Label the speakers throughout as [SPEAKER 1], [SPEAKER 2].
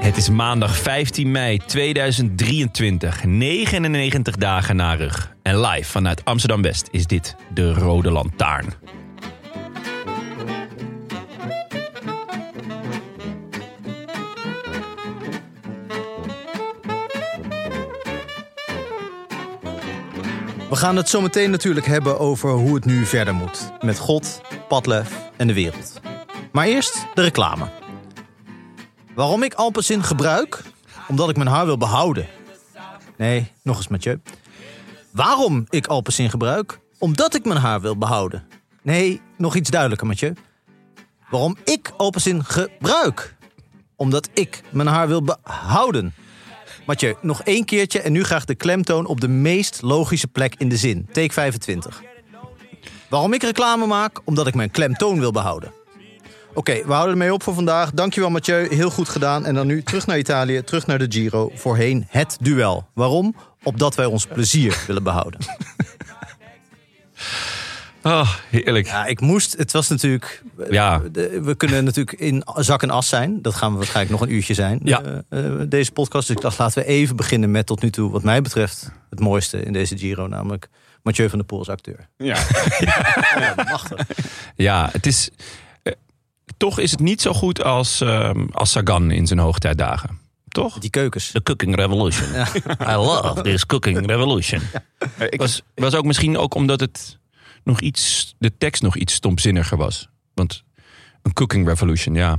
[SPEAKER 1] Het is maandag 15 mei 2023, 99 dagen na rug. En live vanuit Amsterdam-West is dit de Rode Lantaarn.
[SPEAKER 2] We gaan het zo meteen natuurlijk hebben over hoe het nu verder moet. Met God, Padlef en de wereld. Maar eerst de reclame. Waarom ik Alpenzin gebruik? Omdat ik mijn haar wil behouden. Nee, nog eens Mathieu. Waarom ik Alpenzin gebruik? Omdat ik mijn haar wil behouden. Nee, nog iets duidelijker Mathieu. Waarom ik Alpenzin gebruik? Omdat ik mijn haar wil behouden. Mathieu, nog één keertje en nu graag de klemtoon op de meest logische plek in de zin. Take 25. Waarom ik reclame maak? Omdat ik mijn klemtoon wil behouden. Oké, we houden ermee op voor vandaag. Dankjewel Mathieu, heel goed gedaan. En dan nu terug naar Italië, terug naar de Giro. Voorheen het duel. Waarom? Opdat wij ons plezier willen behouden.
[SPEAKER 1] Oh, heerlijk.
[SPEAKER 2] Ja, ik moest, het was natuurlijk...
[SPEAKER 1] Ja.
[SPEAKER 2] de- We kunnen natuurlijk in zak en as zijn. Dat gaan we waarschijnlijk nog een uurtje zijn.
[SPEAKER 1] Ja.
[SPEAKER 2] eh, eh, deze podcast. Dus ik dacht, laten we even beginnen met tot nu toe, wat mij betreft, het mooiste in deze Giro. Namelijk Mathieu van der Poel als acteur.
[SPEAKER 3] Ja,
[SPEAKER 1] Ja, het is... eh, toch is het niet zo goed als, ehm, als Sagan in zijn hoogtijdagen. Toch?
[SPEAKER 2] Die keukens.
[SPEAKER 1] De Cooking Revolution. I love this Cooking Revolution.
[SPEAKER 3] ik,
[SPEAKER 1] Eh, was, was ook misschien ook omdat het nog iets, de tekst nog iets stomzinniger was. Want een Cooking Revolution, ja.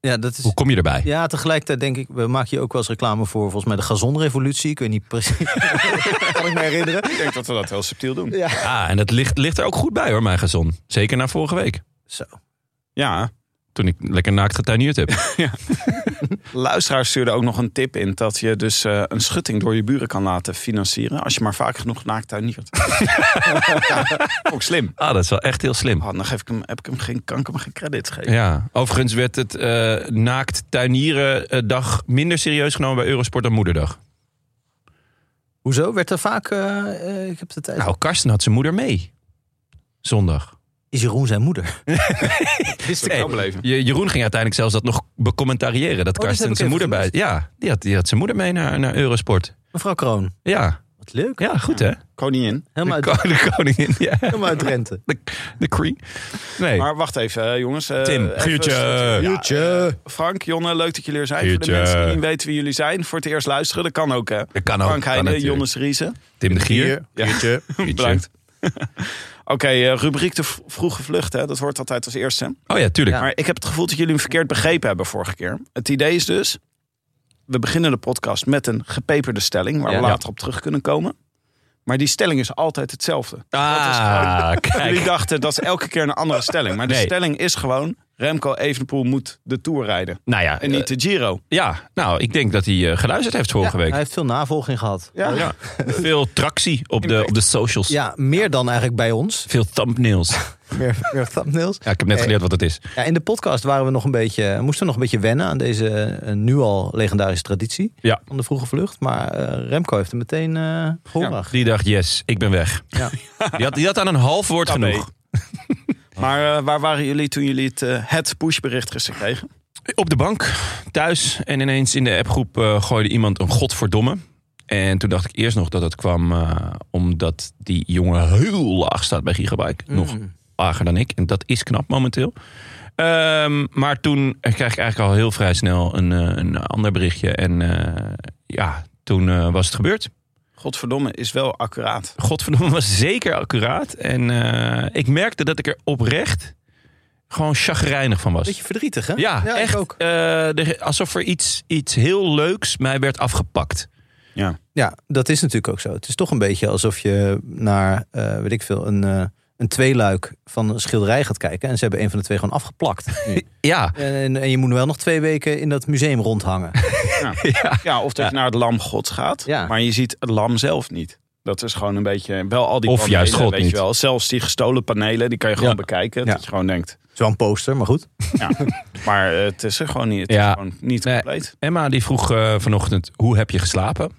[SPEAKER 2] Ja, dat is...
[SPEAKER 1] Hoe kom je erbij?
[SPEAKER 2] Ja, tegelijkertijd denk ik, we maken hier ook wel eens reclame voor, volgens mij de gazonrevolutie. Ik weet niet precies, kan ik me herinneren.
[SPEAKER 3] ik denk dat we dat heel subtiel doen.
[SPEAKER 1] Ah, en dat ligt, ligt er ook goed bij hoor, mijn gezon. Zeker na vorige week.
[SPEAKER 2] Zo.
[SPEAKER 3] Ja,
[SPEAKER 1] Toen ik lekker naakt getuineerd heb.
[SPEAKER 3] luisteraars stuurden ook nog een tip in dat je dus eh, een schutting door je buren kan laten financieren. Als je maar vaak genoeg naakt tuiniert. ja, ook slim.
[SPEAKER 1] Ah, dat is wel echt heel slim.
[SPEAKER 3] Oh, dan geef ik hem, heb ik hem geen, kan ik hem geen credits geven.
[SPEAKER 1] Ja, overigens werd het eh, naakt tuinieren eh, dag minder serieus genomen bij Eurosport dan moederdag.
[SPEAKER 2] Hoezo? Werd er vaak, eh, eh, ik heb de tijd.
[SPEAKER 1] Nou, Karsten had zijn moeder mee. Zondag.
[SPEAKER 2] Is Jeroen zijn moeder?
[SPEAKER 3] Wist ik
[SPEAKER 1] Hey,
[SPEAKER 3] wel beleven.
[SPEAKER 1] Je- Jeroen ging uiteindelijk zelfs dat nog becommentariëren. Oh, Dat
[SPEAKER 2] dat heb
[SPEAKER 1] Karsten
[SPEAKER 2] ik
[SPEAKER 1] zijn
[SPEAKER 2] even
[SPEAKER 1] moeder bij... Ja, die had, die had zijn moeder mee naar, naar Eurosport.
[SPEAKER 2] Mevrouw Kroon.
[SPEAKER 1] Ja,
[SPEAKER 2] Wat leuk.
[SPEAKER 1] ja goed hè?
[SPEAKER 3] Koningin.
[SPEAKER 2] Helemaal
[SPEAKER 1] de,
[SPEAKER 2] uit,
[SPEAKER 1] ko- de koningin. Ja.
[SPEAKER 2] helemaal uit Drenthe.
[SPEAKER 1] De, de Cree. Nee.
[SPEAKER 3] Maar wacht even, eh, jongens. eh,
[SPEAKER 1] Tim,
[SPEAKER 3] even-
[SPEAKER 1] Guurtje.
[SPEAKER 3] Ja,
[SPEAKER 2] Guurtje.
[SPEAKER 3] eh, Frank, Jonne, leuk dat jullie er zijn. Voor
[SPEAKER 1] Guurtje.
[SPEAKER 3] de mensen die niet weten wie jullie zijn, voor het eerst luisteren. Dat Nou, kan ook, hè?
[SPEAKER 1] Dat kan ook,
[SPEAKER 3] Frank
[SPEAKER 1] kan
[SPEAKER 3] Heijnen,
[SPEAKER 1] natuurlijk.
[SPEAKER 3] Jonne Riese.
[SPEAKER 1] Tim de Gier.
[SPEAKER 3] Ja.
[SPEAKER 2] Guurtje.
[SPEAKER 1] Guurtje.
[SPEAKER 3] Bedankt. Oké, eh, rubriek de v- vroege vlucht, hè? dat hoort altijd als eerste.
[SPEAKER 1] Oh ja, tuurlijk.
[SPEAKER 3] Maar ik heb het gevoel dat jullie hem verkeerd begrepen hebben vorige keer. Het idee is dus, we beginnen de podcast met een gepeperde stelling... waar
[SPEAKER 2] Ja.
[SPEAKER 3] we later op terug kunnen komen. Maar die stelling is altijd hetzelfde.
[SPEAKER 1] Ah,
[SPEAKER 3] Jullie
[SPEAKER 1] kijk.
[SPEAKER 3] dachten, dat is elke keer een andere stelling. Maar de
[SPEAKER 1] Nee.
[SPEAKER 3] stelling is gewoon, Remco Evenepoel moet de Tour rijden.
[SPEAKER 1] Nou ja,
[SPEAKER 3] En niet de Giro.
[SPEAKER 1] eh, ja, nou, ik denk dat hij eh, geluisterd heeft vorige
[SPEAKER 2] Hij
[SPEAKER 1] week.
[SPEAKER 2] heeft veel navolging gehad.
[SPEAKER 3] Ja.
[SPEAKER 1] Ja. Veel tractie op de, op de socials.
[SPEAKER 2] Ja, meer dan eigenlijk bij ons.
[SPEAKER 1] Veel thumbnails.
[SPEAKER 2] Meer, meer thumbnails.
[SPEAKER 1] Ja, ik heb net geleerd wat het is.
[SPEAKER 2] Ja, in de podcast waren we nog een beetje, moesten we nog een beetje wennen aan deze eh, nu al legendarische traditie
[SPEAKER 1] Ja.
[SPEAKER 2] van de vroege vlucht. Maar eh, Remco heeft hem meteen eh gehoorig.
[SPEAKER 1] Die dacht, yes, ik ben weg.
[SPEAKER 2] Ja.
[SPEAKER 1] Die had, die had aan een half woord
[SPEAKER 3] Tabé.
[SPEAKER 1] genoeg.
[SPEAKER 3] Maar eh, waar waren jullie toen jullie het, eh, het pushbericht gisteren kregen?
[SPEAKER 1] Op de bank, thuis. En ineens in de appgroep eh, gooide iemand een godverdomme. En toen dacht ik eerst nog dat het kwam eh, omdat die jongen heel laag staat bij Gigabyte. Nog lager dan ik. En dat is knap momenteel. Ehm, maar toen krijg ik eigenlijk al heel vrij snel een, eh, een ander berichtje. En eh, ja, toen eh, was het gebeurd.
[SPEAKER 3] godverdomme, is wel accuraat.
[SPEAKER 1] Godverdomme was zeker accuraat. En eh, ik merkte dat ik er oprecht gewoon chagrijnig van was.
[SPEAKER 2] Beetje verdrietig, hè?
[SPEAKER 1] Ja,
[SPEAKER 2] ik
[SPEAKER 1] echt.
[SPEAKER 2] ook.
[SPEAKER 1] eh, de- alsof er iets, iets heel leuks mij werd afgepakt.
[SPEAKER 3] Ja.
[SPEAKER 2] Ja, dat is natuurlijk ook zo. Het is toch een beetje alsof je naar, eh, weet ik veel, een, eh, een tweeluik van een schilderij gaat kijken. En ze hebben een van de twee gewoon afgeplakt. nu.
[SPEAKER 1] Ja,
[SPEAKER 2] en, en, en je moet wel nog twee weken in dat museum rondhangen.
[SPEAKER 3] Ja, of dat je naar het lam gods gaat,
[SPEAKER 2] Ja.
[SPEAKER 3] maar je ziet het lam zelf niet. Dat is gewoon een beetje, wel al die
[SPEAKER 1] Of
[SPEAKER 3] panelen,
[SPEAKER 1] juist God
[SPEAKER 3] weet
[SPEAKER 1] niet.
[SPEAKER 3] je wel. Zelfs die gestolen panelen, die kan je gewoon
[SPEAKER 2] Ja.
[SPEAKER 3] bekijken.
[SPEAKER 2] Ja.
[SPEAKER 3] Dat je gewoon denkt,
[SPEAKER 2] Het is wel een poster, maar goed.
[SPEAKER 3] ja. maar eh, het is er gewoon niet, het
[SPEAKER 1] Ja.
[SPEAKER 3] is gewoon niet
[SPEAKER 1] Nee.
[SPEAKER 3] compleet.
[SPEAKER 1] eh, Emma die vroeg eh, vanochtend, hoe heb je geslapen?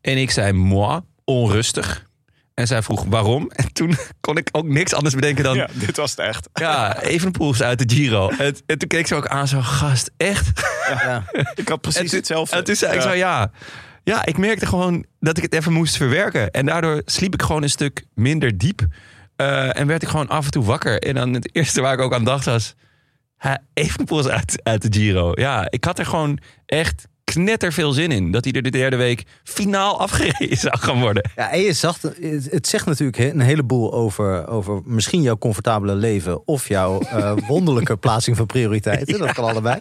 [SPEAKER 1] En ik zei, moi, onrustig. En zij vroeg, waarom? En toen kon ik ook niks anders bedenken dan...
[SPEAKER 3] Ja, dit was het echt.
[SPEAKER 1] Ja, Evenepoel is uit de Giro. En, en toen keek ze ook aan, zo gast, echt?
[SPEAKER 2] Ja.
[SPEAKER 3] Ik had
[SPEAKER 1] En
[SPEAKER 3] precies
[SPEAKER 1] toen-
[SPEAKER 3] hetzelfde.
[SPEAKER 1] En toen zei ik
[SPEAKER 3] Ja.
[SPEAKER 1] zo, ja. Ja, ik merkte gewoon dat ik het even moest verwerken. En daardoor sliep ik gewoon een stuk minder diep. Eh, en werd ik gewoon af en toe wakker. En dan het eerste waar ik ook aan dacht was... Ha, Evenepoel is uit, uit de Giro. Ja, ik had er gewoon echt knetter veel zin in. Dat hij er de derde week finaal afgereden zou gaan worden.
[SPEAKER 2] Ja, en je zag, het, het zegt natuurlijk he- een heleboel over, over misschien jouw comfortabele leven of jouw eh, wonderlijke plaatsing van prioriteiten. Dat kan allebei.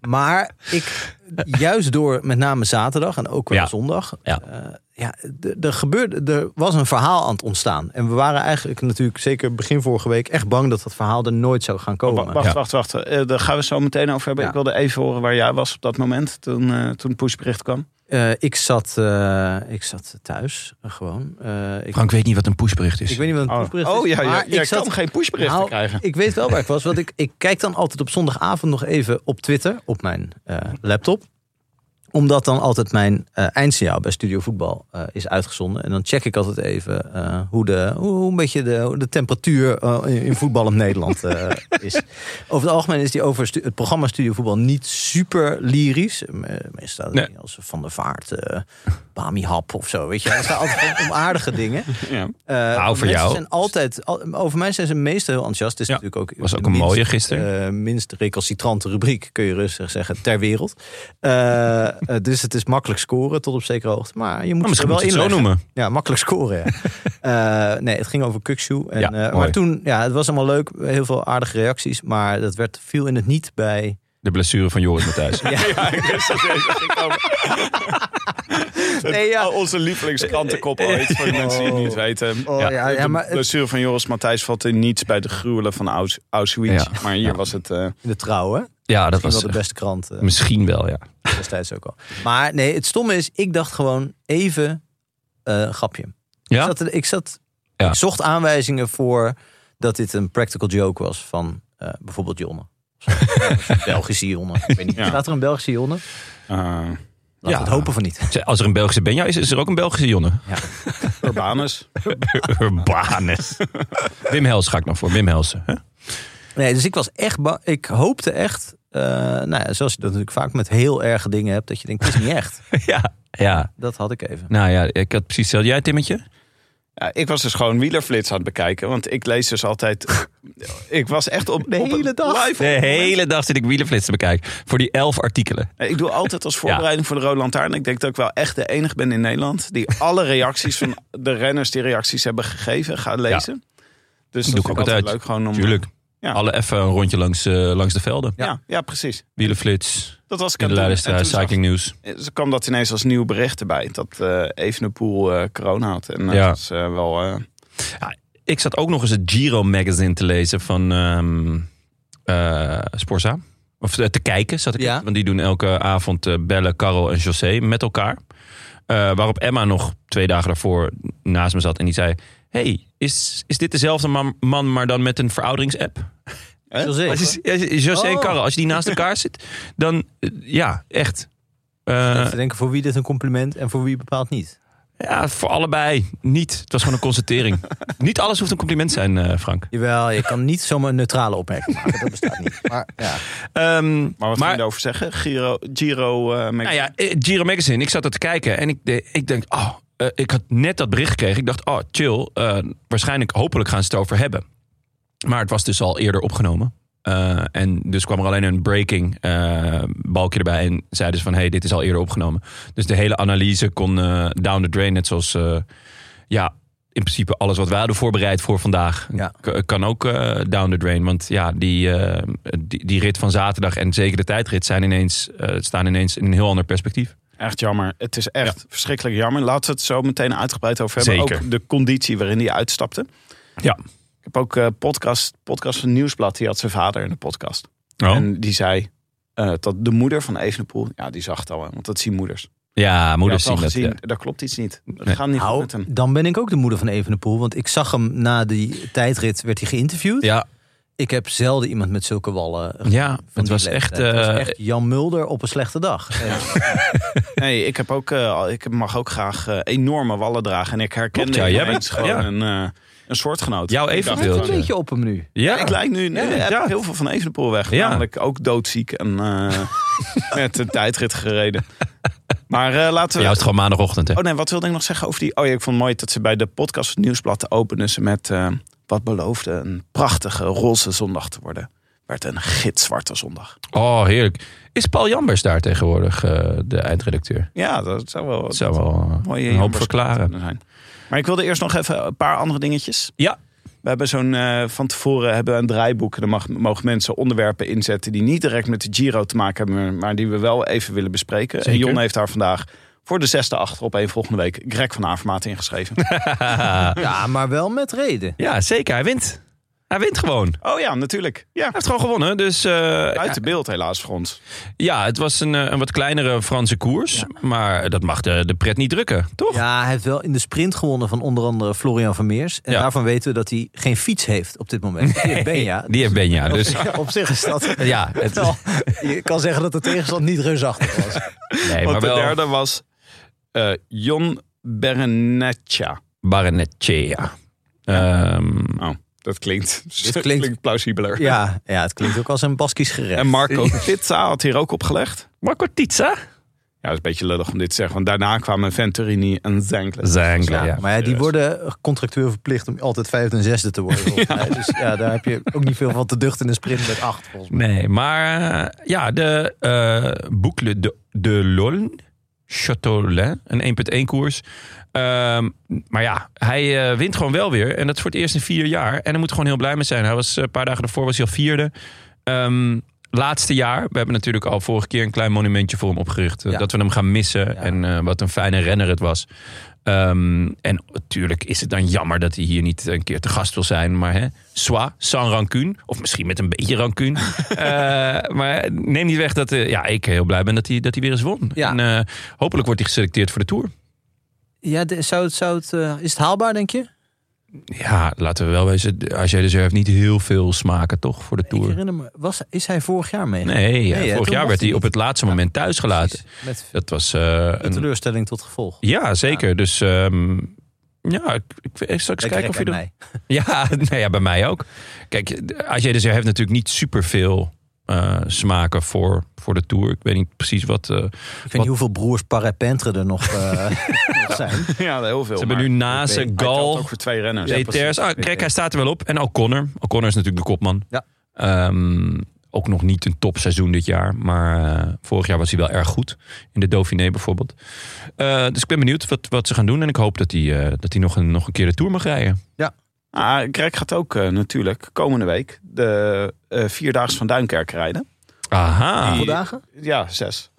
[SPEAKER 2] Maar ik, juist door met name zaterdag en ook wel
[SPEAKER 1] Ja.
[SPEAKER 2] zondag.
[SPEAKER 1] Ja.
[SPEAKER 2] eh, ja, d- er, gebeurde, er was een verhaal aan het ontstaan. En we waren eigenlijk natuurlijk, zeker begin vorige week, echt bang dat dat verhaal er nooit zou gaan
[SPEAKER 3] Wa-
[SPEAKER 2] komen.
[SPEAKER 3] Wacht,
[SPEAKER 1] Oh, Ja.
[SPEAKER 3] wacht, wacht. Eh, daar gaan we zo meteen over hebben.
[SPEAKER 2] Ja.
[SPEAKER 3] Ik wilde even horen waar jij was op dat moment toen, eh, toen het pushbericht kwam.
[SPEAKER 2] Eh, ik, zat, eh, ik zat thuis, eh, gewoon. Eh, ik,
[SPEAKER 1] Frank weet niet wat een pushbericht is.
[SPEAKER 2] ik weet niet wat een
[SPEAKER 3] Oh,
[SPEAKER 2] pushbericht
[SPEAKER 3] oh
[SPEAKER 2] is,
[SPEAKER 3] ja, ja.
[SPEAKER 2] maar
[SPEAKER 3] jij
[SPEAKER 2] ik zat
[SPEAKER 3] kan geen pushberichten
[SPEAKER 2] Nou,
[SPEAKER 3] krijgen.
[SPEAKER 2] Ik weet wel waar ik was, want ik, ik kijk dan altijd op zondagavond nog even op Twitter, op mijn eh, laptop. Omdat dan altijd mijn eh, eindsignaal bij Studio Voetbal eh, is uitgezonden. En dan check ik altijd even eh, hoe, de, hoe, hoe een beetje de, hoe de temperatuur eh, in, in voetballend Nederland eh, is. Over het algemeen is die over stu- het programma Studio Voetbal niet super lyrisch. Eh, Meestal staat er
[SPEAKER 1] Nee.
[SPEAKER 2] dingen als Van der Vaart, eh Bami Hap of zo. Weet je, wel. het zijn altijd gewoon om aardige dingen.
[SPEAKER 3] Ja.
[SPEAKER 2] Eh,
[SPEAKER 1] voor
[SPEAKER 2] mensen
[SPEAKER 1] jou.
[SPEAKER 2] Zijn altijd, al- over mij zijn ze meestal heel enthousiast. Het is
[SPEAKER 1] Ja,
[SPEAKER 2] natuurlijk ook,
[SPEAKER 1] was
[SPEAKER 2] de
[SPEAKER 1] ook een
[SPEAKER 2] minst,
[SPEAKER 1] mooie gisteren.
[SPEAKER 2] eh, minst recalcitrante rubriek, kun je rustig zeggen, ter wereld. Eh, eh, dus het is makkelijk scoren tot op zekere hoogte. Maar je moet
[SPEAKER 1] Maar
[SPEAKER 2] het
[SPEAKER 1] misschien
[SPEAKER 2] er wel
[SPEAKER 1] moet je het zo
[SPEAKER 2] inleggen.
[SPEAKER 1] noemen.
[SPEAKER 2] Ja, makkelijk scoren. Ja. Eh, nee, het ging over Kukshoe. En,
[SPEAKER 1] Ja,
[SPEAKER 2] eh,
[SPEAKER 1] mooi.
[SPEAKER 2] maar toen, ja, het was allemaal leuk. Heel veel aardige reacties. Maar dat werd, viel in het niet bij.
[SPEAKER 1] De blessure van Joris Matthijs.
[SPEAKER 3] Ja, ik wist dat deze ging komen.
[SPEAKER 2] Nee, ja.
[SPEAKER 3] Al Onze lievelingskrantenkop ooit, voor de mensen die het niet weten.
[SPEAKER 2] Oh, ja, ja,
[SPEAKER 3] de
[SPEAKER 2] maar het-
[SPEAKER 3] blessure van Joris Matthijs valt in niets bij de gruwelen van Aus- Auschwitz.
[SPEAKER 1] Ja.
[SPEAKER 3] Maar hier
[SPEAKER 1] Ja.
[SPEAKER 3] was het... eh,
[SPEAKER 2] In de trouw, hè?
[SPEAKER 1] Ja, dat
[SPEAKER 2] Misschien wel
[SPEAKER 1] was
[SPEAKER 2] de beste krant. eh,
[SPEAKER 1] misschien wel, ja.
[SPEAKER 2] destijds ook al. Maar nee, het stomme is, ik dacht gewoon even eh, een grapje.
[SPEAKER 1] Ja?
[SPEAKER 2] Ik, zat, ik, zat,
[SPEAKER 1] Ja.
[SPEAKER 2] ik zocht aanwijzingen voor dat dit een practical joke was van eh, bijvoorbeeld Jonne. Of zo. Een Belgische Jonne. Ik weet niet.
[SPEAKER 3] Ja.
[SPEAKER 2] Staat er een Belgische Jonne?
[SPEAKER 3] eh,
[SPEAKER 2] Laten
[SPEAKER 1] Ja.
[SPEAKER 2] we het hopen van niet.
[SPEAKER 1] Als er een Belgische Benja is, is er ook een Belgische Jonne.
[SPEAKER 3] Urbanus.
[SPEAKER 1] Urbanus. Wim Hels ga ik nog voor. Wim Helsen. hè?
[SPEAKER 2] Nee, dus ik was echt bang. Ik hoopte echt, eh, nou ja, zoals je dat natuurlijk vaak met heel erge dingen hebt, dat je denkt, het is niet echt.
[SPEAKER 1] Ja, ja.
[SPEAKER 2] Dat had ik even.
[SPEAKER 1] Nou ja, ik had precies hetzelfde. Jij, Timmetje?
[SPEAKER 3] Ja, ik was dus gewoon wielerflits aan het bekijken. Want ik lees dus altijd... ik was echt op
[SPEAKER 2] De
[SPEAKER 3] op-
[SPEAKER 2] hele dag.
[SPEAKER 3] live
[SPEAKER 1] De hele dag zit ik wielenflits te bekijken. Voor die elf artikelen.
[SPEAKER 3] Nee, Ik doe altijd als voorbereiding voor de Rode Lantaarn. Ik denk dat ik wel echt de enige ben in Nederland die alle reacties van de renners die reacties hebben gegeven gaat lezen. Dus
[SPEAKER 1] doe
[SPEAKER 3] dat
[SPEAKER 1] ik ook
[SPEAKER 3] vind altijd
[SPEAKER 1] altijd.
[SPEAKER 3] leuk gewoon om.
[SPEAKER 1] Tuurlijk.
[SPEAKER 3] Ja.
[SPEAKER 1] Alle even een rondje langs, eh, langs de velden.
[SPEAKER 3] Ja, ja, precies.
[SPEAKER 1] Wielenflits,
[SPEAKER 3] Dat was ik
[SPEAKER 1] in
[SPEAKER 3] aan
[SPEAKER 1] de
[SPEAKER 3] het doen. En
[SPEAKER 1] Leidenstraat,
[SPEAKER 3] toen zag-
[SPEAKER 1] Cycling News.
[SPEAKER 3] eh, Ze kwam dat ineens als nieuw bericht erbij. Dat eh Evenepoel eh, corona had. En eh,
[SPEAKER 1] Ja.
[SPEAKER 3] dat is eh, wel... eh,
[SPEAKER 1] Ik zat ook nog eens het Giro magazine te lezen van ehm eh, Sporza. Of eh, te kijken zat ik.
[SPEAKER 2] Ja.
[SPEAKER 1] het. Want die doen elke avond eh, bellen Karel en José met elkaar. Eh, waarop Emma nog twee dagen daarvoor naast me zat en die zei... hey, is, is dit dezelfde man, man, maar dan met een verouderingsapp?
[SPEAKER 3] Hè?
[SPEAKER 2] Zoals ik.
[SPEAKER 1] Als je- als je- José en
[SPEAKER 2] Oh.
[SPEAKER 1] Karel, als je die naast elkaar zit, dan eh, ja, echt. Eh,
[SPEAKER 2] Even te denken voor wie dit een compliment en voor wie bepaald niet.
[SPEAKER 1] ja, voor allebei niet. Het was gewoon een constatering. niet alles hoeft een compliment te zijn, eh, Frank.
[SPEAKER 2] Jawel, je kan niet zomaar een neutrale opmerking maken. Dat bestaat niet. Maar ja.
[SPEAKER 1] Ehm,
[SPEAKER 3] Maar wat ging je erover zeggen? Giro... Giro eh, met-
[SPEAKER 1] Nou ja, eh, Giro Magazine. Ik zat dat te kijken en ik, de- ik denk, oh, eh, ik had net dat bericht gekregen. Ik dacht, oh, chill. eh, waarschijnlijk, hopelijk gaan ze het over hebben. Maar het was dus al eerder opgenomen. Eh, en dus kwam er alleen een breaking eh, balkje erbij. En zeiden ze van, hey, dit is al eerder opgenomen. Dus de hele analyse kon eh, down the drain. Net zoals, eh, ja, in principe alles wat wij hadden voorbereid voor vandaag.
[SPEAKER 2] Ja.
[SPEAKER 1] k- Kan ook eh, down the drain. Want ja, die, eh, die, die rit van zaterdag en zeker de tijdrit zijn ineens, eh, staan ineens in een heel ander perspectief.
[SPEAKER 3] Echt jammer. Het is echt verschrikkelijk jammer. Laten we het zo meteen uitgebreid over hebben.
[SPEAKER 1] Zeker.
[SPEAKER 3] Ook de conditie waarin hij uitstapte.
[SPEAKER 1] Ja.
[SPEAKER 3] Ik heb ook eh podcast, podcast van Nieuwsblad. Die had zijn vader in de podcast.
[SPEAKER 1] Oh.
[SPEAKER 3] En die zei eh, dat de moeder van Evenepoel... Ja, die zag het al. hè, Want dat zien moeders.
[SPEAKER 1] ja,
[SPEAKER 3] Moeder
[SPEAKER 1] moeders
[SPEAKER 3] zien
[SPEAKER 1] zien dat. eh,
[SPEAKER 3] gezien,
[SPEAKER 1] ja.
[SPEAKER 3] Daar klopt iets niet. Dat
[SPEAKER 1] Nee.
[SPEAKER 3] gaat niet goed
[SPEAKER 2] Nou,
[SPEAKER 3] met hem.
[SPEAKER 2] dan ben ik ook de moeder van Evenepoel. Want ik zag hem na die tijdrit, werd hij geïnterviewd.
[SPEAKER 1] Ja,
[SPEAKER 2] Ik heb zelden iemand met zulke wallen gezien
[SPEAKER 1] ja
[SPEAKER 2] van
[SPEAKER 1] het
[SPEAKER 2] die
[SPEAKER 1] was
[SPEAKER 2] leeftijd.
[SPEAKER 1] echt...
[SPEAKER 2] Het was
[SPEAKER 1] eh,
[SPEAKER 2] echt Jan Mulder op een slechte dag. Ja.
[SPEAKER 3] Nee, ik, heb ook, eh, al- ik mag ook graag eh, enorme wallen dragen. En ik herkende
[SPEAKER 1] Klopt, ja. Jij
[SPEAKER 3] ineens
[SPEAKER 1] bent-
[SPEAKER 3] gewoon
[SPEAKER 1] ja.
[SPEAKER 3] een, eh, een soortgenoot.
[SPEAKER 1] Jouw
[SPEAKER 3] Ik dacht
[SPEAKER 1] evenbeeld.
[SPEAKER 3] van,
[SPEAKER 2] een beetje op hem nu.
[SPEAKER 1] ja,
[SPEAKER 3] Ik lijk nu
[SPEAKER 1] Ja,
[SPEAKER 3] ik heb
[SPEAKER 1] ja.
[SPEAKER 3] heel veel van Evenepoel weg.
[SPEAKER 1] Ja.
[SPEAKER 3] Namelijk ook doodziek en eh, met een tijdrit gereden. Maar eh, laten
[SPEAKER 1] Voor
[SPEAKER 3] we...
[SPEAKER 1] jou is het gewoon maandagochtend, hè?
[SPEAKER 3] Oh nee, wat wilde ik nog zeggen over die... Oh ja, ik vond het mooi dat ze bij de podcast van het Nieuwsblad openen ze met... eh, wat beloofde een prachtige roze zondag te worden. Werd een gitzwarte zondag.
[SPEAKER 1] Oh, heerlijk. Is Paul Jambers daar tegenwoordig eh, de eindredacteur?
[SPEAKER 3] Ja, dat zou wel...
[SPEAKER 1] Dat zou wel eh,
[SPEAKER 3] mooie
[SPEAKER 1] een hoop
[SPEAKER 3] jambers
[SPEAKER 1] verklaren.
[SPEAKER 3] kunnen zijn. Maar ik wilde eerst nog even een paar andere dingetjes.
[SPEAKER 1] Ja.
[SPEAKER 3] We hebben zo'n eh, van tevoren hebben we een draaiboek. En dan mag, mogen mensen onderwerpen inzetten die niet direct met de Giro te maken hebben, maar- maar die we wel even willen bespreken. En
[SPEAKER 1] Zeker.
[SPEAKER 3] Jon heeft daar vandaag voor de zesde achter op één volgende week Greg van Avermaat ingeschreven.
[SPEAKER 2] Ja, maar wel met reden.
[SPEAKER 1] ja, zeker. Hij wint. Hij wint gewoon. Hij
[SPEAKER 3] oh ja, natuurlijk. Ja.
[SPEAKER 1] heeft gewoon gewonnen. Dus eh,
[SPEAKER 3] Uit de beeld helaas voor ons.
[SPEAKER 1] ja, het was een, eh, een wat kleinere Franse koers. Maar dat mag de, de pret niet drukken, toch?
[SPEAKER 2] Ja, hij heeft wel in de sprint gewonnen van onder andere Florian Vermeers. En
[SPEAKER 1] Ja.
[SPEAKER 2] daarvan weten we dat hij geen fiets heeft op dit moment. Die heeft Benja.
[SPEAKER 1] Die heeft Benja. Dus
[SPEAKER 2] Ja, op zich is dat...
[SPEAKER 1] ja, het,
[SPEAKER 2] Wel, je kan zeggen dat de tegenstand niet reusachtig was.
[SPEAKER 1] nee, maar
[SPEAKER 3] Want de
[SPEAKER 1] wel
[SPEAKER 3] derde was eh, Jon Berenetja.
[SPEAKER 1] Baronetchea. Ehm,
[SPEAKER 3] Oh, dat klinkt,
[SPEAKER 2] Dit klinkt-
[SPEAKER 3] plausibeler.
[SPEAKER 2] Ja, ja het klinkt ook als een Baskisch gerecht.
[SPEAKER 3] En Marco Pizza had hier ook opgelegd.
[SPEAKER 1] Marco Tizza?
[SPEAKER 3] Ja, dat is een beetje lullig om dit te zeggen. Want daarna kwamen Venturini en Zenkler.
[SPEAKER 1] Zangler,
[SPEAKER 2] Ja,
[SPEAKER 1] ja.
[SPEAKER 2] maar ja, die worden contractueel verplicht om altijd vijfde en zesde te worden. Ja. Dus ja, daar heb je ook niet veel van te duchten in een sprint met acht. Volgens mij.
[SPEAKER 1] Nee, maar eh, ja, de eh Boucle de, de Lolne, Châteaulin, een 1.1 koers. Ehm, maar ja, hij eh, wint gewoon wel weer. En dat is voor het eerst in vier jaar. En daar moet gewoon heel blij mee zijn. Hij was eh, een paar dagen daarvoor was hij al vierde. Ehm, laatste jaar. We hebben natuurlijk al vorige keer een klein monumentje voor hem opgericht. eh,
[SPEAKER 2] Ja.
[SPEAKER 1] Dat we hem gaan missen. En eh, wat een fijne renner het was. Ehm, en natuurlijk is het dan jammer dat hij hier niet een keer te gast wil zijn. Maar hè, soit, sans rancune. Of misschien met een beetje rancune. Eh, maar neem niet weg dat eh, ja, ik heel blij ben dat hij, dat hij weer eens won.
[SPEAKER 2] Ja.
[SPEAKER 1] En eh, hopelijk wordt hij geselecteerd voor de Tour.
[SPEAKER 2] Ja, de- zou het, zou het, eh, is het haalbaar, denk je?
[SPEAKER 1] Ja, laten we wel wezen. Als jij dus heeft niet heel veel smaken toch voor de
[SPEAKER 2] Ik
[SPEAKER 1] Tour.
[SPEAKER 2] herinner me, was, is hij vorig jaar mee?
[SPEAKER 1] Nee, ja,
[SPEAKER 2] hè, toen
[SPEAKER 1] vorig jaar werd
[SPEAKER 2] was hij
[SPEAKER 1] hij
[SPEAKER 2] niet.
[SPEAKER 1] op het laatste moment thuisgelaten.
[SPEAKER 2] Precies. Met
[SPEAKER 1] Dat was eh,
[SPEAKER 2] een
[SPEAKER 1] een
[SPEAKER 2] teleurstelling tot gevolg.
[SPEAKER 1] Ja, zeker. Dus ehm, ja, ik, ik, ik zal eens kijken of je
[SPEAKER 2] Lekker
[SPEAKER 1] er...
[SPEAKER 2] aan mij.
[SPEAKER 1] Ja, nou ja, bij mij ook. Kijk, Ajay dus heeft natuurlijk niet superveel eh smaken voor, voor de Tour. Ik weet niet precies wat... eh,
[SPEAKER 2] Ik weet niet hoeveel broers Parapentre er nog, eh, nog zijn.
[SPEAKER 3] Ja, heel veel.
[SPEAKER 1] ze hebben nu naast
[SPEAKER 2] weet-
[SPEAKER 3] Hij telt
[SPEAKER 1] Gal,
[SPEAKER 3] ook voor twee renners.
[SPEAKER 2] Ja,
[SPEAKER 1] Peters... Ah,
[SPEAKER 2] precies.
[SPEAKER 1] kijk, hij staat er wel op. En O'Connor. O'Connor is natuurlijk de kopman.
[SPEAKER 2] Ja.
[SPEAKER 1] Ehm, ook nog niet een topseizoen dit jaar. Maar eh, vorig jaar was hij wel erg goed. In de Dauphiné bijvoorbeeld. Eh, dus ik ben benieuwd wat, wat ze gaan doen. En ik hoop dat hij, eh, dat hij nog, een, nog een keer de Tour mag rijden.
[SPEAKER 3] Ah, Greg gaat ook eh, natuurlijk komende week de eh Vierdaagse van Duinkerk rijden.
[SPEAKER 1] Aha.
[SPEAKER 3] Die-
[SPEAKER 2] Hoeveel dagen?
[SPEAKER 3] Ja, zes.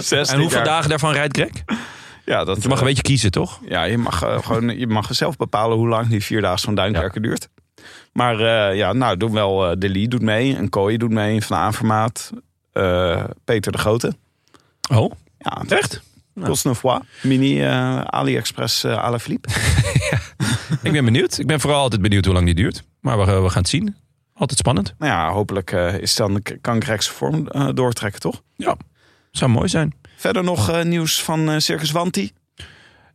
[SPEAKER 3] zes
[SPEAKER 1] En hoeveel
[SPEAKER 3] dit jaar.
[SPEAKER 1] dagen daarvan rijdt Greg? Want
[SPEAKER 3] Ja, dat, eh,
[SPEAKER 1] je mag een beetje kiezen, toch?
[SPEAKER 3] ja, je mag eh, gewoon je mag zelf bepalen hoe lang die Vierdaagse van Duinkerk duurt. Maar eh, ja, nou, doen wel eh, De Lee doet mee. En Kooi doet mee. Van Avermaat. eh, Peter de Grote.
[SPEAKER 1] Oh,
[SPEAKER 3] Ja,
[SPEAKER 1] echt?
[SPEAKER 3] Cosnefoy. Mini eh, AliExpress eh à la Philippe.
[SPEAKER 1] Ik ben benieuwd. Ik ben vooral altijd benieuwd hoe lang die duurt. Maar we, we gaan het zien. Altijd spannend.
[SPEAKER 3] Nou ja, hopelijk eh, is dan, kan Greg zijn vorm eh, doortrekken, toch?
[SPEAKER 1] Zou mooi zijn.
[SPEAKER 3] Verder nog eh, nieuws van eh, Circus Wanti.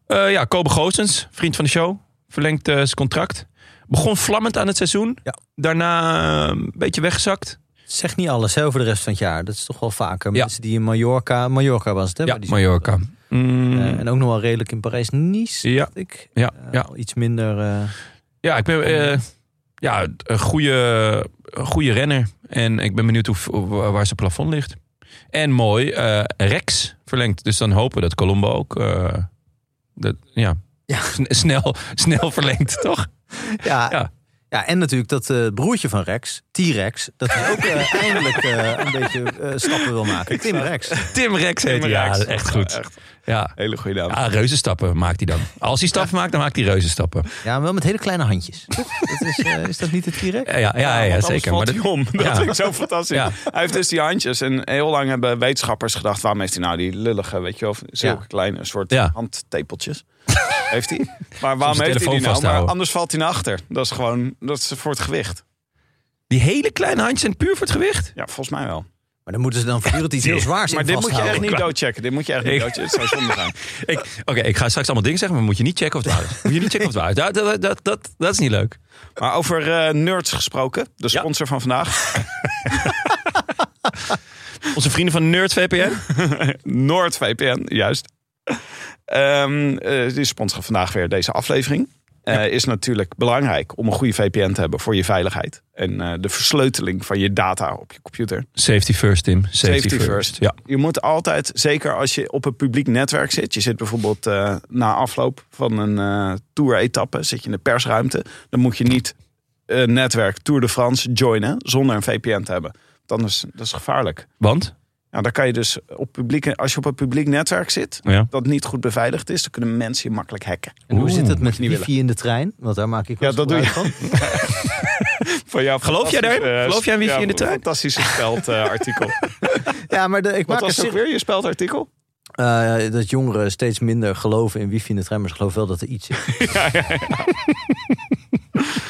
[SPEAKER 1] Eh, ja, Kobe Goossens, vriend van de show. Verlengt eh, zijn contract. Begon vlammend aan het seizoen.
[SPEAKER 2] Ja.
[SPEAKER 1] Daarna eh, een beetje weggezakt.
[SPEAKER 2] Zeg niet alles hè, over de rest van het jaar. Dat is toch wel vaker.
[SPEAKER 1] Ja.
[SPEAKER 2] Mensen die in Mallorca... Mallorca was het, hè?
[SPEAKER 1] Ja,
[SPEAKER 2] waar die-
[SPEAKER 1] Mallorca. Mm,
[SPEAKER 2] Eh, en ook nog wel redelijk in Parijs-Nice,
[SPEAKER 1] Ja.
[SPEAKER 2] dacht ik.
[SPEAKER 1] ja,
[SPEAKER 2] Eh,
[SPEAKER 1] ja.
[SPEAKER 2] al Iets minder... eh,
[SPEAKER 1] ja, ik ben... eh, ja, een goede, een goede renner. En ik ben benieuwd hoe, hoe- waar zijn plafond ligt. En mooi, eh, Rex verlengt. Dus dan hopen we dat Colombo ook... eh, dat, ja,
[SPEAKER 2] Ja.
[SPEAKER 1] sn- snel, snel verlengt, toch?
[SPEAKER 2] Ja, ja.
[SPEAKER 1] Ja.
[SPEAKER 2] en natuurlijk dat eh, broertje van Rex, T-Rex, dat hij ook eh, eindelijk eh, een beetje eh, stappen wil maken. Tim Rex.
[SPEAKER 1] Tim Rex heet hij.
[SPEAKER 3] Tim
[SPEAKER 1] Ja,
[SPEAKER 3] Rex.
[SPEAKER 1] echt goed. Ja.
[SPEAKER 3] Hele goede naam.
[SPEAKER 1] ja, reuzenstappen maakt hij dan. Als hij stappen maakt, dan maakt hij reuzenstappen.
[SPEAKER 2] Ja, maar wel met hele kleine handjes. Dat is, eh, is dat niet het T-Rex?
[SPEAKER 1] Ja, ja, ja, ja,
[SPEAKER 3] want anders
[SPEAKER 1] zeker.
[SPEAKER 3] Valt
[SPEAKER 1] Maar dat-
[SPEAKER 3] hij om. Dat
[SPEAKER 1] Ja.
[SPEAKER 3] vind ik zo fantastisch.
[SPEAKER 1] Ja.
[SPEAKER 3] Hij heeft dus die handjes. En heel lang hebben wetenschappers gedacht... waarom heeft hij nou die lullige, weet je wel... zulke
[SPEAKER 2] Ja.
[SPEAKER 3] kleine soort
[SPEAKER 1] Ja.
[SPEAKER 3] handtepeltjes. heeft hij. Maar
[SPEAKER 1] Soms
[SPEAKER 3] waarom
[SPEAKER 1] de
[SPEAKER 3] heeft hij
[SPEAKER 1] telefoon
[SPEAKER 3] die nou? Maar
[SPEAKER 1] vasthouden.
[SPEAKER 3] anders valt hij naar achter. Dat is gewoon dat is voor het gewicht.
[SPEAKER 1] die hele kleine handjes zijn puur voor het gewicht.
[SPEAKER 3] Ja, volgens mij wel.
[SPEAKER 2] Maar dan moeten ze dan voortdurend iets heel zwaars
[SPEAKER 3] Maar
[SPEAKER 2] in
[SPEAKER 3] dit moet je echt
[SPEAKER 2] vasthouden.
[SPEAKER 3] niet doodchecken. Dit moet je echt niet
[SPEAKER 1] Ik-
[SPEAKER 3] doodchecken. Het zou zonde zijn.
[SPEAKER 1] Ik- Oké, ik ga straks allemaal dingen zeggen, maar moet je niet checken of het waar is. Moet je niet checken of het waar is. Dat, dat, dat, dat, dat is niet leuk.
[SPEAKER 3] Maar over eh, nerds gesproken. De
[SPEAKER 1] Ja.
[SPEAKER 3] sponsor van vandaag.
[SPEAKER 1] Onze vrienden van Nerd VPN.
[SPEAKER 3] NoordVPN, juist. Ehm eh, die sponsoren vandaag weer deze aflevering. Eh, Is natuurlijk belangrijk om een goede VPN te hebben voor je veiligheid. En eh, de versleuteling van je data op je computer.
[SPEAKER 1] Safety first, Tim. Safety,
[SPEAKER 3] Safety
[SPEAKER 1] first.
[SPEAKER 3] first.
[SPEAKER 1] Ja.
[SPEAKER 3] Je moet altijd, zeker als je op een publiek netwerk zit. Je zit bijvoorbeeld eh, na afloop van een eh tour-etappe. Zit je in de persruimte. Dan moet je niet eh, netwerk Tour de France joinen zonder een VPN te hebben. Dan is dat is gevaarlijk.
[SPEAKER 1] Want?
[SPEAKER 3] Nou, dan kan je dus op publieke, als je op een publiek netwerk zit
[SPEAKER 1] Ja.
[SPEAKER 3] dat niet goed beveiligd is, dan kunnen mensen je makkelijk hacken.
[SPEAKER 2] En hoe
[SPEAKER 1] Oeh,
[SPEAKER 2] zit het met
[SPEAKER 3] je niet
[SPEAKER 2] wifi in de trein? Want daar maak ik wel
[SPEAKER 3] Ja, dat
[SPEAKER 2] eens
[SPEAKER 3] doe
[SPEAKER 2] gebruik van.
[SPEAKER 3] Van jou,
[SPEAKER 1] Geloof jij
[SPEAKER 3] fantastisch,
[SPEAKER 1] daarin?
[SPEAKER 3] eh,
[SPEAKER 1] Geloof jij in wifi
[SPEAKER 3] ja,
[SPEAKER 1] in de trein?
[SPEAKER 3] Fantastische speldartikel.
[SPEAKER 2] Ja, maar de, ik
[SPEAKER 3] eh, Wat
[SPEAKER 2] maak
[SPEAKER 3] was
[SPEAKER 2] een
[SPEAKER 3] ook weer je speldartikel?
[SPEAKER 2] Eh, dat jongeren steeds minder geloven in wifi in de trein, maar ze geloven wel dat er iets is.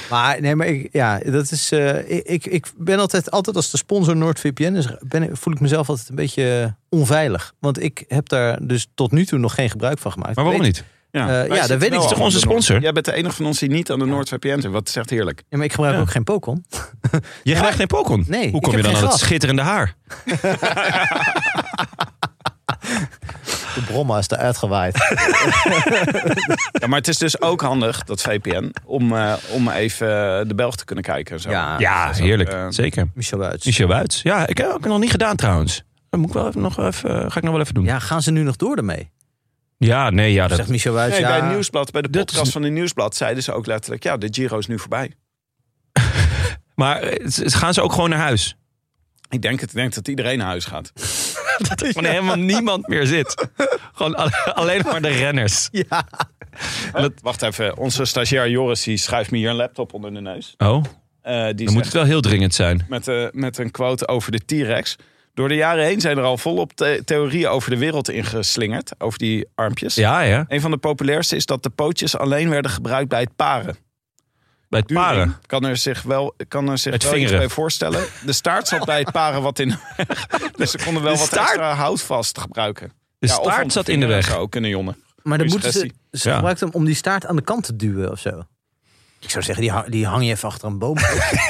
[SPEAKER 2] maar nee, maar ik, ja, dat is. eh, ik- ik, ik ben altijd, altijd als de sponsor NoordVPN is, ben, ik- voel ik mezelf altijd een beetje eh, onveilig. Want ik heb daar dus tot nu toe nog geen gebruik van gemaakt.
[SPEAKER 1] Maar waarom
[SPEAKER 2] Ik weet-
[SPEAKER 1] niet?
[SPEAKER 2] ja,
[SPEAKER 3] wij
[SPEAKER 2] dat
[SPEAKER 3] zitten
[SPEAKER 2] weet ik
[SPEAKER 3] wel
[SPEAKER 2] niet.
[SPEAKER 1] Toch onze
[SPEAKER 3] aan de Noord.
[SPEAKER 1] sponsor?
[SPEAKER 3] Jij bent de enige van ons die niet aan de NoordVPN zit. Wat zegt heerlijk.
[SPEAKER 2] Ja, maar ik gebruik
[SPEAKER 1] Ja.
[SPEAKER 2] ook geen Pokon.
[SPEAKER 1] Je krijgt geen pokon.
[SPEAKER 2] Nee,
[SPEAKER 1] Hoe
[SPEAKER 2] ik
[SPEAKER 1] kom je
[SPEAKER 2] heb
[SPEAKER 1] dan aan
[SPEAKER 2] geen
[SPEAKER 1] het
[SPEAKER 2] gras.
[SPEAKER 1] schitterende haar?
[SPEAKER 2] De bromma is daar uitgewaaid.
[SPEAKER 3] Ja, maar het is dus ook handig, dat VPN, om, eh, om even eh, de Belg te kunnen kijken. En zo.
[SPEAKER 2] Ja.
[SPEAKER 1] ja, heerlijk.
[SPEAKER 3] eh,
[SPEAKER 1] Zeker.
[SPEAKER 2] Michel Wuits.
[SPEAKER 1] Michel Wuits. Ja, ik heb ook nog niet gedaan trouwens. Dat moet ik wel even, nog even, eh, ga ik nog wel even doen. Ja,
[SPEAKER 2] Ja, gaan ze nu nog door ermee?
[SPEAKER 1] nee, dus ja. Dat,
[SPEAKER 2] Zegt Michel Wuits.
[SPEAKER 3] Nee,
[SPEAKER 2] ja,
[SPEAKER 3] bij, het nieuwsblad, bij de
[SPEAKER 1] Dat is-
[SPEAKER 3] podcast van het Nieuwsblad zeiden ze ook letterlijk... ja, de Giro is nu voorbij.
[SPEAKER 1] maar eh, z- gaan ze ook gewoon naar huis?
[SPEAKER 3] Ik denk, het, ik denk dat iedereen naar huis gaat.
[SPEAKER 1] Dat er gewoon helemaal niemand meer zit. Gewoon al- alleen maar de renners.
[SPEAKER 2] Ja.
[SPEAKER 3] Wacht even, onze stagiair Joris die schuift me hier een laptop onder de neus.
[SPEAKER 1] Oh,
[SPEAKER 3] Eh,
[SPEAKER 1] dan
[SPEAKER 3] die
[SPEAKER 1] moet
[SPEAKER 3] zegt
[SPEAKER 1] het wel heel dringend zijn.
[SPEAKER 3] met, eh, met een quote over de T-Rex. Door de jaren heen zijn er al volop the- theorieën over de wereld ingeslingerd. Over die armpjes.
[SPEAKER 1] Ja, ja.
[SPEAKER 3] Een van de populairste is dat de pootjes alleen werden gebruikt bij het paren.
[SPEAKER 1] Bij het
[SPEAKER 3] During
[SPEAKER 1] paren.
[SPEAKER 3] Kan er zich wel, kan er zich
[SPEAKER 1] Het
[SPEAKER 3] wel iets
[SPEAKER 1] vingeren.
[SPEAKER 3] bij voorstellen. De staart zat bij het paren wat in. dus ze konden wel
[SPEAKER 1] De
[SPEAKER 3] wat
[SPEAKER 1] staart-
[SPEAKER 3] extra hout vast gebruiken.
[SPEAKER 1] De
[SPEAKER 3] Ja, of om
[SPEAKER 1] staart
[SPEAKER 3] te
[SPEAKER 1] zat in de
[SPEAKER 3] vingeren
[SPEAKER 1] weg.
[SPEAKER 3] Zou ook kunnen, jongen.
[SPEAKER 2] Maar dan
[SPEAKER 3] Goeie
[SPEAKER 2] moeten ze,
[SPEAKER 3] suggestie.
[SPEAKER 2] ze
[SPEAKER 1] Ja.
[SPEAKER 2] gebruikt hem om die staart aan de kant te duwen of zo. Ik zou zeggen, die, hang- die hang je even achter een boom. Het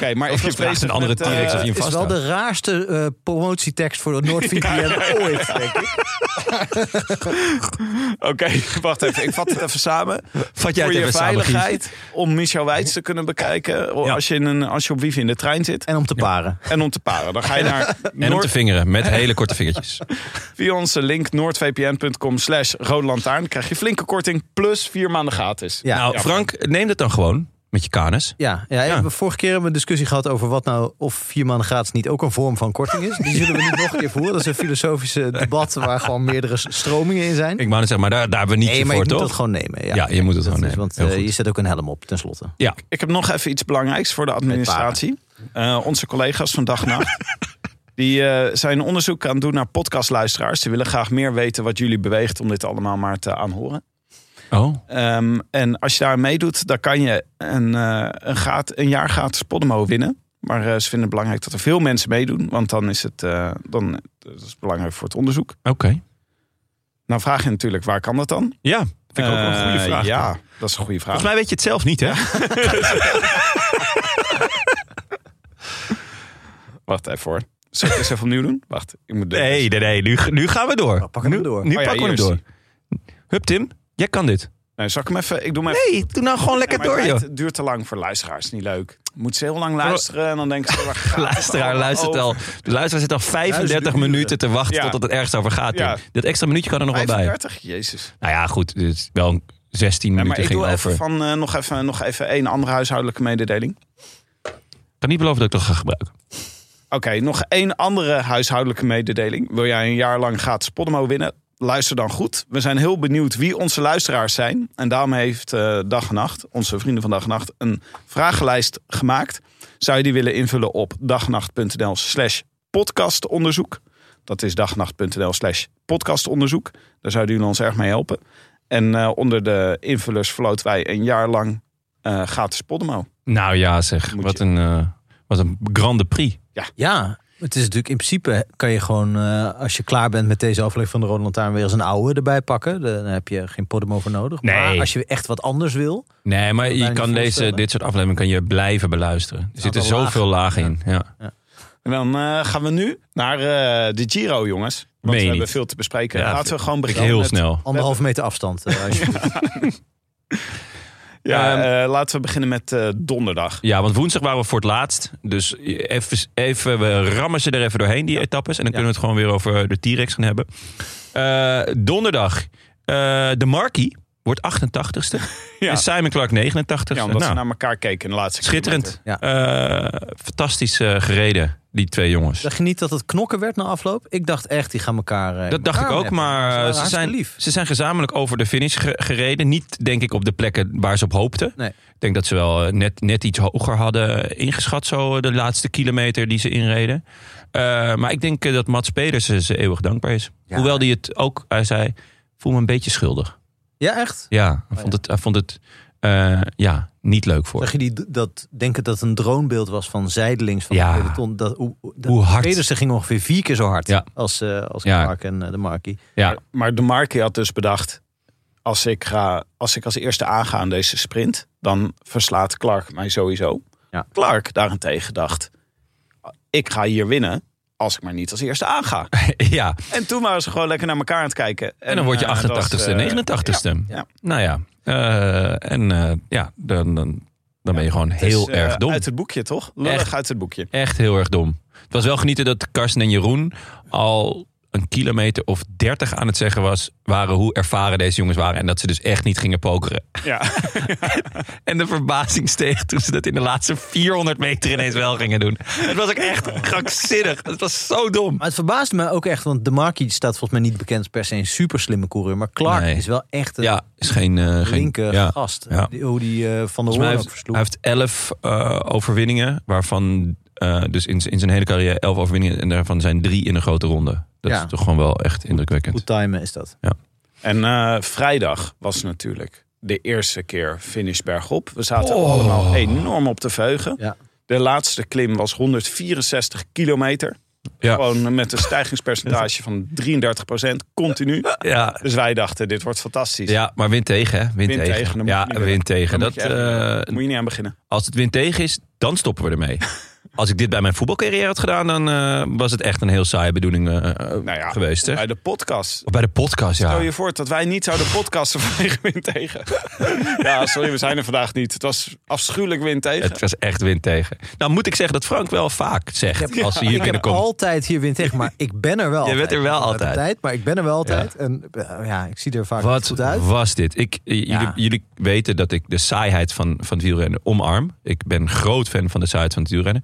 [SPEAKER 3] Oké, maar
[SPEAKER 1] Of
[SPEAKER 3] ik
[SPEAKER 1] je
[SPEAKER 3] was
[SPEAKER 1] vraagt een
[SPEAKER 3] bezig
[SPEAKER 1] andere
[SPEAKER 3] met, eh,
[SPEAKER 1] T-Rex of je hem
[SPEAKER 2] is wel
[SPEAKER 1] vasthoudt.
[SPEAKER 2] de raarste eh, promotietekst voor de NoordVPN ooit, denk ik.
[SPEAKER 3] Oké, wacht even. Ik vat het even samen.
[SPEAKER 1] Vat jij
[SPEAKER 3] voor
[SPEAKER 1] het
[SPEAKER 3] je
[SPEAKER 1] even samen, Gies?
[SPEAKER 3] veiligheid. Om Michel Wijts te kunnen bekijken.
[SPEAKER 1] Ja.
[SPEAKER 3] Als, je in een, als je op wifi in de trein zit.
[SPEAKER 2] En om te paren.
[SPEAKER 3] En om te paren. Dan ga je naar
[SPEAKER 1] En om te
[SPEAKER 3] Noord,
[SPEAKER 1] vingeren, met hele korte vingertjes.
[SPEAKER 3] via onze link noordvpn.com slash rode lantaarn. krijg je flinke korting plus vier maanden gratis.
[SPEAKER 2] Ja,
[SPEAKER 1] nou,
[SPEAKER 2] ja.
[SPEAKER 1] Frank, neem dat dan gewoon met je kanus.
[SPEAKER 2] Ja, ja, we- vorige keer hebben we een discussie gehad over wat nou of vier maanden gratis niet ook een vorm van korting is. Die zullen we niet nog een keer voeren. Dat is een filosofische debat waar gewoon meerdere s- stromingen in zijn.
[SPEAKER 1] Ik wou net zeggen, maar daar, daar hebben we niet
[SPEAKER 2] nee, maar
[SPEAKER 1] voor,
[SPEAKER 2] je moet
[SPEAKER 1] toch?
[SPEAKER 2] dat gewoon nemen. Ja,
[SPEAKER 1] Ja, je moet het
[SPEAKER 2] Dat
[SPEAKER 1] gewoon
[SPEAKER 2] is-
[SPEAKER 1] nemen.
[SPEAKER 2] Want
[SPEAKER 1] Heel
[SPEAKER 2] eh,
[SPEAKER 1] goed.
[SPEAKER 2] je zet ook een helm op, tenslotte.
[SPEAKER 1] Ja,
[SPEAKER 3] Ik heb nog even iets belangrijks voor de administratie. Eh, onze collega's van Dag en Nacht. Die eh, zijn onderzoek aan het doen naar podcastluisteraars. Die willen graag meer weten wat jullie beweegt om dit allemaal maar te aanhoren.
[SPEAKER 1] oh,
[SPEAKER 3] Ehm, en als je daar aan meedoet, dan kan je een, eh, een, graat- een jaar gratis Podimo winnen. Maar eh, ze vinden het belangrijk dat er veel mensen meedoen. Want dan is het eh, dan, dat is belangrijk voor het onderzoek.
[SPEAKER 1] oké.
[SPEAKER 3] Nou vraag je natuurlijk, waar kan dat dan?
[SPEAKER 1] Ja, vind ik ook wel een goede
[SPEAKER 3] Eh,
[SPEAKER 1] vraag.
[SPEAKER 3] ja, dat is een goede vraag.
[SPEAKER 1] Volgens mij weet je het zelf niet, hè?
[SPEAKER 3] Wacht even hoor. Zal ik eens even opnieuw doen? Wacht, ik moet
[SPEAKER 1] Nee, nee, nee. Nu, nu gaan we door.
[SPEAKER 2] pakken we
[SPEAKER 1] nu,
[SPEAKER 2] door.
[SPEAKER 1] Nu
[SPEAKER 3] Oh ja,
[SPEAKER 1] pakken we
[SPEAKER 3] hier
[SPEAKER 1] hem
[SPEAKER 3] is
[SPEAKER 1] door. Hup, Tim. Jij kan dit.
[SPEAKER 3] Nee, zal ik hem even... Ik doe hem even...
[SPEAKER 1] Nee, doe nou gewoon lekker
[SPEAKER 3] Maar het
[SPEAKER 1] door, joh.
[SPEAKER 3] lijkt- Het duurt te lang voor luisteraars, niet leuk. Moet ze heel lang luisteren en dan denken ze... waar gaat
[SPEAKER 1] De
[SPEAKER 3] het
[SPEAKER 1] luisteraar
[SPEAKER 3] allemaal
[SPEAKER 1] luistert
[SPEAKER 3] over?
[SPEAKER 1] al, de luisteraar zit al 35
[SPEAKER 2] Duizenden
[SPEAKER 1] minuten te wachten
[SPEAKER 3] Oh. Ja.
[SPEAKER 1] totdat het ergens over gaat.
[SPEAKER 3] Ja.
[SPEAKER 1] joh. Dit extra minuutje kan er nog wel bij.
[SPEAKER 3] 35, jezus.
[SPEAKER 1] Nou ja, goed, dit is wel een 16
[SPEAKER 3] Ja, maar
[SPEAKER 1] minuten
[SPEAKER 3] ik
[SPEAKER 1] ging
[SPEAKER 3] doe
[SPEAKER 1] over.
[SPEAKER 3] even van eh, nog, even, nog even één andere huishoudelijke mededeling.
[SPEAKER 1] Ik kan niet beloven dat ik dat ga gebruiken.
[SPEAKER 3] Oké, nog één andere huishoudelijke mededeling. Wil jij een jaar lang gratis Podimo winnen? Luister dan goed. We zijn heel benieuwd wie onze luisteraars zijn. En daarom heeft eh, Dag en Nacht, onze vrienden van Dag en Nacht, een vragenlijst gemaakt. Zou je die willen invullen op dagnacht.nl slash podcastonderzoek? Dat is dagnacht.nl slash podcastonderzoek. Daar zouden jullie ons erg mee helpen. En eh, onder de invullers verloten wij een jaar lang eh, gratis Podimo.
[SPEAKER 1] Nou ja, zeg.
[SPEAKER 3] Moet
[SPEAKER 1] Wat
[SPEAKER 3] je.
[SPEAKER 1] een, eh, wat een grande prix.
[SPEAKER 2] Ja, het is natuurlijk in principe kan je gewoon, eh, als je klaar bent met deze aflevering van de Rode Lantaarn, weer eens een oude erbij pakken. Dan heb je geen Podimo voor nodig. Maar
[SPEAKER 1] Nee.
[SPEAKER 2] als je echt wat anders wil,
[SPEAKER 1] Nee, maar
[SPEAKER 2] bijna
[SPEAKER 1] je
[SPEAKER 2] niet
[SPEAKER 1] kan deze,
[SPEAKER 2] voorstellen.
[SPEAKER 1] dit soort afleveringen kan je blijven beluisteren. Er zitten
[SPEAKER 2] aantal
[SPEAKER 1] zoveel lagen in. Ja.
[SPEAKER 3] En dan eh, gaan we nu naar eh, de Giro, jongens. Want
[SPEAKER 1] Meen
[SPEAKER 3] we
[SPEAKER 1] je
[SPEAKER 3] hebben
[SPEAKER 1] niet.
[SPEAKER 3] veel te bespreken.
[SPEAKER 1] Ja,
[SPEAKER 3] Laten we gewoon beginnen.
[SPEAKER 1] Heel
[SPEAKER 3] met-
[SPEAKER 1] snel.
[SPEAKER 2] anderhalve meter afstand. eh, als je-
[SPEAKER 3] Ja,
[SPEAKER 1] Ehm,
[SPEAKER 3] eh, laten we beginnen met eh, donderdag.
[SPEAKER 1] Ja, want woensdag waren we voor het laatst. Dus even, even, we rammen ze er even doorheen, die etappes. En dan kunnen we het gewoon weer over de T-Rex gaan hebben. Eh, donderdag, eh, de Marquis wordt 88ste.
[SPEAKER 3] Ja.
[SPEAKER 1] En Simon Clark 89ste.
[SPEAKER 3] Ja, omdat
[SPEAKER 1] Nou,
[SPEAKER 3] ze naar elkaar keken in de laatste
[SPEAKER 1] schitterend.
[SPEAKER 2] Ja.
[SPEAKER 1] Eh, fantastisch eh, gereden, die twee jongens.
[SPEAKER 2] Dacht je niet dat het knokken werd na afloop? Ik dacht echt, die gaan elkaar. eh,
[SPEAKER 1] Dat dacht ik
[SPEAKER 2] elkaar
[SPEAKER 1] ook,
[SPEAKER 2] meppen.
[SPEAKER 1] maar eh,
[SPEAKER 2] waren
[SPEAKER 1] ze
[SPEAKER 2] hartstikke
[SPEAKER 1] zijn,
[SPEAKER 2] lief.
[SPEAKER 1] ze zijn gezamenlijk over de finish ge- gereden. Niet, denk ik, op de plekken waar ze op hoopten.
[SPEAKER 2] Nee.
[SPEAKER 1] Ik denk dat ze wel eh, net, net iets hoger hadden ingeschat, zo eh, de laatste kilometer die ze inreden. Eh, maar ik denk eh, dat Mats Pedersen ze eeuwig dankbaar is.
[SPEAKER 2] Ja.
[SPEAKER 1] Hoewel die het ook, hij zei, voel me een beetje schuldig.
[SPEAKER 2] Ja, echt?
[SPEAKER 1] Ja, hij vond het, hij vond het eh, ja, niet leuk voor.
[SPEAKER 2] Zag je die, dat denken dat een dronebeeld was van zijdelings van
[SPEAKER 1] Ja.
[SPEAKER 2] de peloton? Dat, hoe, dat
[SPEAKER 1] Hoe hard.
[SPEAKER 2] Pedersen ging ongeveer vier keer zo hard
[SPEAKER 1] Ja.
[SPEAKER 2] als, eh als
[SPEAKER 1] Ja.
[SPEAKER 2] Clark en eh, de Markie.
[SPEAKER 1] Ja,
[SPEAKER 3] Maar de Marke had dus bedacht... Als ik, ga, als ik als eerste aanga aan deze sprint... dan verslaat Clark mij sowieso.
[SPEAKER 2] Ja.
[SPEAKER 3] Clark daarentegen dacht... ik ga hier winnen als ik maar niet als eerste aanga.
[SPEAKER 1] ja.
[SPEAKER 3] en toen waren ze gewoon lekker naar elkaar aan het kijken.
[SPEAKER 1] En dan word je
[SPEAKER 3] eh, dat was,
[SPEAKER 1] 88ste,
[SPEAKER 3] eh,
[SPEAKER 1] 89ste.
[SPEAKER 3] ja.
[SPEAKER 1] Nou ja, eh, en eh, ja, dan, dan, dan ben je gewoon
[SPEAKER 3] het is,
[SPEAKER 1] heel
[SPEAKER 3] eh,
[SPEAKER 1] erg dom.
[SPEAKER 3] Uit het boekje, toch? Lullig
[SPEAKER 1] Echt.
[SPEAKER 3] uit het boekje.
[SPEAKER 1] Echt heel erg dom. Het was wel genieten dat Karsten en Jeroen al een kilometer of dertig aan het zeggen was, waren hoe ervaren deze jongens waren. En dat ze dus echt niet gingen pokeren.
[SPEAKER 3] Ja.
[SPEAKER 1] En de verbazing steeg toen ze dat in de laatste 400 meter ineens wel gingen doen. Het was ook echt krankzinnig. Het was zo dom.
[SPEAKER 2] Maar het verbaasde me ook echt, want de Markie staat volgens mij niet bekend als per se een super slimme coureur. Maar Clark
[SPEAKER 1] Nee.
[SPEAKER 2] is wel echt een
[SPEAKER 1] Ja, is geen... eh, geen
[SPEAKER 2] linker
[SPEAKER 1] ja.
[SPEAKER 2] gast.
[SPEAKER 1] ja.
[SPEAKER 2] Die, hoe die eh, van de
[SPEAKER 1] Volgens mij
[SPEAKER 2] Hoorn ook
[SPEAKER 1] heeft,
[SPEAKER 2] versloeg.
[SPEAKER 1] hij heeft elf eh, overwinningen, waarvan eh, dus in, z- in zijn hele carrière elf overwinningen. En daarvan zijn drie in een grote ronde. Dat
[SPEAKER 2] Ja.
[SPEAKER 1] is toch gewoon wel echt indrukwekkend.
[SPEAKER 2] Goed timen is dat.
[SPEAKER 3] En eh, vrijdag was natuurlijk de eerste keer finish bergop. We zaten
[SPEAKER 1] Oh.
[SPEAKER 3] allemaal enorm op te veugen.
[SPEAKER 2] Ja.
[SPEAKER 3] De laatste klim was 164 kilometer.
[SPEAKER 1] Ja.
[SPEAKER 3] Gewoon met een stijgingspercentage van 33% continu.
[SPEAKER 1] Ja,
[SPEAKER 3] Dus wij dachten, dit wordt fantastisch.
[SPEAKER 1] Ja, maar wind tegen, hè? Wind,
[SPEAKER 3] Wind
[SPEAKER 1] tegen.
[SPEAKER 3] tegen, dan moet
[SPEAKER 1] Ja,
[SPEAKER 3] je niet
[SPEAKER 1] wind tegen.
[SPEAKER 3] Daar
[SPEAKER 1] Dat,
[SPEAKER 3] moet je echt-
[SPEAKER 1] eh,
[SPEAKER 3] moet je niet aan beginnen.
[SPEAKER 1] als het wind tegen is, dan stoppen we ermee. als ik dit bij mijn voetbalcarrière had gedaan, dan eh, was het echt een heel saaie bedoeling eh, eh,
[SPEAKER 3] Nou ja,
[SPEAKER 1] geweest. Hè?
[SPEAKER 3] Bij de podcast.
[SPEAKER 1] Of bij de podcast, ja.
[SPEAKER 3] Stel je voor dat wij niet zouden podcasten vanwege wind tegen. ja, sorry, we zijn er vandaag niet. Het was afschuwelijk wind tegen.
[SPEAKER 1] Het was echt wind tegen. Nou moet ik zeggen dat Frank wel vaak zegt als hij hier
[SPEAKER 2] Ik heb
[SPEAKER 1] binnenkomt.
[SPEAKER 2] altijd hier wind tegen, maar ik ben er wel.
[SPEAKER 1] Je bent
[SPEAKER 2] altijd.
[SPEAKER 1] er wel
[SPEAKER 2] Ik ben
[SPEAKER 1] altijd.
[SPEAKER 2] tijd, maar ik ben er wel altijd. En eh, ja, ik zie er vaak niet
[SPEAKER 1] Wat
[SPEAKER 2] goed uit.
[SPEAKER 1] was dit? Ik, eh,
[SPEAKER 2] Ja.
[SPEAKER 1] jullie, jullie weten dat ik de saaiheid van, van het wielrennen omarm. Ik ben groot fan van de saaiheid van het wielrennen.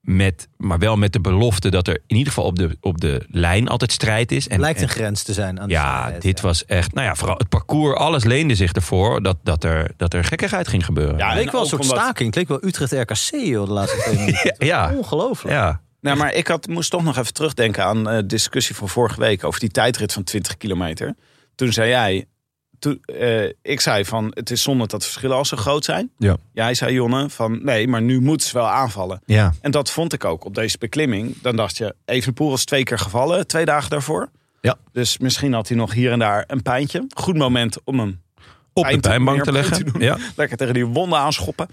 [SPEAKER 1] Met, maar wel met de belofte dat er in ieder geval op de, op de lijn altijd strijd is. En,
[SPEAKER 2] Lijkt
[SPEAKER 1] en-
[SPEAKER 2] een grens te zijn aan de
[SPEAKER 1] ja,
[SPEAKER 2] snelheid,
[SPEAKER 1] dit
[SPEAKER 2] ja.
[SPEAKER 1] was echt... Nou ja, vooral het parcours, alles leende zich ervoor dat, dat, er, dat er gekkigheid ging gebeuren.
[SPEAKER 3] Ja,
[SPEAKER 2] Het leek
[SPEAKER 3] en
[SPEAKER 2] wel een
[SPEAKER 3] ook
[SPEAKER 2] soort
[SPEAKER 3] Nou, omdat-
[SPEAKER 2] staking. Het leek wel Utrecht-RKC joh, de laatste twee minuten. Het was
[SPEAKER 1] ja.
[SPEAKER 2] Ongelooflijk.
[SPEAKER 1] ja.
[SPEAKER 3] Nou, maar ik had, moest toch nog even terugdenken aan eh discussie van vorige week over die tijdrit van 20 kilometer. Toen zei jij, toen, eh, ik zei van het is zonde dat de verschillen al zo groot zijn.
[SPEAKER 1] Ja.
[SPEAKER 3] Jij zei Jonne van nee, maar nu moeten ze wel aanvallen.
[SPEAKER 1] ja.
[SPEAKER 3] En dat vond ik ook op deze beklimming. Dan dacht je, Evenepoel was twee keer gevallen, twee dagen daarvoor.
[SPEAKER 1] Ja.
[SPEAKER 3] Dus misschien had hij nog hier en daar een pijntje. Goed moment om hem
[SPEAKER 1] Op de
[SPEAKER 3] Eind-
[SPEAKER 1] pijnbank
[SPEAKER 3] meer
[SPEAKER 1] te
[SPEAKER 3] pijn
[SPEAKER 1] leggen.
[SPEAKER 3] te doen.
[SPEAKER 1] ja.
[SPEAKER 3] lekker tegen die wonden aanschoppen.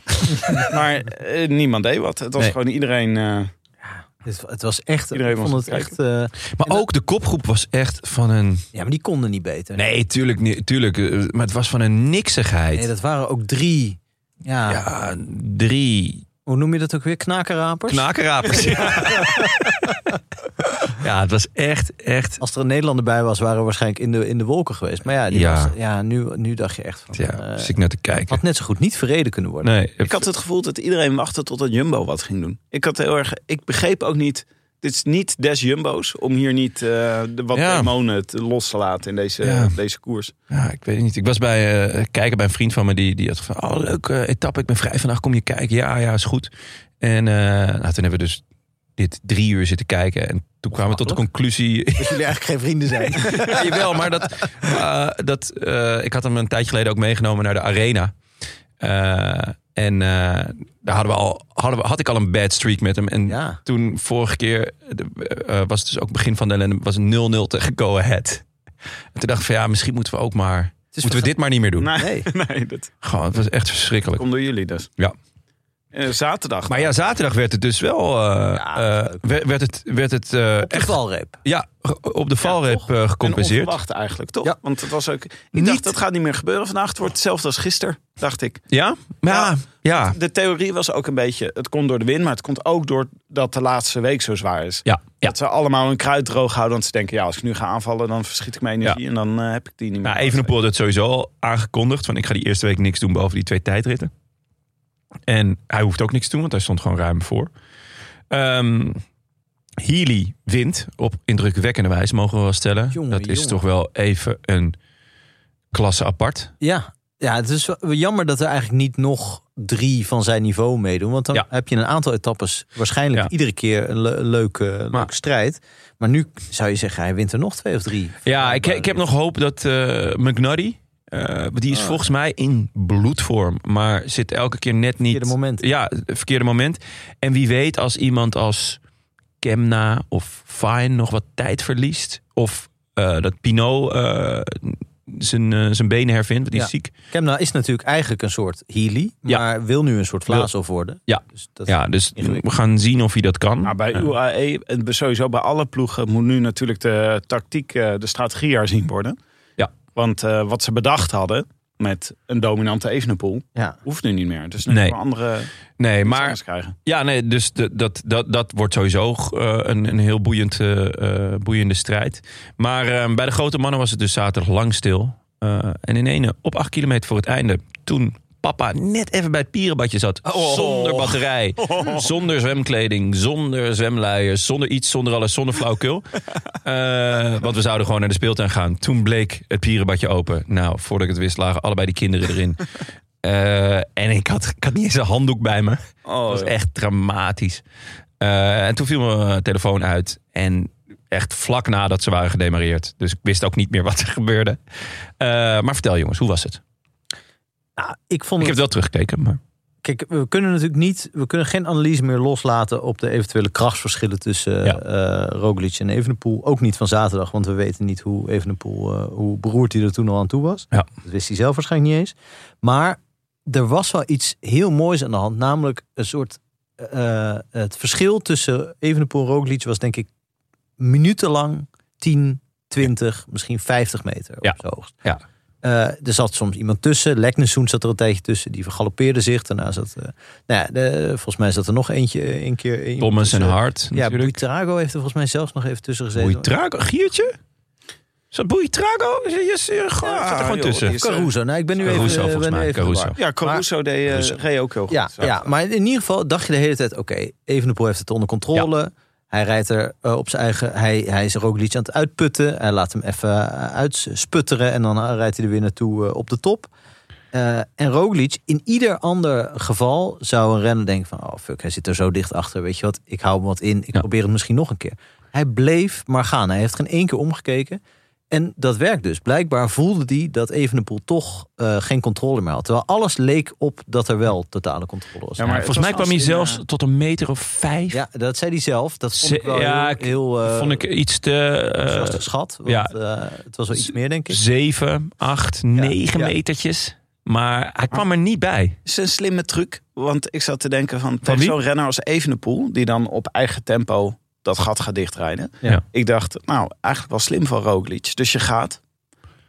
[SPEAKER 3] maar eh, niemand deed wat. Het was
[SPEAKER 1] Nee.
[SPEAKER 3] gewoon iedereen... eh,
[SPEAKER 2] Het, het was echt.
[SPEAKER 3] Iedereen
[SPEAKER 2] ik vond
[SPEAKER 3] was
[SPEAKER 2] het
[SPEAKER 3] aan het
[SPEAKER 2] echt. eh,
[SPEAKER 1] Maar ook de kopgroep was echt van een...
[SPEAKER 2] ja, maar die konden niet beter.
[SPEAKER 1] Nee, tuurlijk, niet, tuurlijk. eh, Maar het was van een niksigheid.
[SPEAKER 2] Nee, dat waren ook drie. Ja,
[SPEAKER 1] Ja, Ah, drie
[SPEAKER 2] Hoe noem je dat ook weer? Knakerrapers?
[SPEAKER 1] knakerapers. Ja. ja, het was echt, echt...
[SPEAKER 2] Als er een Nederlander bij was, waren we waarschijnlijk in de, in de wolken geweest. Maar ja, die
[SPEAKER 1] Ja.
[SPEAKER 2] Was, ja nu, nu dacht je echt van.
[SPEAKER 1] Ja,
[SPEAKER 2] eh,
[SPEAKER 1] zit ik naar te kijken.
[SPEAKER 2] had net zo goed niet verreden kunnen worden.
[SPEAKER 1] Nee,
[SPEAKER 3] Ik had het gevoel dat iedereen wachtte totdat Jumbo wat ging doen. Ik had heel erg. Ik begreep ook niet. Dit is niet des Jumbo's om hier niet eh, de wat
[SPEAKER 1] Ja.
[SPEAKER 3] demonen te- los te laten in deze,
[SPEAKER 1] Ja.
[SPEAKER 3] deze koers.
[SPEAKER 1] Ja, ik weet het niet. Ik was bij eh, kijken bij een vriend van me die, die had van oh leuke etappe, ik ben vrij vandaag, kom je kijken? Ja, ja, is goed. En eh, nou, toen hebben we dus dit drie uur zitten kijken en toen kwamen we tot de conclusie.
[SPEAKER 2] Dat jullie eigenlijk geen vrienden zijn.
[SPEAKER 1] ja, jawel, maar dat, eh, dat eh, ik had hem een tijdje geleden ook meegenomen naar de arena. Eh, en eh, daar hadden we al, hadden we, had ik al een bad streak met hem. En
[SPEAKER 2] Ja.
[SPEAKER 1] toen vorige keer de- eh, was het dus ook begin van de ellende, was het 0-0 tegen Go Ahead. En toen dacht ik van ja, misschien moeten we ook maar,
[SPEAKER 2] is Nou,
[SPEAKER 1] moeten we dit maar niet meer doen.
[SPEAKER 3] Nee, nee, dat
[SPEAKER 1] Gewoon, het was echt verschrikkelijk.
[SPEAKER 3] komt door jullie dus.
[SPEAKER 1] Ja.
[SPEAKER 3] Eh, zaterdag.
[SPEAKER 1] Maar ja, zaterdag werd het dus wel. eh,
[SPEAKER 2] Ja,
[SPEAKER 1] eh, werd, werd het, werd het eh,
[SPEAKER 2] Op de
[SPEAKER 1] echt
[SPEAKER 2] valreep.
[SPEAKER 1] ja, ge- op de valreep eh,
[SPEAKER 3] En
[SPEAKER 1] gecompenseerd.
[SPEAKER 3] onverwacht eigenlijk, toch?
[SPEAKER 2] Ja.
[SPEAKER 3] Want het was ook. Ik
[SPEAKER 1] Niet-
[SPEAKER 3] dacht, dat gaat niet meer gebeuren vandaag. Het wordt hetzelfde als gisteren, dacht ik.
[SPEAKER 1] ja? ja,
[SPEAKER 3] Ja.
[SPEAKER 1] ja,
[SPEAKER 3] De theorie was ook een beetje. Het komt door de wind, maar het komt ook door dat de laatste week zo zwaar is.
[SPEAKER 1] ja, ja.
[SPEAKER 3] Dat ze allemaal hun kruid droog houden. Want ze denken, ja, als ik nu ga aanvallen, dan verschiet ik mijn energie. En dan eh, heb ik die niet meer.
[SPEAKER 1] Nou, Evenepoel had het sowieso al aangekondigd. Van ik ga die eerste week niks doen behalve die twee tijdritten. En hij hoeft ook niks te doen, want hij stond gewoon ruim voor. Ehm Healy wint op indrukwekkende wijze, mogen we wel stellen.
[SPEAKER 2] Jongen,
[SPEAKER 1] dat is
[SPEAKER 2] jongen.
[SPEAKER 1] toch wel even een klasse apart.
[SPEAKER 2] Ja. ja, het is wel jammer dat er eigenlijk niet nog drie van zijn niveau meedoen. Want dan
[SPEAKER 1] Ja.
[SPEAKER 2] heb je een aantal etappes waarschijnlijk
[SPEAKER 1] Ja.
[SPEAKER 2] iedere keer een le- leuke, leuke strijd. Maar nu zou je zeggen, hij wint er nog twee of drie.
[SPEAKER 1] Ja, ik, ik heb nog hoop dat eh McNuddy, eh, die is volgens mij in bloedvorm, maar zit elke keer net niet.
[SPEAKER 2] Verkeerde moment.
[SPEAKER 1] Ja, het verkeerde moment. En wie weet als iemand als Kemna of Fine nog wat tijd verliest, of eh, dat Pinot eh, zijn, eh, zijn benen hervindt, want die is
[SPEAKER 2] Ja.
[SPEAKER 1] ziek.
[SPEAKER 2] Kemna is natuurlijk eigenlijk een soort Healy,
[SPEAKER 1] Ja.
[SPEAKER 2] maar wil nu een soort Vlaasov worden.
[SPEAKER 1] Ja.
[SPEAKER 2] Dus dat,
[SPEAKER 1] Ja, dus we
[SPEAKER 2] ingewikkeld.
[SPEAKER 1] gaan zien of hij dat kan.
[SPEAKER 3] Maar Ah, bij
[SPEAKER 1] Eh,
[SPEAKER 3] UAE, en sowieso bij alle ploegen, moet nu natuurlijk de tactiek, eh, de strategie herzien worden.
[SPEAKER 1] Ja.
[SPEAKER 3] Want eh, wat ze bedacht hadden met een dominante Evenepoel,
[SPEAKER 2] Ja.
[SPEAKER 3] hoeft nu niet meer. Dus nu
[SPEAKER 1] Nee.
[SPEAKER 3] moeten we andere iets
[SPEAKER 1] nee, maar
[SPEAKER 3] anders krijgen.
[SPEAKER 1] Ja, nee, dus de- dat, dat, dat wordt sowieso eh, een, een heel boeiend, eh, eh, boeiende strijd. Maar eh, bij de grote mannen was het dus zaterdag lang stil. Eh, en in ene op acht kilometer voor het einde, toen papa net even bij het pierenbadje zat. Zonder batterij, zonder zwemkleding, zonder zwemluiers, zonder iets, zonder alles, zonder flauwkul. Eh, want we zouden gewoon naar de speeltuin gaan. Toen bleek het pierenbadje open. Nou, voordat ik het wist lagen allebei die kinderen erin. Eh, en ik had, ik had niet eens een handdoek bij me.
[SPEAKER 3] Oh,
[SPEAKER 1] Dat was echt dramatisch. Eh, en toen viel mijn telefoon uit. En echt vlak nadat ze waren gedemareerd. Dus ik wist ook niet meer wat er gebeurde. Eh, maar vertel jongens, hoe was het? Ik
[SPEAKER 2] Nou, ik vond
[SPEAKER 1] heb
[SPEAKER 2] het-
[SPEAKER 1] het wel teruggekeken. Maar...
[SPEAKER 2] Kijk, we kunnen natuurlijk niet, we kunnen geen analyse meer loslaten op de eventuele krachtsverschillen tussen
[SPEAKER 1] Ja.
[SPEAKER 2] eh, Roglic en Evenepoel. Ook niet van zaterdag, want we weten niet hoe Evenepoel, eh, hoe beroerd hij er toen al aan toe was.
[SPEAKER 1] Ja.
[SPEAKER 2] Dat wist hij zelf waarschijnlijk niet eens. Maar er was wel iets heel moois aan de hand, namelijk een soort, eh, het verschil tussen Evenepoel en Roglic was denk ik minutenlang 10, 20, misschien 50 meter
[SPEAKER 1] Ja.
[SPEAKER 2] op zijn hoogst.
[SPEAKER 1] Ja.
[SPEAKER 2] Eh, er zat soms iemand tussen. Leknessoen zat er een tijdje tussen. Die vergalopeerde zich. Daarna zat... eh, nou ja, de- volgens mij zat er nog eentje eh, een keer... iemand
[SPEAKER 1] Thomas en
[SPEAKER 2] tussen.
[SPEAKER 1] Hart
[SPEAKER 2] Ja,
[SPEAKER 1] natuurlijk.
[SPEAKER 2] Buitrago heeft er volgens mij zelfs nog even tussen gezeten.
[SPEAKER 1] Boeitrago. Giertje? Is dat Boeitrago? Is, is, is, gewoon-
[SPEAKER 3] Ja,
[SPEAKER 1] zat er gewoon
[SPEAKER 3] joh,
[SPEAKER 1] tussen.
[SPEAKER 3] die is-
[SPEAKER 2] Caruso. Nou, ik ben nu even...
[SPEAKER 1] Caruso,
[SPEAKER 2] eh,
[SPEAKER 1] volgens
[SPEAKER 2] ben nu
[SPEAKER 1] mij.
[SPEAKER 2] even
[SPEAKER 1] Caruso.
[SPEAKER 2] verward.
[SPEAKER 3] Ja, Caruso deed eh, reed ook heel goed.
[SPEAKER 2] Ja, ja, maar in ieder geval dacht je de hele tijd... Oké, Evenepoel heeft het onder controle. Hij rijdt er eh, op zijn eigen... Hij, hij is er ook iets aan het uitputten. Hij laat hem even eh, uitsputteren. En dan eh, rijdt hij er weer naartoe eh, op de top. Eh, en Roglic, in ieder ander geval zou een renner denken van... oh fuck, hij zit er zo dicht achter, weet je wat, ik hou hem wat in. Ik
[SPEAKER 1] Ja.
[SPEAKER 2] probeer het misschien nog een keer. Hij bleef maar gaan. Hij heeft geen één keer omgekeken. En dat werkt dus. Blijkbaar voelde hij dat Evenepoel toch eh, geen controle meer had. Terwijl alles leek op dat er wel totale controle was.
[SPEAKER 3] Ja,
[SPEAKER 2] Ja,
[SPEAKER 3] maar
[SPEAKER 1] Ja,
[SPEAKER 3] het
[SPEAKER 1] volgens mij
[SPEAKER 3] was
[SPEAKER 1] kwam hij
[SPEAKER 3] als in,
[SPEAKER 1] zelfs
[SPEAKER 3] eh,
[SPEAKER 1] tot een meter of vijf.
[SPEAKER 2] dat zei hij zelf. Dat vond ik wel
[SPEAKER 1] Ja,
[SPEAKER 2] heel...
[SPEAKER 1] ik-
[SPEAKER 2] heel eh,
[SPEAKER 1] Vond ik iets te... eh,
[SPEAKER 2] enthousiast geschat. Want,
[SPEAKER 1] ja.
[SPEAKER 2] eh, het was wel iets meer, denk ik.
[SPEAKER 1] zeven, acht, negen
[SPEAKER 2] ja.
[SPEAKER 1] metertjes. Maar hij
[SPEAKER 3] Ah.
[SPEAKER 1] kwam er niet bij.
[SPEAKER 3] is een slimme truc. Want ik zat te denken van, tegen
[SPEAKER 1] wie?
[SPEAKER 3] zo'n renner als Evenepoel... die dan op eigen tempo dat gat gaat dichtrijden.
[SPEAKER 1] Ja.
[SPEAKER 3] Ik dacht, nou, eigenlijk wel slim van Roglic. Dus je gaat,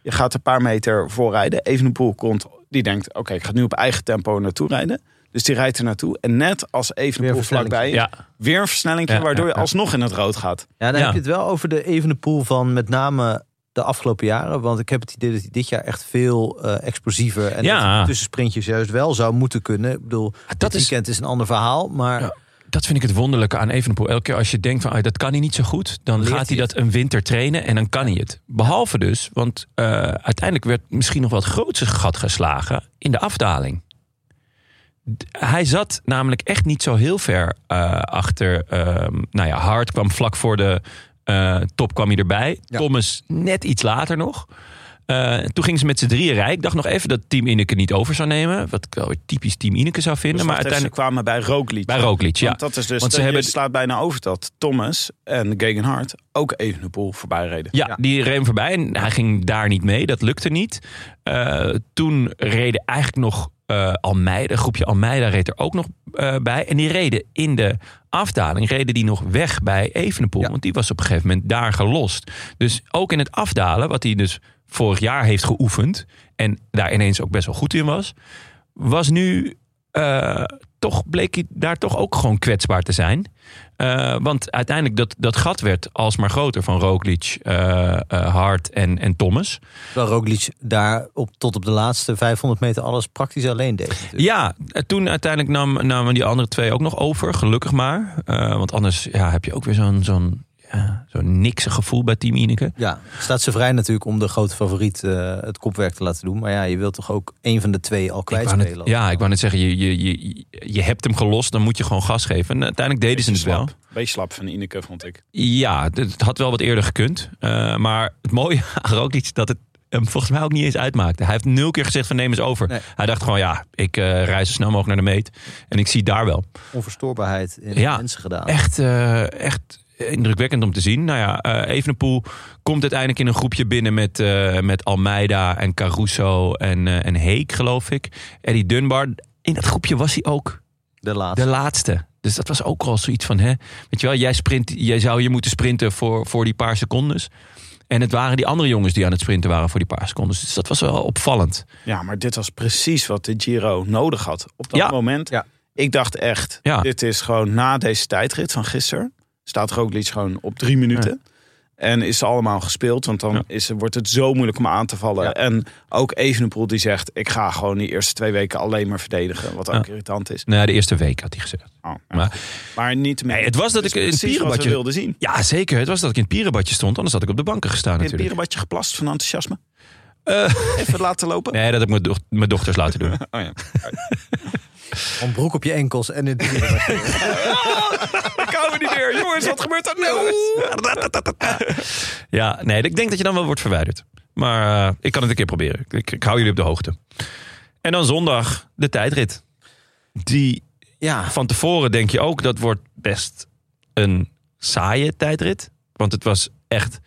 [SPEAKER 3] je gaat een paar meter voorrijden. Evenepoel komt, die denkt, oké, ik ga nu op eigen tempo naartoe rijden. Dus die rijdt er naartoe. En net als
[SPEAKER 2] Weer
[SPEAKER 3] Evenepoel
[SPEAKER 2] een
[SPEAKER 3] vlakbij,
[SPEAKER 1] Ja,
[SPEAKER 3] weer een versnelling,
[SPEAKER 1] Ja,
[SPEAKER 3] waardoor je
[SPEAKER 1] ja, ja.
[SPEAKER 3] alsnog in het rood gaat.
[SPEAKER 2] Ja, dan
[SPEAKER 1] Ja.
[SPEAKER 2] heb je het wel over de evene pool van met name de afgelopen jaren. Want ik heb het idee dat hij dit jaar echt veel eh, explosiever en
[SPEAKER 1] Ja. Ah,
[SPEAKER 2] dat tussensprintjes juist wel zou moeten kunnen. Ik bedoel,
[SPEAKER 1] dat
[SPEAKER 2] dit
[SPEAKER 1] is,
[SPEAKER 2] weekend is een ander verhaal, maar
[SPEAKER 1] Ja. dat vind ik het wonderlijke aan Evenepoel. Elke keer als je denkt van ah, dat kan hij niet zo goed, dan
[SPEAKER 2] Leert
[SPEAKER 1] gaat hij
[SPEAKER 2] hij
[SPEAKER 1] dat een winter trainen en dan kan hij het. Behalve dus, want eh, uiteindelijk werd misschien nog wel het grootste gat geslagen in de afdaling. D- Hij zat namelijk echt niet zo heel ver eh, achter. ehm, nou ja, Hart kwam vlak voor de eh, top kwam hij erbij.
[SPEAKER 2] Ja.
[SPEAKER 1] Thomas net iets later nog. Eh, toen gingen ze met z'n drieën rijk. Ik dacht nog even dat Team Ineke niet over zou nemen. Wat ik wel weer typisch Team Ineke zou vinden.
[SPEAKER 3] Dus
[SPEAKER 1] maar
[SPEAKER 3] wacht even,
[SPEAKER 1] uiteindelijk
[SPEAKER 3] ze kwamen bij Roglic.
[SPEAKER 1] bij Roglic, ja.
[SPEAKER 3] Want dat is dus,
[SPEAKER 1] Want ze
[SPEAKER 3] je
[SPEAKER 1] hebben-
[SPEAKER 3] slaat bijna over dat Thomas en Gegenhardt ook Evenepoel voorbij reden.
[SPEAKER 1] Ja,
[SPEAKER 2] Ja.
[SPEAKER 1] die reed hem voorbij en hij ging daar niet mee. Dat lukte niet. Eh, toen reden eigenlijk nog eh Almeida, een groepje Almeida reed er ook nog eh, bij. En die reden in de afdaling, reden die nog weg bij Evenepoel.
[SPEAKER 2] Ja.
[SPEAKER 1] Want die was op een gegeven moment daar gelost. Dus ook in het afdalen, wat hij dus vorig jaar heeft geoefend... en daar ineens ook best wel goed in was... was nu... eh, toch bleek hij daar toch ook gewoon kwetsbaar te zijn. Eh, want uiteindelijk dat, dat gat werd alsmaar groter van Roglic, eh, eh, Hart en, en Thomas.
[SPEAKER 2] terwijl Roglic daar op, tot op de laatste 500 meter alles praktisch alleen deed. natuurlijk.
[SPEAKER 1] Ja, eh, toen uiteindelijk nam, namen die andere twee ook nog over, gelukkig maar. Eh, want anders ja, heb je ook weer zo'n zo'n ja, zo'n nikse gevoel bij Team Ineke.
[SPEAKER 2] Ja, staat ze vrij natuurlijk om de grote favoriet eh, het kopwerk te laten doen. Maar ja, je wilt toch ook één van de twee al
[SPEAKER 1] Ik wou net-
[SPEAKER 2] kwijtspelen. als
[SPEAKER 1] ja,
[SPEAKER 2] het
[SPEAKER 1] ik wou net zeggen, je, je, je, je hebt hem gelost, dan moet je gewoon gas geven. En uiteindelijk deden ze het dus wel.
[SPEAKER 3] Beetje slap van Ineke, vond ik.
[SPEAKER 1] Ja, d- het had wel wat eerder gekund. Eh, maar het mooie aan Roglic is dat het hem volgens mij ook niet eens uitmaakte. Hij heeft nul keer gezegd van neem eens over.
[SPEAKER 2] Nee.
[SPEAKER 1] Hij dacht gewoon ja, ik eh rij zo snel mogelijk naar de meet. En ik zie daar wel.
[SPEAKER 2] onverstoorbaarheid in
[SPEAKER 1] Ja,
[SPEAKER 2] mensen gedaan.
[SPEAKER 1] Echt, eh, echt indrukwekkend om te zien. Nou ja, eh Evenepoel komt uiteindelijk in een groepje binnen met, eh, met Almeida en Caruso en, eh, en Heek geloof ik. Eddie Dunbar. In dat groepje was hij ook
[SPEAKER 2] De laatste.
[SPEAKER 1] de laatste. Dus dat was ook al zoiets van, hè, weet je wel, jij, sprint, jij zou je moeten sprinten voor, voor die paar secondes. En het waren die andere jongens die aan het sprinten waren voor die paar secondes. Dus dat was wel opvallend.
[SPEAKER 3] Ja, maar dit was precies wat de Giro nodig had op dat
[SPEAKER 1] Ja.
[SPEAKER 3] moment.
[SPEAKER 2] Ja.
[SPEAKER 3] Ik dacht echt,
[SPEAKER 1] Ja.
[SPEAKER 3] dit is gewoon na deze tijdrit van gisteren. Staat Roglic gewoon op drie minuten. En is ze allemaal gespeeld, want dan
[SPEAKER 1] Ja.
[SPEAKER 3] is, wordt het zo moeilijk om aan te vallen.
[SPEAKER 2] Ja.
[SPEAKER 3] En ook Evenepoel die zegt, ik ga gewoon die eerste twee weken alleen maar verdedigen. Wat ook
[SPEAKER 1] Ja.
[SPEAKER 3] irritant is.
[SPEAKER 1] Nou, ja, de eerste week had hij gezegd.
[SPEAKER 3] Oh,
[SPEAKER 1] Maar-
[SPEAKER 3] maar, niet meer.
[SPEAKER 1] Nee, het was dat ik in het
[SPEAKER 3] precies wat we
[SPEAKER 1] pierenbadje-
[SPEAKER 3] wilde zien.
[SPEAKER 1] Ja, zeker. Het was dat ik in het pierenbadje stond, anders had ik op de banken gestaan
[SPEAKER 3] In het
[SPEAKER 1] natuurlijk.
[SPEAKER 3] pierenbadje geplast van enthousiasme.
[SPEAKER 1] Eh,
[SPEAKER 3] Even laten lopen.
[SPEAKER 1] nee, dat heb ik mijn, doch- mijn dochters laten doen.
[SPEAKER 3] Oh ja.
[SPEAKER 2] Van broek op je enkels en
[SPEAKER 1] Ik
[SPEAKER 2] in het
[SPEAKER 1] hou me niet meer. Jongens, wat gebeurt er nou? Ja, nee, ik denk dat je dan wel wordt verwijderd. Maar eh, ik kan het een keer proberen. Ik, ik hou jullie op de hoogte. En dan zondag de tijdrit. Die
[SPEAKER 2] Ja,
[SPEAKER 1] van tevoren denk je ook, dat wordt best een saaie tijdrit. Want het was echt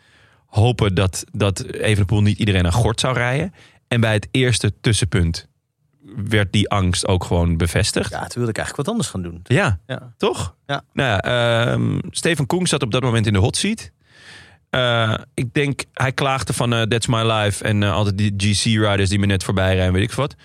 [SPEAKER 1] hopen dat, dat Evenepoel niet iedereen aan gort zou rijden. En bij het eerste tussenpunt werd die angst ook gewoon bevestigd.
[SPEAKER 2] ja, toen wilde ik eigenlijk wat anders gaan doen.
[SPEAKER 1] Ja,
[SPEAKER 2] Ja.
[SPEAKER 1] toch?
[SPEAKER 2] Ja.
[SPEAKER 1] Nou ja, ehm, Steven Koen zat op dat moment in de hot seat. Eh, ik denk, hij klaagde van eh, That's My Life en eh, altijd die GC-riders die me net voorbij rijden, weet ik veel wat.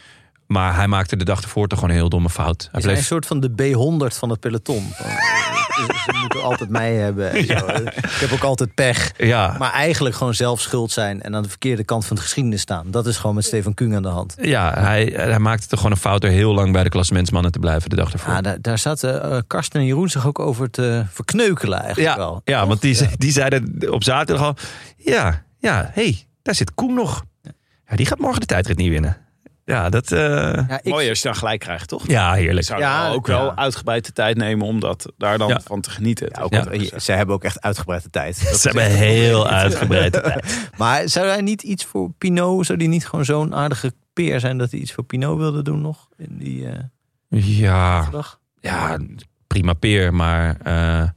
[SPEAKER 1] Maar hij maakte de dag ervoor toch gewoon een heel domme fout. Hij
[SPEAKER 2] Is hij een
[SPEAKER 1] bleef
[SPEAKER 2] soort van de B100 van het peloton. Van, eh, Oh, Ze moeten altijd mij hebben. En zo. Ik heb ook altijd pech.
[SPEAKER 1] Ja,
[SPEAKER 2] Maar eigenlijk gewoon zelf schuld zijn en aan de verkeerde kant van de geschiedenis staan. Dat is gewoon met Stefan Kung aan de hand.
[SPEAKER 1] ja hij, hij maakte toch gewoon een fout door heel lang bij de klassementsmannen te blijven de dag ervoor.
[SPEAKER 2] Ja, daar, daar zaten eh, Karsten en Jeroen zich ook over te verkneukelen eigenlijk
[SPEAKER 1] ja,
[SPEAKER 2] wel.
[SPEAKER 1] ja want die, ze- die zeiden op zaterdag al, ja, ja, hé, hey, daar zit Koen nog. Ja, die gaat morgen de tijdrit niet winnen. Ja, dat, eh,
[SPEAKER 2] Ja, ik,
[SPEAKER 3] Mooi als je dan gelijk krijgt, toch?
[SPEAKER 1] ja heerlijk.
[SPEAKER 3] zou
[SPEAKER 2] Ja,
[SPEAKER 3] wel ook
[SPEAKER 2] ja.
[SPEAKER 3] wel uitgebreid de tijd nemen om dat, daar dan
[SPEAKER 1] Ja.
[SPEAKER 3] van te genieten. Ja,
[SPEAKER 2] ook,
[SPEAKER 1] Ja.
[SPEAKER 2] want, eh, Zij hebben ook echt uitgebreide tijd. Dat
[SPEAKER 1] Ze
[SPEAKER 2] is
[SPEAKER 1] hebben
[SPEAKER 2] echt-
[SPEAKER 1] heel uitgebreid de tijd.
[SPEAKER 2] Maar zou hij niet iets voor Pinot, zou die niet gewoon zo'n aardige peer zijn dat hij iets voor Pinot wilde doen nog in die eh,
[SPEAKER 1] Ja,
[SPEAKER 2] dag?
[SPEAKER 1] ja, prima peer, maar eh,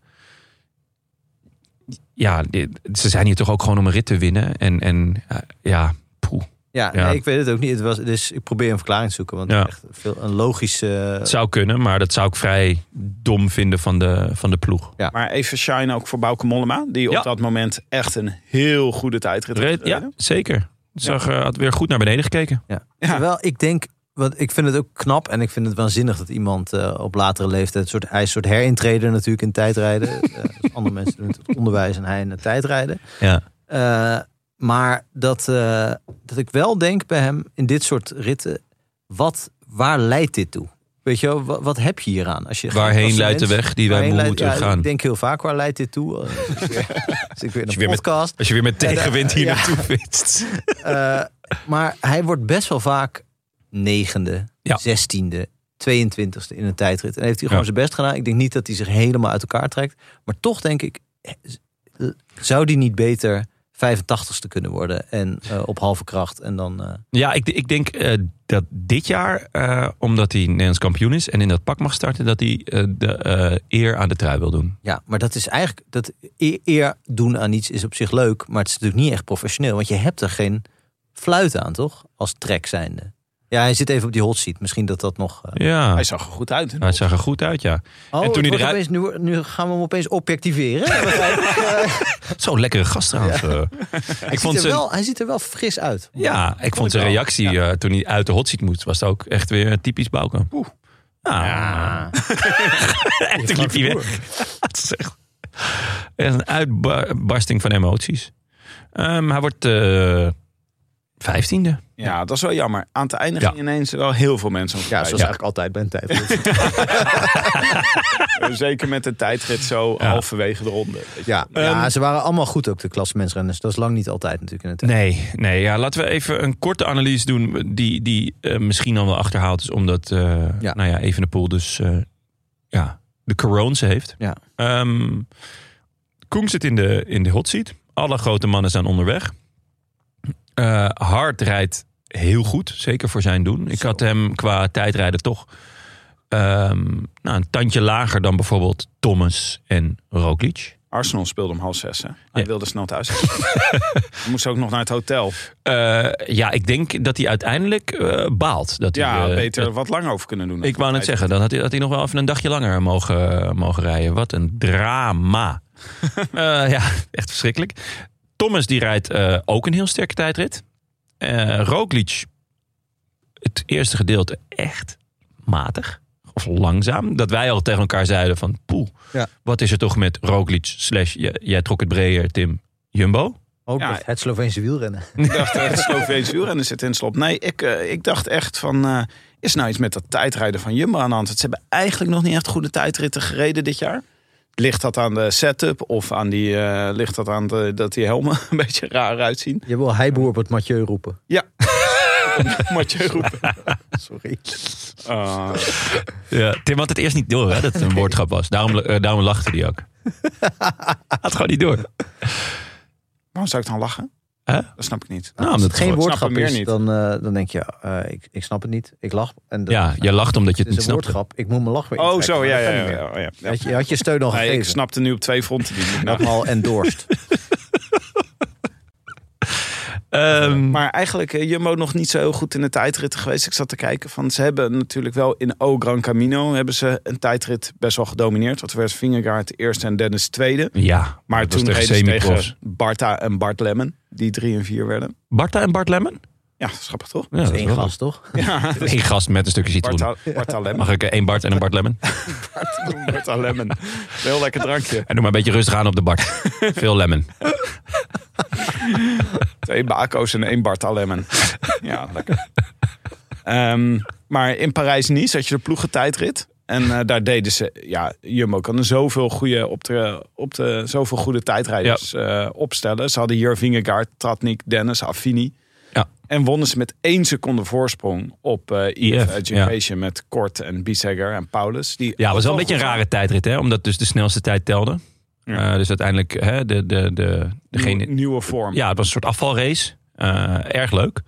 [SPEAKER 1] ja, dit- ze zijn hier toch ook gewoon om een rit te winnen. En, en eh, ja, poeh,
[SPEAKER 2] Ja,
[SPEAKER 1] Ja.
[SPEAKER 2] nee, ik weet het ook niet. Het was, dus ik probeer een verklaring te zoeken. Want
[SPEAKER 1] Ja.
[SPEAKER 2] echt veel, een logische... eh,
[SPEAKER 1] Het Eh, zou kunnen, maar dat zou ik vrij dom vinden van de, van de ploeg.
[SPEAKER 3] Maar even shine ook voor Bouke Mollema. Die
[SPEAKER 1] Ja.
[SPEAKER 3] op dat moment echt een heel goede tijdrit heeft
[SPEAKER 1] Weet- ja,
[SPEAKER 3] gereden.
[SPEAKER 1] zeker. Zag, eh, had weer goed naar beneden gekeken.
[SPEAKER 2] Ja.
[SPEAKER 3] Ja.
[SPEAKER 2] Terwijl ik denk, want ik vind het ook knap en ik vind het waanzinnig dat iemand eh, op latere leeftijd, een soort, hij is een soort herintreder natuurlijk in tijdrijden. Eh, andere mensen doen het in het onderwijs en hij in het tijdrijden.
[SPEAKER 1] Ja.
[SPEAKER 2] Eh, maar dat, eh, dat ik wel denk bij hem in dit soort ritten, wat, waar leidt dit toe? Weet je, wel, wa- wat heb je hier aan? Als je
[SPEAKER 1] Waarheen
[SPEAKER 2] als een
[SPEAKER 1] leidt de weg die wij
[SPEAKER 2] waarheen leidt-
[SPEAKER 1] moeten gaan?
[SPEAKER 2] Ik denk heel vaak, waar leidt dit toe? Eh, Als ik weer, als ik weer
[SPEAKER 1] je
[SPEAKER 2] in
[SPEAKER 1] weer
[SPEAKER 2] een
[SPEAKER 1] met-
[SPEAKER 2] podcast.
[SPEAKER 1] Als je weer met tegenwind hier
[SPEAKER 2] Ja.
[SPEAKER 1] naartoe fietst.
[SPEAKER 2] Eh, maar hij wordt best wel vaak negende,
[SPEAKER 1] Ja.
[SPEAKER 2] zestiende, 22e in een tijdrit. En heeft hij gewoon
[SPEAKER 1] Ja.
[SPEAKER 2] zijn best gedaan. Ik denk niet dat hij zich helemaal uit elkaar trekt. Maar toch denk ik, eh, zou die niet beter 85ste kunnen worden? En eh, op halve kracht. En dan, eh,
[SPEAKER 1] Ja, ik, ik denk eh, dat dit jaar, eh, omdat hij Nederlands kampioen is en in dat pak mag starten, dat hij eh, de eh, eer aan de trui wil doen.
[SPEAKER 2] ja, maar dat is eigenlijk, dat e- eer doen aan iets is op zich leuk. Maar het is natuurlijk niet echt professioneel. Want je hebt er geen fluit aan, toch? Als trek zijnde. Ja, hij zit even op die hot seat. Misschien dat dat nog... eh,
[SPEAKER 1] Ja,
[SPEAKER 3] Hij
[SPEAKER 1] hij,
[SPEAKER 3] zag er goed uit.
[SPEAKER 1] zag er goed uit, ja.
[SPEAKER 2] Oh,
[SPEAKER 1] En toen
[SPEAKER 2] het
[SPEAKER 1] hij
[SPEAKER 2] wordt
[SPEAKER 1] eruit-
[SPEAKER 2] opeens- nu, nu gaan we hem opeens objectiveren.
[SPEAKER 1] Zo'n lekkere gast trouwens. eh.
[SPEAKER 2] Hij,
[SPEAKER 1] Ik
[SPEAKER 2] ziet
[SPEAKER 1] vond
[SPEAKER 2] er
[SPEAKER 1] zijn,
[SPEAKER 2] wel, hij ziet er wel fris uit.
[SPEAKER 1] ja, ik vond zijn
[SPEAKER 3] wel.
[SPEAKER 1] reactie eh, toen hij uit de hot seat moest, was het ook echt weer typisch Bouke. Oeh. ja. en toen liep hij weg. Het is echt- echt een uitbarsting van emoties. Ehm, hij wordt vijftiende.
[SPEAKER 3] Ja, dat is wel jammer. Aan het einde
[SPEAKER 1] Ja.
[SPEAKER 3] gingen ineens wel heel veel mensen om
[SPEAKER 2] Ja,
[SPEAKER 3] voorbij.
[SPEAKER 2] zoals eigenlijk altijd bij een tijdrit.
[SPEAKER 3] Dus, eh, Zeker met de tijdrit zo
[SPEAKER 1] Ja.
[SPEAKER 3] halverwege de ronde.
[SPEAKER 2] ja, ja, ze waren allemaal goed ook, de klassementsrenners. Dat is lang niet altijd natuurlijk in het
[SPEAKER 1] Nee, nee ja, laten we even een korte analyse doen. Die, die eh, misschien al wel achterhaald is. Omdat eh
[SPEAKER 2] Ja.
[SPEAKER 1] Nou ja, Evenepoel dus eh, ja, de corones heeft.
[SPEAKER 2] Ja.
[SPEAKER 1] Ehm, Koen zit in de, in de hot seat. Alle grote mannen zijn onderweg. Eh Hart rijdt heel goed. Zeker voor zijn doen. Ik
[SPEAKER 2] Zo.
[SPEAKER 1] had hem qua tijdrijden toch ehm, nou, een tandje lager dan bijvoorbeeld Thomas en Roglic.
[SPEAKER 3] Arsenal speelde om half zes. Hè? Hij
[SPEAKER 1] Ja.
[SPEAKER 3] wilde snel thuis. Hij moest ook nog naar het hotel.
[SPEAKER 1] Eh, ja, ik denk dat hij uiteindelijk eh, baalt. Dat hij,
[SPEAKER 3] Ja,
[SPEAKER 1] eh,
[SPEAKER 3] beter
[SPEAKER 1] dat-
[SPEAKER 3] wat lang over kunnen doen.
[SPEAKER 1] ik wou net zeggen, dan had Nou, hij, had hij nog wel even een dagje langer mogen, eh, mogen rijden. Wat een drama. Eh, ja, echt verschrikkelijk. Thomas die rijdt eh, ook een heel sterke tijdrit. Eh Roglic, het eerste gedeelte echt matig. Of langzaam. Dat wij al tegen elkaar zeiden van... Poeh,
[SPEAKER 2] Ja.
[SPEAKER 1] wat is er toch met Roglic slash... j- Jij trok het breder, Tim. Jumbo?
[SPEAKER 2] Ook
[SPEAKER 3] Ja.
[SPEAKER 2] nog het Sloveense wielrennen.
[SPEAKER 3] Ik dacht, eh, het Sloveens wielrennen zit in slop. Nee, ik, eh, ik dacht echt van... eh, is nou iets met dat tijdrijden van Jumbo aan de hand? Ze hebben eigenlijk nog niet echt goede tijdritten gereden dit jaar. Ligt dat aan de setup of aan die, eh, ligt dat aan de, dat die helmen een beetje raar uitzien?
[SPEAKER 2] Je wil heiboer op het Mathieu roepen.
[SPEAKER 3] Mathieu roepen.
[SPEAKER 2] Sorry.
[SPEAKER 3] Ah,
[SPEAKER 1] Ja, Tim had het eerst niet door hè, dat het een woordgrap was. Daarom, eh, daarom lachte hij ook. had gewoon niet door.
[SPEAKER 3] waarom zou ik dan lachen?
[SPEAKER 1] Hè?
[SPEAKER 3] Dat snap Oh, ik niet.
[SPEAKER 1] Nou,
[SPEAKER 2] Als
[SPEAKER 1] omdat
[SPEAKER 2] het geen
[SPEAKER 3] gewoon-
[SPEAKER 2] woordgrap
[SPEAKER 3] snappen meer
[SPEAKER 2] is,
[SPEAKER 3] niet.
[SPEAKER 2] dan, eh, dan denk je, eh, ik, ik snap het niet. Ik lach. En dat,
[SPEAKER 1] Ja, jij lacht omdat je
[SPEAKER 2] het
[SPEAKER 1] het
[SPEAKER 2] is
[SPEAKER 1] niet
[SPEAKER 2] een
[SPEAKER 1] snapt.
[SPEAKER 2] woordgrap. Ik moet mijn lach weer
[SPEAKER 3] Oh,
[SPEAKER 2] intrekken,
[SPEAKER 3] zo,
[SPEAKER 2] maar
[SPEAKER 3] ja,
[SPEAKER 2] dat
[SPEAKER 3] ja,
[SPEAKER 2] kan
[SPEAKER 3] ja.
[SPEAKER 2] niet meer.
[SPEAKER 3] ja, ja.
[SPEAKER 2] Had je, je had je steun al
[SPEAKER 3] Nee, ik
[SPEAKER 2] gegeven.
[SPEAKER 3] snapte nu op twee fronten die niet. Nou,
[SPEAKER 2] Al endorsed.
[SPEAKER 1] Ehm,
[SPEAKER 3] Maar eigenlijk eh, Jumbo nog niet zo heel goed in de tijdritten geweest. Ik zat te kijken van ze hebben natuurlijk wel in O Gran Camino hebben ze een tijdrit best wel gedomineerd. Want er werd Vingegaard eerste en Dennis tweede.
[SPEAKER 1] ja,
[SPEAKER 3] Maar
[SPEAKER 1] dat was
[SPEAKER 3] toen reden ze
[SPEAKER 1] semi-profs.
[SPEAKER 3] tegen Barta en Bart Lemmen, die drie en vier werden.
[SPEAKER 1] Barta en Bart Lemmen?
[SPEAKER 3] Ja, schappig toch?
[SPEAKER 1] Ja,
[SPEAKER 2] Dat is
[SPEAKER 1] dat is
[SPEAKER 2] één
[SPEAKER 1] wel-
[SPEAKER 2] gast, toch?
[SPEAKER 3] Ja,
[SPEAKER 1] Eén gast met een stukje citroen.
[SPEAKER 3] Barta, Barta Lemmen.
[SPEAKER 1] Mag ik eh, één Bart en een Bart Lemmen?
[SPEAKER 3] Barta Lemmen. Een Heel lekker drankje.
[SPEAKER 1] En doe maar een beetje rustig aan op de Bart. Veel Lemmen.
[SPEAKER 3] Twee bako's en één Barta Lemmen. Ja, lekker. Ehm, maar in Parijs-Nice had je de ploegentijdrit. En eh, daar deden ze... Ja, Jumbo kan er zoveel goede, op de, op de, zoveel goede tijdrijders eh, opstellen. Ze hadden hier Vingegaard, Tratnik, Dennis, Affini.
[SPEAKER 1] Ja.
[SPEAKER 3] En wonnen ze met één seconde voorsprong op eh IF
[SPEAKER 1] IF,
[SPEAKER 3] Education met Kort en Bissegger en Paulus. Die
[SPEAKER 1] Ja, het
[SPEAKER 3] ook
[SPEAKER 1] was wel een beetje een
[SPEAKER 3] goed
[SPEAKER 1] rare tijdrit, hè? Omdat dus de snelste tijd telde.
[SPEAKER 3] Ja.
[SPEAKER 1] Eh, dus uiteindelijk, hè, de, de, de,
[SPEAKER 3] nieuwe-
[SPEAKER 1] degene,
[SPEAKER 3] Nieuwe vorm.
[SPEAKER 1] Ja, het was een soort afvalrace. Eh, erg leuk.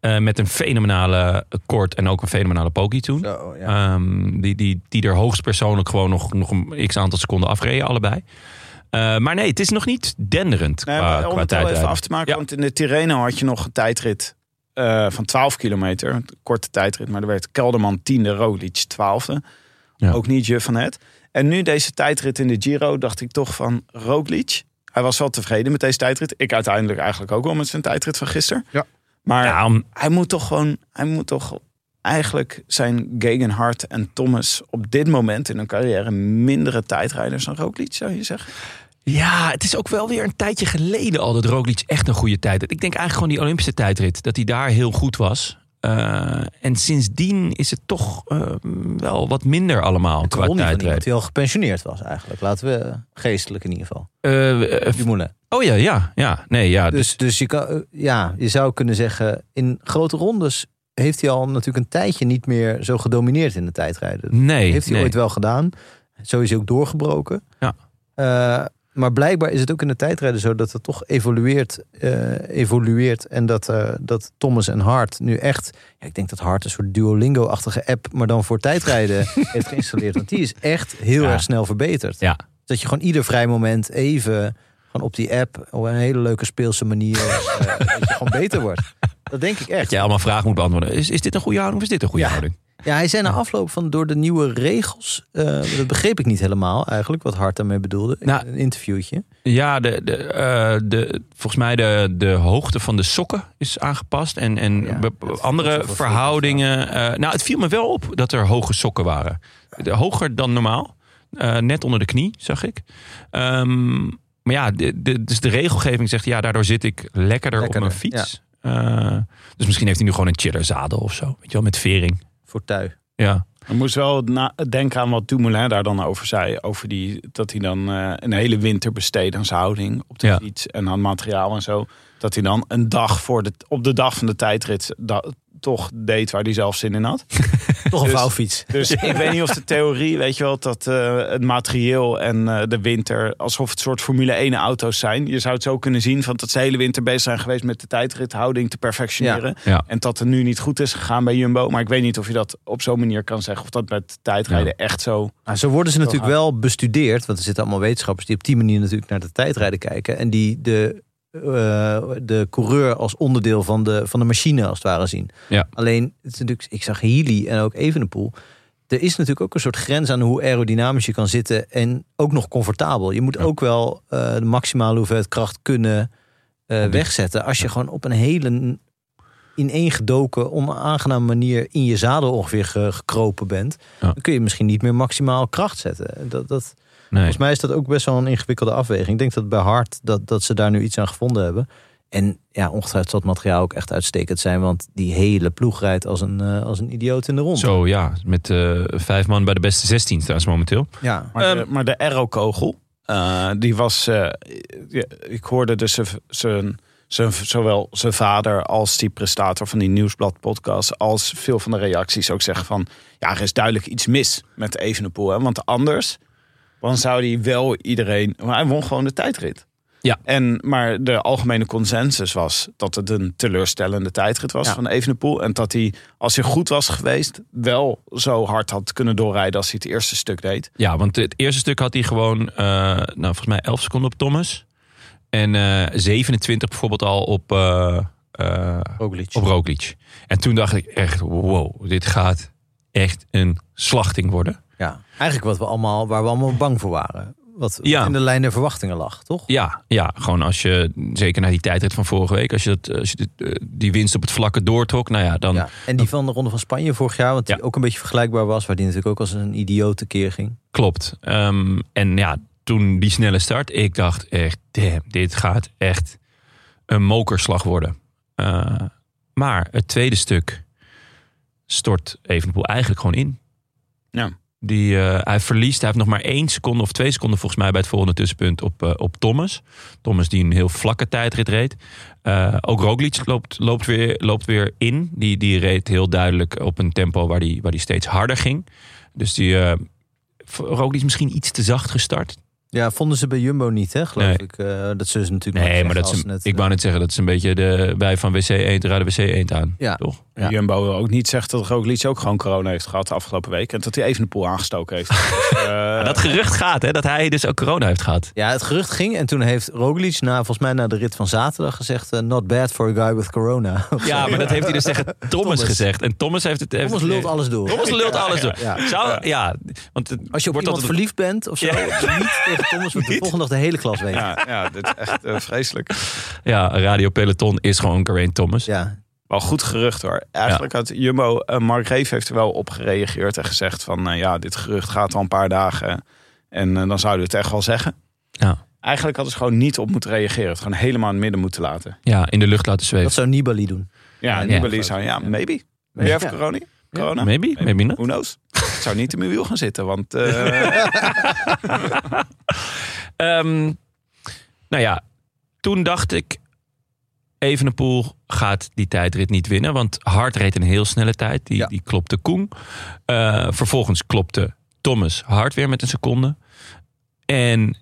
[SPEAKER 1] Eh, met een fenomenale kort en ook een fenomenale pokie toen.
[SPEAKER 3] Oh,
[SPEAKER 2] Zo, ja.
[SPEAKER 1] Ehm, die, die, die er hoogstpersoonlijk gewoon nog, nog een x aantal seconden afreden, allebei. Eh, maar nee, het is nog niet denderend
[SPEAKER 3] Nee,
[SPEAKER 1] qua,
[SPEAKER 3] maar om
[SPEAKER 1] qua
[SPEAKER 3] het wel even
[SPEAKER 1] tijdrijden.
[SPEAKER 3] af te maken,
[SPEAKER 1] Ja.
[SPEAKER 3] want in de Tirreno had je nog een tijdrit. eh, eh, van 12 kilometer, een korte tijdrit, maar er werd Kelderman tiende, Roglic twaalfde.
[SPEAKER 1] Ja.
[SPEAKER 3] Ook niet je van het. En nu deze tijdrit in de Giro dacht ik toch van Roglic. Hij was wel tevreden met deze tijdrit. Ik uiteindelijk eigenlijk ook wel met zijn tijdrit van gisteren.
[SPEAKER 2] Ja.
[SPEAKER 3] Maar
[SPEAKER 1] Ja, om-
[SPEAKER 3] hij moet toch gewoon, hij moet toch eigenlijk zijn Gegenhardt en Thomas op dit moment in hun carrière mindere tijdrijders dan Roglic, zou je zeggen?
[SPEAKER 1] ja, het is ook wel weer een tijdje geleden al dat Roglic echt een goede tijd had. Ik denk eigenlijk gewoon die Olympische tijdrit. Dat hij daar heel goed was. Eh, en sindsdien is het toch eh, wel wat minder allemaal
[SPEAKER 2] Het
[SPEAKER 1] qua
[SPEAKER 2] kon niet van iemand
[SPEAKER 1] tijdrit.
[SPEAKER 2] die al gepensioneerd was eigenlijk. Laten we eh, geestelijk in ieder geval.
[SPEAKER 1] Eh, eh,
[SPEAKER 2] Dumoulin.
[SPEAKER 1] oh ja, ja, ja. Nee, ja. Dus,
[SPEAKER 2] Dus, dus je, kan, eh, ja, je zou kunnen zeggen, in grote rondes heeft hij al natuurlijk een tijdje niet meer zo gedomineerd in de tijdrijden.
[SPEAKER 1] nee,
[SPEAKER 2] heeft hij
[SPEAKER 1] nee.
[SPEAKER 2] ooit wel gedaan. Zo is hij ook doorgebroken.
[SPEAKER 1] Ja.
[SPEAKER 2] Eh, maar blijkbaar is het ook in de tijdrijden zo dat het toch evolueert. eh, evolueert en dat, eh, dat Thomas en Hart nu echt... Ja, ik denk dat Hart een soort Duolingo-achtige app... maar dan voor tijdrijden heeft geïnstalleerd. Want die is echt heel
[SPEAKER 1] Ja.
[SPEAKER 2] erg snel verbeterd.
[SPEAKER 1] Ja.
[SPEAKER 2] Dat je gewoon ieder vrij moment even... gewoon op die app op een hele leuke speelse manier... eh, dat je gewoon beter wordt. Dat denk ik echt.
[SPEAKER 1] Dat jij allemaal vragen moet beantwoorden. Is, is dit een goede houding of is dit een goede
[SPEAKER 2] Ja.
[SPEAKER 1] houding?
[SPEAKER 2] Ja, hij zei na afloop van door de nieuwe regels. eh, dat begreep ik niet helemaal eigenlijk, wat Hart daarmee bedoelde. in
[SPEAKER 1] Nou,
[SPEAKER 2] een interviewtje.
[SPEAKER 1] Ja, de, de, eh, de, volgens mij de, de hoogte van de sokken is aangepast. En, en
[SPEAKER 2] Ja,
[SPEAKER 1] be-
[SPEAKER 2] dat is
[SPEAKER 1] andere
[SPEAKER 2] alsof het
[SPEAKER 1] verhoudingen. eh, nou, het viel me wel op dat er hoge sokken waren. De- hoger dan normaal. Eh, net onder de knie, zag ik. Ehm, maar ja, de, de, dus de regelgeving zegt... ja, daardoor zit ik lekkerder, op
[SPEAKER 2] Lekkerder,
[SPEAKER 1] mijn fiets. Eh, dus misschien heeft hij nu gewoon een chiller zadel of zo. Weet je wel, met vering.
[SPEAKER 2] Voor tui.
[SPEAKER 1] Ja,
[SPEAKER 3] Je moest wel na- denken aan wat Dumoulin daar dan over zei. Over die, dat hij dan eh, een hele winter besteedt aan zijn houding op de
[SPEAKER 1] Ja.
[SPEAKER 3] fiets en aan materiaal en zo. Dat hij dan een dag voor de, op de dag van de tijdrit da- toch deed waar hij zelf zin in had.
[SPEAKER 2] Toch een
[SPEAKER 3] Dus-
[SPEAKER 2] vouwfiets.
[SPEAKER 3] Dus ik weet niet of de theorie, weet je wel, dat eh, het materieel en eh, de winter alsof het soort Formule 1 auto's zijn. Je zou het zo kunnen zien van dat ze de hele winter bezig zijn geweest met de tijdrithouding te perfectioneren.
[SPEAKER 1] ja.
[SPEAKER 3] En dat het nu niet goed is gegaan bij Jumbo. Maar ik weet niet of je dat op zo'n manier kan zeggen. Of dat met tijdrijden echt zo.
[SPEAKER 2] Nou, zo worden ze natuurlijk
[SPEAKER 3] hard.
[SPEAKER 2] wel bestudeerd. Want er zitten allemaal wetenschappers die op die manier natuurlijk naar de tijdrijden kijken. En die de, eh, de coureur als onderdeel van de, van de machine als het ware zien.
[SPEAKER 1] Ja.
[SPEAKER 2] Alleen, het is natuurlijk, ik zag Healy en ook Evenepoel. Er is natuurlijk ook een soort grens aan hoe aerodynamisch je kan zitten. En ook nog comfortabel. Je moet ook wel eh, de maximale hoeveelheid kracht kunnen eh, wegzetten. Als je gewoon op een hele ineengedoken, onaangename manier in je zadel ongeveer ge- gekropen bent, dan kun je misschien niet meer maximaal kracht zetten. Dat, dat,
[SPEAKER 1] Nee.
[SPEAKER 2] Volgens mij is dat ook best wel een ingewikkelde afweging. Ik denk dat bij Hart dat, dat ze daar nu iets aan gevonden hebben. En ja, ongetwijfeld zal het materiaal ook echt uitstekend zijn, want die hele ploeg rijdt als een, eh, als een idioot in de rond.
[SPEAKER 1] Zo, ja. Met eh, vijf man bij de beste 16 trouwens momenteel.
[SPEAKER 2] Ja.
[SPEAKER 3] Maar de,
[SPEAKER 1] Ehm.
[SPEAKER 3] maar de aero-kogel, eh, die was. eh, ja, ik hoorde dus z'n- z'n- z'n- zowel zijn vader als die prestator van die Nieuwsblad podcast. Als veel van de reacties ook zeggen van. Ja, er is duidelijk iets mis met Evenepoel. Hè? Want anders. Dan zou hij wel iedereen. Maar hij won gewoon de tijdrit.
[SPEAKER 1] Ja.
[SPEAKER 3] En, maar de algemene consensus was dat het een teleurstellende tijdrit was
[SPEAKER 2] Ja.
[SPEAKER 3] van Evenepoel. En dat hij, als hij goed was geweest, wel zo hard had kunnen doorrijden als hij het eerste stuk deed.
[SPEAKER 1] Ja, want het eerste stuk had hij gewoon, eh, nou volgens mij 11 seconden op Thomas. En eh, 27 bijvoorbeeld al op, eh, eh,
[SPEAKER 2] Roglic.
[SPEAKER 1] op Roglic. En toen dacht ik echt, wow, dit gaat echt een slachting worden.
[SPEAKER 2] Ja. Eigenlijk wat we allemaal, waar we allemaal bang voor waren. Wat wat
[SPEAKER 1] Ja.
[SPEAKER 2] in de lijn der verwachtingen lag, toch?
[SPEAKER 1] Ja, ja, gewoon als je, zeker na die tijdrit van vorige week, als je, dat, als je dit, eh, die winst op het vlakke doortrok, nou ja, dan...
[SPEAKER 2] Ja. En die van de Ronde van Spanje vorig jaar, want die
[SPEAKER 1] Ja.
[SPEAKER 2] ook een beetje vergelijkbaar was, waar die natuurlijk ook als een idioot keer ging.
[SPEAKER 1] Klopt. Ehm, en ja, toen die snelle start, ik dacht echt, damn, dit gaat echt een mokerslag worden. Eh, maar het tweede stuk stort Evenepoel eigenlijk gewoon in.
[SPEAKER 3] Ja.
[SPEAKER 1] Die, eh, hij verliest, hij heeft nog maar één seconde of twee seconden volgens mij bij het volgende tussenpunt op, eh, op Thomas. Thomas die een heel vlakke tijdrit reed. Eh, ook Roglic loopt, loopt, weer, loopt weer in. Die, die reed heel duidelijk op een tempo waar die, waar die steeds harder ging. Dus die, eh, Roglic is misschien iets te zacht gestart.
[SPEAKER 2] Ja, vonden ze bij Jumbo niet, hè, geloof
[SPEAKER 1] Nee.
[SPEAKER 2] ik. Eh, dat zullen ze eh, natuurlijk
[SPEAKER 1] Nee,
[SPEAKER 2] nooit
[SPEAKER 1] maar dat
[SPEAKER 2] zeggen
[SPEAKER 1] is
[SPEAKER 2] als
[SPEAKER 1] een-
[SPEAKER 2] net,
[SPEAKER 1] ik wou net zeggen, dat is een beetje de wij van WC Eend raden WC Eend aan.
[SPEAKER 2] Ja.
[SPEAKER 1] Toch? Ja.
[SPEAKER 3] Jumbo ook niet zegt dat Roglic ook gewoon corona heeft gehad de afgelopen week. En dat hij even de poel aangestoken heeft. Dus, eh,
[SPEAKER 1] dat gerucht gaat, hè, dat hij dus ook corona heeft gehad.
[SPEAKER 2] Ja, het gerucht ging en toen heeft Roglic na, volgens mij na de rit van zaterdag gezegd... eh, not bad for a guy with corona.
[SPEAKER 1] Ja, maar dat heeft hij dus tegen Thomas,
[SPEAKER 2] Thomas.
[SPEAKER 1] gezegd. En Thomas heeft het... heeft
[SPEAKER 2] Thomas
[SPEAKER 1] het-
[SPEAKER 2] lult alles door.
[SPEAKER 1] Thomas lult alles door.
[SPEAKER 2] Ja.
[SPEAKER 1] Zou, ja, want het
[SPEAKER 2] Als je op
[SPEAKER 1] wordt
[SPEAKER 2] iemand
[SPEAKER 1] altijd-
[SPEAKER 2] verliefd bent of zo, niet tegen Thomas, want de volgende dag de hele klas weet. Ja.
[SPEAKER 3] ja, ja, dit is echt eh, vreselijk.
[SPEAKER 1] Ja, Radio Peloton is gewoon Geraint Thomas.
[SPEAKER 3] Wel goed gerucht hoor. Eigenlijk had Jumbo, eh, Mark Reef heeft er wel op gereageerd en gezegd van eh, ja, dit gerucht gaat al een paar dagen. En eh, dan zouden we het echt wel zeggen.
[SPEAKER 1] Ja.
[SPEAKER 3] Eigenlijk hadden ze gewoon niet op moeten reageren. Het gewoon helemaal in het midden moeten laten.
[SPEAKER 1] Ja, in de lucht laten zweven.
[SPEAKER 2] Dat zou Nibali doen.
[SPEAKER 3] Ja,
[SPEAKER 2] Ja,
[SPEAKER 3] en Nibali
[SPEAKER 2] ja.
[SPEAKER 3] zou, ja, maybe.
[SPEAKER 2] Ja.
[SPEAKER 3] Weer even
[SPEAKER 2] Ja.
[SPEAKER 3] corona. corona.
[SPEAKER 1] Maybe, maybe not.
[SPEAKER 3] Who knows? Ik zou niet in mijn wiel gaan zitten, want eh,
[SPEAKER 1] Ehm, nou ja, toen dacht ik... Evenepoel gaat die tijdrit niet winnen. Want Hart reed een heel snelle tijd. Die,
[SPEAKER 2] Ja.
[SPEAKER 1] die klopte Koen. Eh, vervolgens klopte Thomas Hart weer met een seconde. En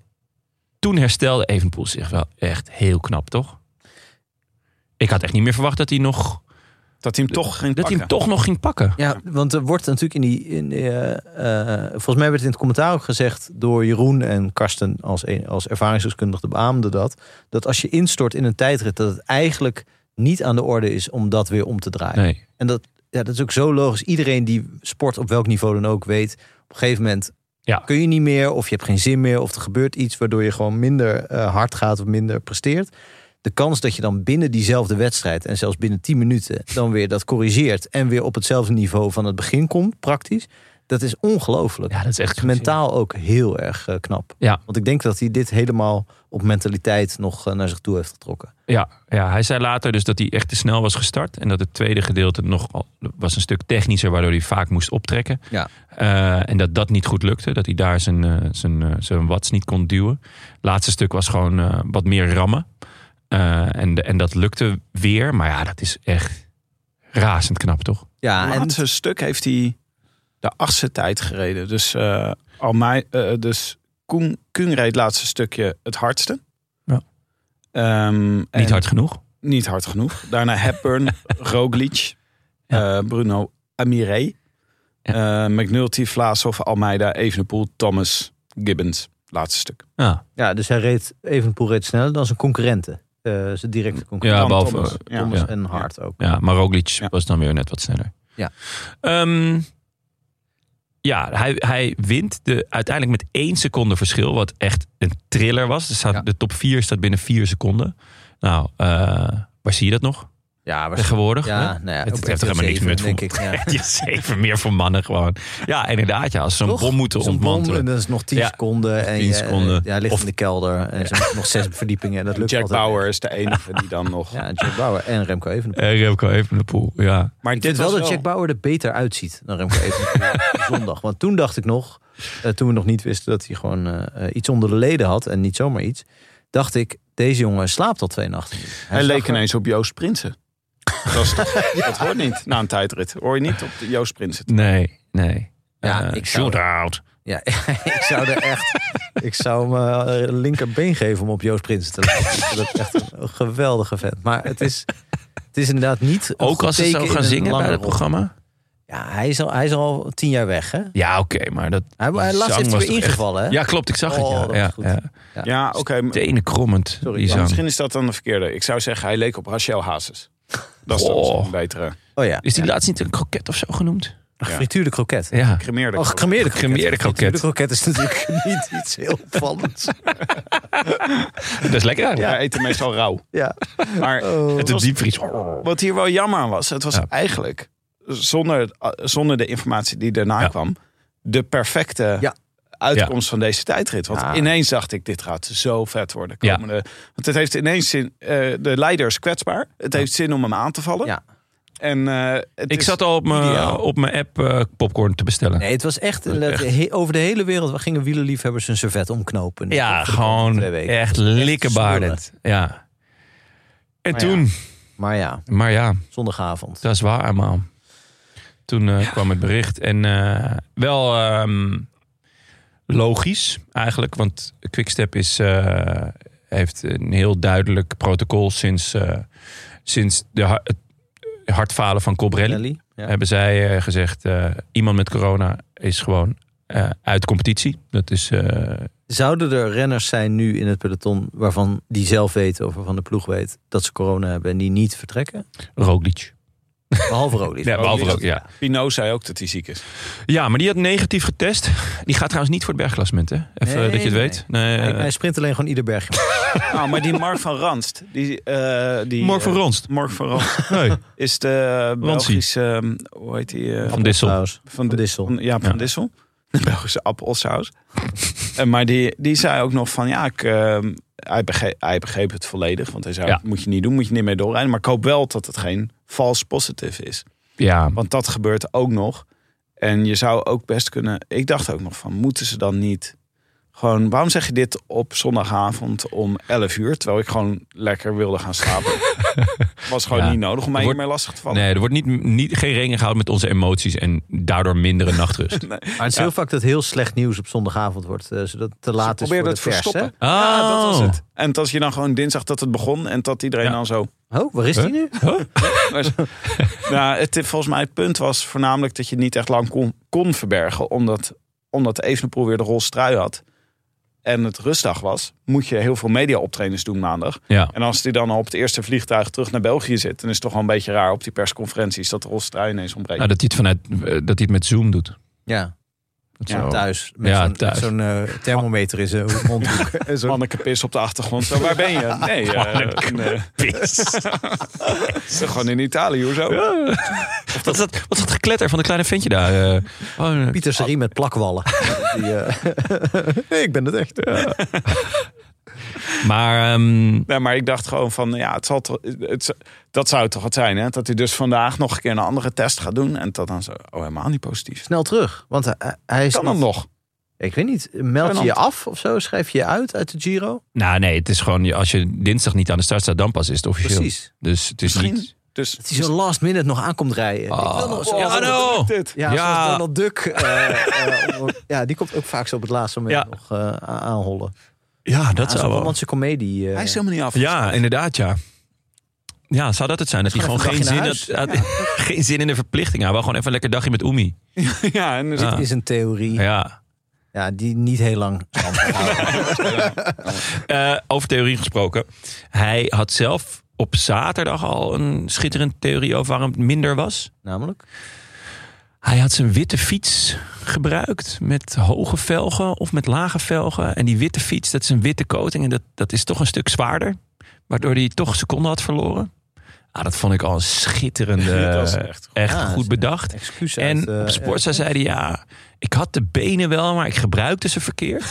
[SPEAKER 1] toen herstelde Evenepoel zich wel echt heel knap, toch? Ik had echt niet meer verwacht dat hij, nog,
[SPEAKER 3] dat hij hem toch ging
[SPEAKER 1] dat hij hem
[SPEAKER 3] pakken.
[SPEAKER 1] toch nog ging pakken.
[SPEAKER 2] Ja, want er wordt natuurlijk in die... In, eh, eh, volgens mij werd het in het commentaar ook gezegd door Jeroen en Karsten als, een- als ervaringsdeskundige beaamde dat. Dat als je instort in een tijdrit, dat het eigenlijk niet aan de orde is om dat weer om te draaien.
[SPEAKER 1] Nee.
[SPEAKER 2] En dat, ja, dat is ook zo logisch. Iedereen die sport op welk niveau dan ook weet, op een gegeven moment
[SPEAKER 1] Ja.
[SPEAKER 2] kun je niet meer, of je hebt geen zin meer, of er gebeurt iets waardoor je gewoon minder eh, hard gaat of minder presteert. De kans dat je dan binnen diezelfde wedstrijd en zelfs binnen 10 minuten dan weer dat corrigeert en weer op hetzelfde niveau van het begin komt, praktisch, dat is ongelooflijk.
[SPEAKER 1] Ja, dat is echt
[SPEAKER 2] Dat is mentaal ook heel erg eh, knap.
[SPEAKER 1] Ja.
[SPEAKER 2] Want ik denk dat hij dit helemaal op mentaliteit nog eh, naar zich toe heeft getrokken.
[SPEAKER 1] Ja, ja, hij zei later dus dat hij echt te snel was gestart. En dat het tweede gedeelte nog al- was een stuk technischer, waardoor hij vaak moest optrekken.
[SPEAKER 2] Ja.
[SPEAKER 1] Eh, en dat dat niet goed lukte. Dat hij daar zijn, eh, zijn, eh, zijn watts niet kon duwen. Laatste stuk was gewoon eh, wat meer rammen. Eh, en, en dat lukte weer. Maar ja, dat is echt razend knap, toch?
[SPEAKER 2] Ja,
[SPEAKER 3] Het
[SPEAKER 2] en
[SPEAKER 3] laatste stuk heeft hij de achtste tijd gereden. Dus, eh al mij, eh, dus Koen, Koen reed het laatste stukje het hardste.
[SPEAKER 1] Ja.
[SPEAKER 3] Ehm, en-
[SPEAKER 1] Niet hard genoeg.
[SPEAKER 3] Niet hard genoeg. Daarna Hepburn, Roglic,
[SPEAKER 1] Ja.
[SPEAKER 3] eh, Bruno Amire, eh, McNulty, Vlaashoff, Almeida, Evenepoel, Thomas, Gibbons. Laatste stuk.
[SPEAKER 1] Ja,
[SPEAKER 2] Ja, dus hij reed Evenpoel reed sneller dan zijn concurrenten. Eh, zijn directe
[SPEAKER 1] ja
[SPEAKER 2] concurrenten.
[SPEAKER 1] behalve
[SPEAKER 3] Thomas.
[SPEAKER 1] eh,
[SPEAKER 3] Ja.
[SPEAKER 2] Thomas
[SPEAKER 1] ja.
[SPEAKER 2] en Hart ook.
[SPEAKER 1] Ja, maar Roglic
[SPEAKER 3] Ja.
[SPEAKER 1] was dan weer net wat sneller.
[SPEAKER 2] Ja.
[SPEAKER 1] Ehm, ja, hij, hij wint de, uiteindelijk met één seconde verschil. Wat echt een thriller was. Er staat,
[SPEAKER 2] Ja.
[SPEAKER 1] De top vier staat binnen vier seconden. Nou, eh, waar zie je dat nog
[SPEAKER 2] Ja,
[SPEAKER 1] tegenwoordig? hè?
[SPEAKER 2] Ja, nou ja,
[SPEAKER 1] Het heeft
[SPEAKER 2] op
[SPEAKER 1] er
[SPEAKER 2] RTL
[SPEAKER 1] helemaal niks meer
[SPEAKER 2] zeven,
[SPEAKER 1] voor-
[SPEAKER 2] denk ik. Ja.
[SPEAKER 1] Je zeven meer voor mannen gewoon. Ja, inderdaad. Ja, als ze zo'n
[SPEAKER 2] Toch?
[SPEAKER 1] bom moeten
[SPEAKER 2] Zo'n bom,
[SPEAKER 1] ontmantelen.
[SPEAKER 2] en dat is nog 10
[SPEAKER 1] Ja,
[SPEAKER 2] seconden. En
[SPEAKER 1] 10
[SPEAKER 2] je,
[SPEAKER 1] seconden.
[SPEAKER 2] Ja, hij ligt
[SPEAKER 1] Of-
[SPEAKER 2] in de kelder. En er zijn nog zes verdiepingen. En dat lukt
[SPEAKER 3] Jack
[SPEAKER 2] altijd.
[SPEAKER 3] Bauer is de enige die dan nog...
[SPEAKER 2] Ja, Jack Bauer en Remco Evenepoel.
[SPEAKER 1] En Eh, Remco Evenepoel, ja.
[SPEAKER 3] Maar
[SPEAKER 2] Ik vind wel dat Jack Bauer er beter uitziet dan Remco Evenepoel op zondag. Want toen dacht ik nog, eh, toen we nog niet wisten dat hij gewoon eh, eh, iets onder de leden had. En niet zomaar iets. Dacht ik, deze jongen slaapt al twee nachten. niet.
[SPEAKER 3] Hij
[SPEAKER 2] zag
[SPEAKER 3] leek
[SPEAKER 2] er-
[SPEAKER 3] ineens op Joost Prinsen. Dat, is toch- dat hoort niet na een tijdrit. Hoor je niet op de Joost Prinsen.
[SPEAKER 1] Nee, nee.
[SPEAKER 2] Ja,
[SPEAKER 1] Eh,
[SPEAKER 2] ik zou-
[SPEAKER 1] Shootout.
[SPEAKER 2] Ja, ik zou er echt. Ik zou mijn linkerbeen geven om op Joost Prins te leggen. Dat is echt een geweldige vent. Maar het is, het is inderdaad niet. een
[SPEAKER 1] Ook
[SPEAKER 2] goed
[SPEAKER 1] als ze zo
[SPEAKER 2] teken
[SPEAKER 1] gaan
[SPEAKER 2] in een
[SPEAKER 1] zingen
[SPEAKER 2] lange
[SPEAKER 1] bij het
[SPEAKER 2] rol.
[SPEAKER 1] programma.
[SPEAKER 2] Ja, hij is, al, hij is al tien jaar weg, hè?
[SPEAKER 1] Ja, oké, maar dat...
[SPEAKER 2] Hij, hij
[SPEAKER 1] die
[SPEAKER 2] laatst
[SPEAKER 1] zang
[SPEAKER 2] heeft
[SPEAKER 1] was
[SPEAKER 2] hij weer
[SPEAKER 1] toch echt-
[SPEAKER 2] ingevallen, hè?
[SPEAKER 1] Ja, klopt. Ik zag
[SPEAKER 2] Oh,
[SPEAKER 1] het.
[SPEAKER 2] dat
[SPEAKER 1] Ja,
[SPEAKER 2] was
[SPEAKER 1] ja,
[SPEAKER 2] goed.
[SPEAKER 1] ja.
[SPEAKER 3] Ja, oké. maar-
[SPEAKER 1] Tenen krommend.
[SPEAKER 2] Sorry,
[SPEAKER 1] die
[SPEAKER 3] maar
[SPEAKER 1] zang.
[SPEAKER 3] misschien is dat dan de verkeerde. Ik zou zeggen, hij leek op Rachel Hazes. Dat is dan
[SPEAKER 1] Oh.
[SPEAKER 3] misschien een betere.
[SPEAKER 2] Oh ja.
[SPEAKER 1] Is die laatst niet een kroket of zo genoemd?
[SPEAKER 2] Ach,
[SPEAKER 3] Ja.
[SPEAKER 2] frituurde kroket.
[SPEAKER 1] Ja.
[SPEAKER 3] Cremeerde.
[SPEAKER 2] Oh, gecremeerde kroket.
[SPEAKER 1] Gecremeerde kroket.
[SPEAKER 2] Frituurde kroket is natuurlijk niet iets heel opvallends.
[SPEAKER 1] Dat is lekker eigenlijk.
[SPEAKER 3] Ja, hij eet hem meestal rauw.
[SPEAKER 2] Ja.
[SPEAKER 3] Maar
[SPEAKER 1] Het
[SPEAKER 2] Oh.
[SPEAKER 3] het
[SPEAKER 1] is
[SPEAKER 3] was,
[SPEAKER 1] diepvries.
[SPEAKER 3] wat hier wel jammer aan was, het was
[SPEAKER 1] Ja.
[SPEAKER 3] eigenlijk zonder, eh, zonder de informatie die daarna
[SPEAKER 1] Ja.
[SPEAKER 3] kwam, de perfecte
[SPEAKER 2] Ja. Ah.
[SPEAKER 3] uitkomst van deze tijdrit. Want
[SPEAKER 2] Ja.
[SPEAKER 3] ineens dacht ik, dit gaat zo vet worden.
[SPEAKER 1] Ja.
[SPEAKER 3] Komende, Want het heeft ineens zin, eh, de leider is kwetsbaar. Het heeft zin om hem aan te vallen.
[SPEAKER 2] Ja.
[SPEAKER 3] En, eh, het
[SPEAKER 1] Ik
[SPEAKER 3] is-
[SPEAKER 1] zat al op mijn,
[SPEAKER 3] ideaal.
[SPEAKER 1] op mijn app eh, popcorn te bestellen.
[SPEAKER 2] Nee, het was echt, inderdaad, he- over de hele wereld. We gingen wielerliefhebbers een servet omknopen.
[SPEAKER 1] Ja,
[SPEAKER 2] Voor de komende
[SPEAKER 1] gewoon
[SPEAKER 2] twee weken.
[SPEAKER 1] echt likkenbarend. Ja. En
[SPEAKER 2] Maar
[SPEAKER 1] toen,
[SPEAKER 2] Maar ja,
[SPEAKER 1] maar ja,
[SPEAKER 2] zondagavond.
[SPEAKER 1] dat is waar, man. Toen eh, kwam het bericht. En eh, wel ehm, logisch eigenlijk, want Quickstep is, eh, heeft een heel duidelijk protocol sinds, eh, sinds de, ha- het- hard falen van Colbrelli.
[SPEAKER 2] Nelly. Ja.
[SPEAKER 1] Hebben zij eh, gezegd, eh, iemand met corona is gewoon eh, uit competitie. Dat is eh,
[SPEAKER 2] Zouden er renners zijn nu in het peloton waarvan die zelf weten of waarvan de ploeg weet dat ze corona hebben en die niet vertrekken?
[SPEAKER 1] Roglic.
[SPEAKER 2] Behalve Roglic.
[SPEAKER 1] Ja, behalve
[SPEAKER 3] Roglic.
[SPEAKER 1] Roglic, ja.
[SPEAKER 3] Pino zei ook dat hij ziek is.
[SPEAKER 1] ja, maar die had negatief getest. Die gaat trouwens niet voor het bergklassement, hè? Even
[SPEAKER 2] Nee,
[SPEAKER 1] dat je het
[SPEAKER 2] nee.
[SPEAKER 1] weet. Nee,
[SPEAKER 2] Hij,
[SPEAKER 1] eh,
[SPEAKER 2] hij sprint alleen gewoon ieder bergje.
[SPEAKER 3] Nou, maar die Mark van Ranst. Die, eh die,
[SPEAKER 1] Mark van
[SPEAKER 3] eh,
[SPEAKER 1] Ronst.
[SPEAKER 3] Mark van Ranst
[SPEAKER 1] Nee,
[SPEAKER 3] is de
[SPEAKER 1] Ransie.
[SPEAKER 3] Belgische... eh, hoe heet die? eh,
[SPEAKER 1] Van Dissel.
[SPEAKER 2] Trouwens.
[SPEAKER 3] van
[SPEAKER 2] Van
[SPEAKER 3] de-
[SPEAKER 2] Dissel.
[SPEAKER 3] van- ja, van
[SPEAKER 1] Ja.
[SPEAKER 3] Dissel. De Belgische appelsaus. en, maar die, die zei ook nog van ja, ik, eh, hij, begreep, hij begreep het volledig. Want hij zei,
[SPEAKER 1] Ja.
[SPEAKER 3] moet je niet doen, moet je niet meer doorrijden. Maar ik hoop wel dat het geen vals positief is.
[SPEAKER 1] Ja,
[SPEAKER 3] Want dat gebeurt ook nog. En je zou ook best kunnen... Ik dacht ook nog van, moeten ze dan niet... Gewoon, waarom zeg je dit op zondagavond om 11 uur? Terwijl ik gewoon lekker wilde gaan slapen. Was gewoon
[SPEAKER 1] Ja.
[SPEAKER 3] niet nodig om mij
[SPEAKER 1] Wordt-
[SPEAKER 3] hiermee lastig te vallen.
[SPEAKER 1] nee, er wordt niet, niet, geen rekening gehouden met onze emoties en daardoor mindere nachtrust.
[SPEAKER 2] Maar het is heel vaak dat heel slecht nieuws op zondagavond wordt, eh, zodat het te laat is
[SPEAKER 3] probeer
[SPEAKER 2] voor de
[SPEAKER 3] dat te
[SPEAKER 2] pers.
[SPEAKER 3] verstoppen.
[SPEAKER 2] hè?
[SPEAKER 3] Ja, dat was
[SPEAKER 1] Oh.
[SPEAKER 3] het. En als je dan gewoon dinsdag dat het begon en dat iedereen
[SPEAKER 1] Ja.
[SPEAKER 3] dan zo.
[SPEAKER 2] Oh, waar is die
[SPEAKER 1] Huh?
[SPEAKER 2] nu?
[SPEAKER 3] Nou, het, volgens mij het punt was voornamelijk dat je het niet echt lang kon, kon verbergen, omdat, omdat Evenepoel weer de roze trui had. En het rustdag was, moet je heel veel media-optredens doen maandag.
[SPEAKER 1] Ja.
[SPEAKER 3] En als die dan al op het eerste vliegtuig terug naar België zit, dan is het toch wel een beetje raar op die persconferenties dat de roze trui ineens ontbreekt.
[SPEAKER 1] Nou, dat hij het vanuit eh, dat hij het met Zoom doet.
[SPEAKER 2] Ja,
[SPEAKER 1] Dat
[SPEAKER 3] Ja,
[SPEAKER 1] zou-
[SPEAKER 2] thuis. Met
[SPEAKER 1] Ja,
[SPEAKER 2] zo'n, met
[SPEAKER 1] thuis.
[SPEAKER 2] zo'n, eh, thermometer in zijn mondhoek.
[SPEAKER 3] En zo'n manneke pis op de achtergrond. Zo, waar ben je? Nee, eh,
[SPEAKER 1] Manneke
[SPEAKER 3] nee.
[SPEAKER 1] Pis.
[SPEAKER 3] gewoon in Italië, hoezo?
[SPEAKER 1] Wat is, dat, wat is dat gekletter van een kleine ventje daar? eh? Oh,
[SPEAKER 2] Pieter Serie met plakwallen. Die, eh, nee, ik ben het echt.
[SPEAKER 1] maar ehm,
[SPEAKER 3] Nee, Nou, maar ik dacht gewoon van, ja, het zal toch, het, dat zou toch wat zijn, hè? Dat hij dus vandaag nog een keer een andere test gaat doen en dat dan zo, oh, helemaal niet positief.
[SPEAKER 2] Snel terug, want hij, hij is...
[SPEAKER 3] Kan dan nog?
[SPEAKER 2] Ik weet niet, meld je je
[SPEAKER 3] Fernand.
[SPEAKER 2] af of zo? Schrijf je je uit uit de Giro?
[SPEAKER 1] nou nee, het is gewoon je- als je dinsdag niet aan de start staat, dan pas is het officieel.
[SPEAKER 2] Precies.
[SPEAKER 1] Dus het is
[SPEAKER 3] Misschien.
[SPEAKER 1] niet.
[SPEAKER 3] Dus
[SPEAKER 2] Dat hij zo last minute nog aankomt rijden. Ik wil nog zo-
[SPEAKER 1] ja, no.
[SPEAKER 3] dit.
[SPEAKER 2] Ja,
[SPEAKER 1] Ja.
[SPEAKER 2] zoals Donald Duck. eh, eh, om- ja, die komt ook vaak zo op het laatste moment
[SPEAKER 1] Ja.
[SPEAKER 2] nog eh, a- aanhollen.
[SPEAKER 1] ja dat
[SPEAKER 2] Aan
[SPEAKER 1] zou
[SPEAKER 2] zo'n
[SPEAKER 1] wel.
[SPEAKER 2] romantische komedie. eh.
[SPEAKER 3] Hij is helemaal niet af.
[SPEAKER 1] Ja, inderdaad, ja. Ja, zou dat het zijn? Dat hij gewoon
[SPEAKER 2] Gewoon
[SPEAKER 1] geen
[SPEAKER 2] even
[SPEAKER 1] zin,
[SPEAKER 2] een
[SPEAKER 1] had, had- geen zin in de verplichting had. Wel gewoon even een lekker dagje met Oemi.
[SPEAKER 3] ja, en dus
[SPEAKER 1] Ja.
[SPEAKER 2] Dit is een theorie
[SPEAKER 1] Ja.
[SPEAKER 2] ja, die niet heel lang stand houdt.
[SPEAKER 1] Eh, over theorie gesproken. Hij had zelf op zaterdag al een schitterende theorie over waarom het minder was.
[SPEAKER 2] Namelijk?
[SPEAKER 1] Hij had zijn witte fiets gebruikt met hoge velgen of met lage velgen. En die witte fiets, dat is een witte coating en dat, dat is toch een stuk zwaarder. Waardoor hij toch seconden had verloren. Ah, dat vond ik al een schitterende,
[SPEAKER 3] Dat is
[SPEAKER 1] echt,
[SPEAKER 3] echt
[SPEAKER 2] Ja,
[SPEAKER 1] goed bedacht.
[SPEAKER 2] Excuus uit,
[SPEAKER 1] En
[SPEAKER 2] eh,
[SPEAKER 1] op Sportza zei hij, ja, ik had de benen wel, maar ik gebruikte ze verkeerd.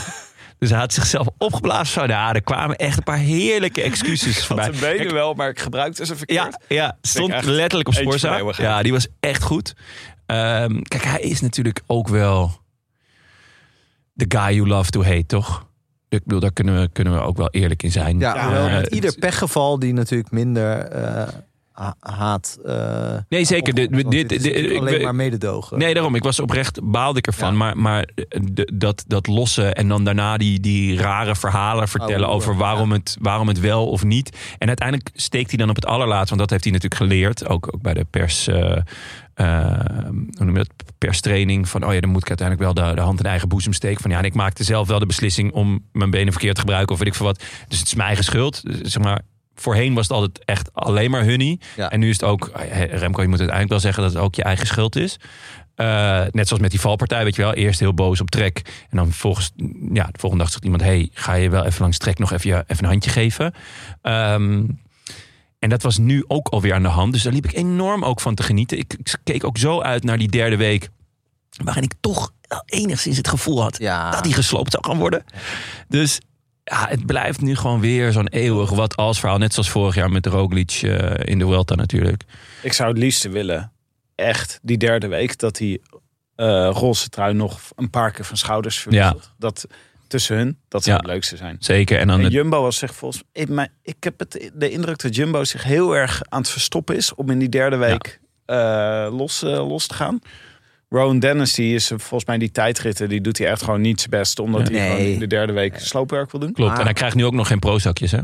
[SPEAKER 1] Dus hij had zichzelf opgeblazen. Zo, ja, er kwamen echt een paar heerlijke excuses
[SPEAKER 3] had
[SPEAKER 1] voorbij.
[SPEAKER 3] zijn benen wel, maar ik gebruikte ze verkeerd.
[SPEAKER 1] Ja, ja stond
[SPEAKER 3] echt
[SPEAKER 1] letterlijk op
[SPEAKER 3] eentje van
[SPEAKER 1] Sporza.
[SPEAKER 3] de eeuwigheid.
[SPEAKER 1] Ja, die was echt goed. Ehm, kijk, hij is natuurlijk ook wel the guy you love to hate, toch? Ik bedoel, daar kunnen we, kunnen we ook wel eerlijk in zijn.
[SPEAKER 2] Ja,
[SPEAKER 3] Ja,
[SPEAKER 2] hoewel
[SPEAKER 1] eh,
[SPEAKER 2] met ieder
[SPEAKER 1] het-
[SPEAKER 2] pechgeval die natuurlijk minder eh, ha- haat. eh,
[SPEAKER 1] Nee, zeker. Dit-
[SPEAKER 2] opkomt, want
[SPEAKER 1] dit-
[SPEAKER 2] is
[SPEAKER 1] dit-
[SPEAKER 2] natuurlijk
[SPEAKER 1] ik
[SPEAKER 2] alleen
[SPEAKER 1] ben-
[SPEAKER 2] maar mededogen.
[SPEAKER 1] Nee, daarom. Ik was oprecht, baalde ik ervan. Maar, maar eh, de- dat, dat lossen en dan daarna die, die rare verhalen vertellen
[SPEAKER 2] Oude hoer,
[SPEAKER 1] over waarom, het, waarom het wel of niet. En uiteindelijk steekt hij dan op het allerlaatst, want dat heeft hij natuurlijk geleerd. Ook, ook bij de pers, eh, eh, hoe noem je dat, perstraining. Van, oh ja, dan moet ik uiteindelijk wel de, de hand in eigen boezem steken. Van ja, en ik maakte zelf wel de beslissing om mijn benen verkeerd te gebruiken of weet ik veel wat. Dus het is mijn eigen schuld. Dus Zeg maar, voorheen was het altijd echt alleen maar hunnie.
[SPEAKER 2] Ja.
[SPEAKER 1] En nu is het ook, eh, Remco, je moet uiteindelijk wel zeggen dat het ook je eigen schuld is. Eh, net zoals met die valpartij, weet je wel. Eerst heel boos op trek. En dan volgens, ja, de volgende dag zegt iemand... hey, ga je wel even langs trek nog even, je- even een handje geven? Ehm, en dat was nu ook alweer aan de hand. Dus daar liep ik enorm ook van te genieten. Ik, ik keek ook zo uit naar die derde week... waarin ik toch wel enigszins het gevoel had...
[SPEAKER 2] Ja.
[SPEAKER 1] Ah. dat die gesloopt zou gaan worden. Dus ja, het blijft nu gewoon weer zo'n eeuwig wat als verhaal. Net zoals vorig jaar met Roglic eh, in de Welta natuurlijk.
[SPEAKER 3] Ik zou het liefste willen, echt, die derde week, dat die eh roze trui nog een paar keer van schouders verwisselt. Dat tussen hun, dat zou
[SPEAKER 1] Ja.
[SPEAKER 3] het leukste zijn.
[SPEAKER 1] Zeker. En dan
[SPEAKER 3] En
[SPEAKER 1] het-
[SPEAKER 3] Jumbo was zich volgens ik, maar ik heb het, de indruk dat Jumbo zich heel erg aan het verstoppen is om in die derde week eh, los, eh, los te gaan. Rowan Dennis, die is eh, volgens mij die tijdritten, die doet hij echt gewoon niet zijn best. Omdat hij
[SPEAKER 2] Nee.
[SPEAKER 3] gewoon in de derde week sloopwerk wil doen.
[SPEAKER 1] Klopt.
[SPEAKER 2] Ah.
[SPEAKER 1] En hij krijgt nu ook nog geen prozakjes, hè?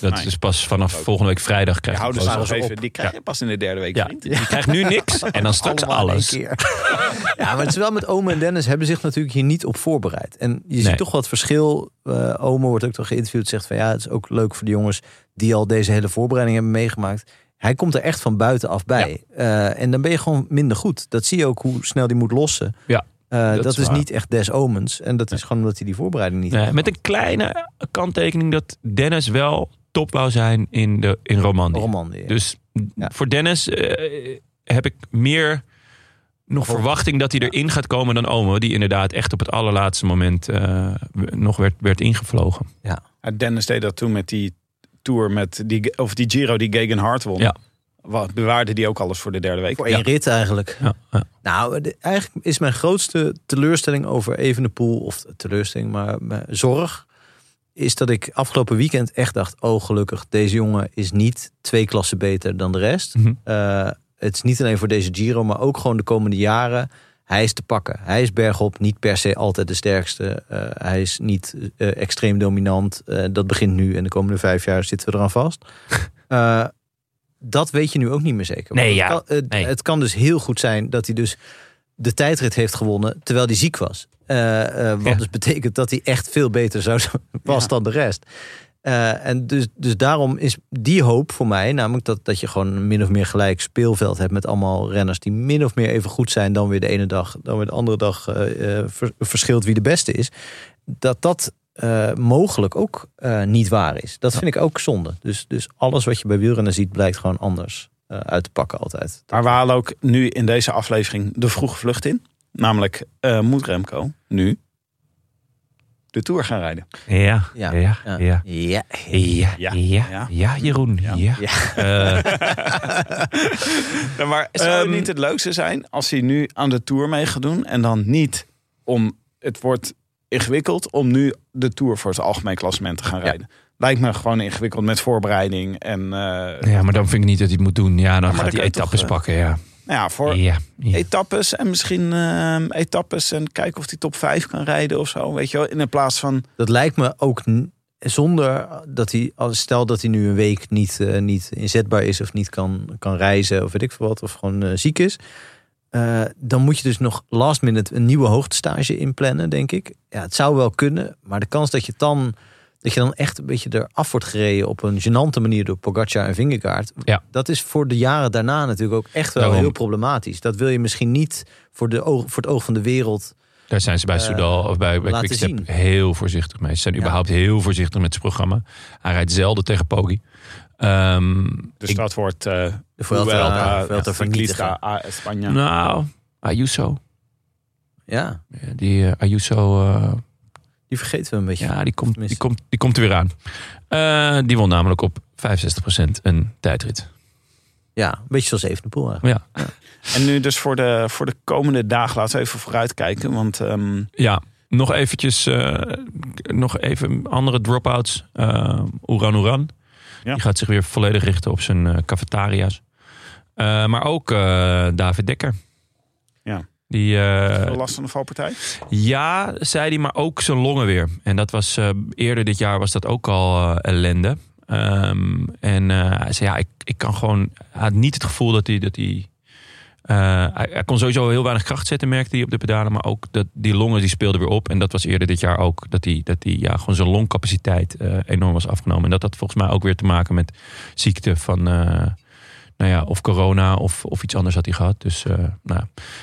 [SPEAKER 1] Dat
[SPEAKER 3] Nee.
[SPEAKER 1] is pas vanaf volgende week vrijdag
[SPEAKER 3] Die
[SPEAKER 1] krijgt hij
[SPEAKER 3] houden ze
[SPEAKER 1] Prozac.
[SPEAKER 3] nog
[SPEAKER 2] Alles
[SPEAKER 3] even. Die krijg je pas in de derde week,
[SPEAKER 1] Ja,
[SPEAKER 3] vriend.
[SPEAKER 1] je krijgt nu niks en dan straks
[SPEAKER 2] Allemaal in één
[SPEAKER 1] alles.
[SPEAKER 2] keer. ja, maar het is wel met Ome en Dennis hebben zich natuurlijk hier niet op voorbereid. En je
[SPEAKER 1] Nee.
[SPEAKER 2] ziet toch wat verschil. Eh Ome wordt ook toch geïnterviewd. Zegt van ja, het is ook leuk voor de jongens die al deze hele voorbereiding hebben meegemaakt. Hij komt er echt van buitenaf bij. Eh, en dan ben je gewoon minder goed. Dat zie je ook hoe snel die moet lossen.
[SPEAKER 1] Ja,
[SPEAKER 2] Eh, dat,
[SPEAKER 1] dat is
[SPEAKER 2] is
[SPEAKER 1] waar.
[SPEAKER 2] niet echt des omens. En dat is gewoon omdat hij die voorbereiding niet
[SPEAKER 1] Nee,
[SPEAKER 2] heeft
[SPEAKER 1] met een kleine kanttekening dat Dennis wel top wou zijn in, de, in Romandie.
[SPEAKER 2] Roman. ja.
[SPEAKER 1] Dus
[SPEAKER 2] Ja.
[SPEAKER 1] voor Dennis eh, heb ik meer nog verwachting dat hij erin gaat komen dan Ome. Die inderdaad echt op het allerlaatste moment eh, nog werd, werd ingevlogen.
[SPEAKER 3] Ja, Dennis deed dat toen met die tour, met die, of die Giro die Gegen Hart won.
[SPEAKER 1] Ja.
[SPEAKER 3] Wat, bewaarde die ook alles voor de derde week.
[SPEAKER 2] Voor één rit eigenlijk.
[SPEAKER 1] Ja, ja.
[SPEAKER 2] Nou, de- eigenlijk is mijn grootste teleurstelling over Evenepoel... of teleurstelling, maar mijn zorg... is dat ik afgelopen weekend echt dacht... oh, gelukkig, deze jongen is niet twee klassen beter dan de rest.
[SPEAKER 1] Mhm.
[SPEAKER 2] Eh, het is niet alleen voor deze Giro, maar ook gewoon de komende jaren... Hij is te pakken. Hij is bergop niet per se altijd de sterkste. Eh, hij is niet eh, extreem dominant. Eh, dat begint nu en de komende vijf jaar zitten we eraan vast. Eh, dat weet je nu ook niet meer zeker. Want
[SPEAKER 1] Nee,
[SPEAKER 2] het,
[SPEAKER 1] ja,
[SPEAKER 2] kan, het,
[SPEAKER 1] nee.
[SPEAKER 2] het kan dus heel goed zijn dat hij dus de tijdrit heeft gewonnen terwijl hij ziek was. Eh, eh, wat
[SPEAKER 1] Ja.
[SPEAKER 2] dus betekent dat hij echt veel beter zou zijn- was
[SPEAKER 3] Ja.
[SPEAKER 2] dan de rest. Eh, en dus, dus daarom is die hoop voor mij, namelijk dat, dat je gewoon een min of meer gelijk speelveld hebt met allemaal renners die min of meer even goed zijn, dan weer de ene dag, dan weer de andere dag eh, eh, ver- verschilt wie de beste is. Dat dat eh, mogelijk ook eh, niet waar is. Dat vind ik ook zonde. Dus, dus alles wat je bij wielrennen ziet, blijkt gewoon anders eh, uit te pakken altijd.
[SPEAKER 3] Maar we halen ook nu in deze aflevering de vroege vlucht in. Namelijk, eh, moet Remco nu de Tour gaan rijden?
[SPEAKER 1] Ja,
[SPEAKER 2] Ja,
[SPEAKER 1] ja, ja. ja.
[SPEAKER 2] ja. Ja.
[SPEAKER 1] Ja, ja,
[SPEAKER 3] ja.
[SPEAKER 1] ja, Jeroen. Ja. Eh,
[SPEAKER 3] maar zou
[SPEAKER 1] ehm,
[SPEAKER 3] het niet het leukste zijn als hij nu aan de Tour mee gaat doen... en dan niet om, het wordt ingewikkeld om nu de Tour voor het algemeen klassement te gaan rijden? Lijkt me gewoon ingewikkeld met voorbereiding en... eh, nou
[SPEAKER 1] ja, maar dan vind ik niet dat hij het moet doen. Ja, dan
[SPEAKER 3] maar
[SPEAKER 1] gaat
[SPEAKER 3] dan
[SPEAKER 1] hij
[SPEAKER 3] kan je toch,
[SPEAKER 1] etappes
[SPEAKER 3] eh,
[SPEAKER 1] pakken. Ja.
[SPEAKER 3] ja, voor,
[SPEAKER 1] Ja, ja.
[SPEAKER 3] etappes en misschien ehm, etappes en kijken of hij top 5 kan rijden of zo. Weet je wel, in de plaats van
[SPEAKER 2] Dat lijkt me ook n- zonder dat hij, als- stel dat hij nu een week niet, eh, niet inzetbaar is of niet kan, kan reizen of weet ik veel wat, of gewoon eh, ziek is. eh, dan moet je dus nog last minute een nieuwe hoogtestage inplannen, denk ik. Ja, het zou wel kunnen, maar de kans dat je dan, dat je dan echt een beetje eraf wordt gereden op een gênante manier door Pogacar en Vingegaard,
[SPEAKER 1] Ja.
[SPEAKER 2] dat is voor de jaren daarna natuurlijk ook echt wel
[SPEAKER 1] Daarom.
[SPEAKER 2] heel problematisch. Dat wil je misschien niet voor, de oog, voor het oog van de wereld
[SPEAKER 1] Daar zijn ze bij
[SPEAKER 2] eh,
[SPEAKER 1] Soudal of bij, bij
[SPEAKER 2] laten
[SPEAKER 1] Quickstep
[SPEAKER 2] zien.
[SPEAKER 1] heel voorzichtig mee. Ze zijn
[SPEAKER 2] Ja.
[SPEAKER 1] überhaupt heel voorzichtig met het programma. Hij rijdt zelden tegen Poggi. Ehm,
[SPEAKER 3] de
[SPEAKER 1] ik-
[SPEAKER 3] stad wordt uh,
[SPEAKER 2] de Vuelta,
[SPEAKER 3] eh,
[SPEAKER 2] Vuelta vernietigen.
[SPEAKER 3] Spanje.
[SPEAKER 1] Nou, Ayuso.
[SPEAKER 2] Ja,
[SPEAKER 1] Ja, Die eh, Ayuso, eh,
[SPEAKER 2] die vergeten we een beetje.
[SPEAKER 1] ja, die komt, die,
[SPEAKER 2] Tenminste.
[SPEAKER 1] komt, die komt er weer aan. Eh, die won namelijk op 65% een tijdrit.
[SPEAKER 2] Ja, een beetje zoals Evenepoel eigenlijk.
[SPEAKER 1] Ja,
[SPEAKER 3] En nu dus voor de, voor de komende dagen, laten we even vooruitkijken. Want ehm,
[SPEAKER 1] ja. nog eventjes, eh, nog even andere dropouts. Eh Oeran Oeran.
[SPEAKER 3] Ja.
[SPEAKER 1] Die gaat zich weer volledig richten op zijn eh, cafetaria's. Eh, maar ook eh, David Dekker.
[SPEAKER 3] Ja.
[SPEAKER 1] Die, eh,
[SPEAKER 3] last van de valpartij.
[SPEAKER 1] Ja, zei hij, maar ook zijn longen weer. En dat was eh, eerder dit jaar was dat ook al eh, ellende. Ehm, en eh, hij zei, ja, ik, ik kan gewoon... Hij had niet het gevoel dat hij... Dat hij, eh, hij, hij kon sowieso heel weinig kracht zetten, merkte hij op de pedalen. Maar ook dat, die longen die speelden weer op. En dat was eerder dit jaar ook. Dat hij, dat hij ja, gewoon zijn longcapaciteit eh, enorm was afgenomen. En dat had volgens mij ook weer te maken met ziekte van... eh, nou ja, of corona of, of iets anders had hij gehad. Dus eh, nou,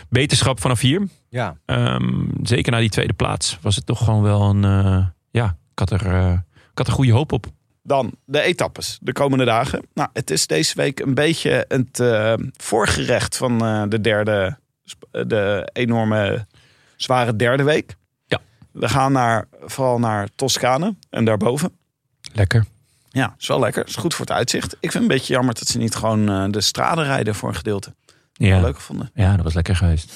[SPEAKER 1] beterschap vanaf hier.
[SPEAKER 2] Ja.
[SPEAKER 1] Ehm, zeker na die tweede plaats was het toch gewoon wel een. eh, ja, ik had, er, eh, ik had er goede hoop op.
[SPEAKER 3] Dan de etappes de komende dagen. Nou, het is deze week een beetje het eh, voorgerecht van eh, de derde, sp- eh, de enorme zware derde week.
[SPEAKER 1] Ja.
[SPEAKER 3] We gaan naar, vooral naar Toscane en daarboven.
[SPEAKER 1] Lekker.
[SPEAKER 3] Ja, is wel lekker. Is goed voor het uitzicht. Ik vind het een beetje jammer dat ze niet gewoon eh, de straden rijden voor een gedeelte.
[SPEAKER 1] Ja,
[SPEAKER 3] Wel leuk gevonden.
[SPEAKER 1] ja dat was lekker geweest.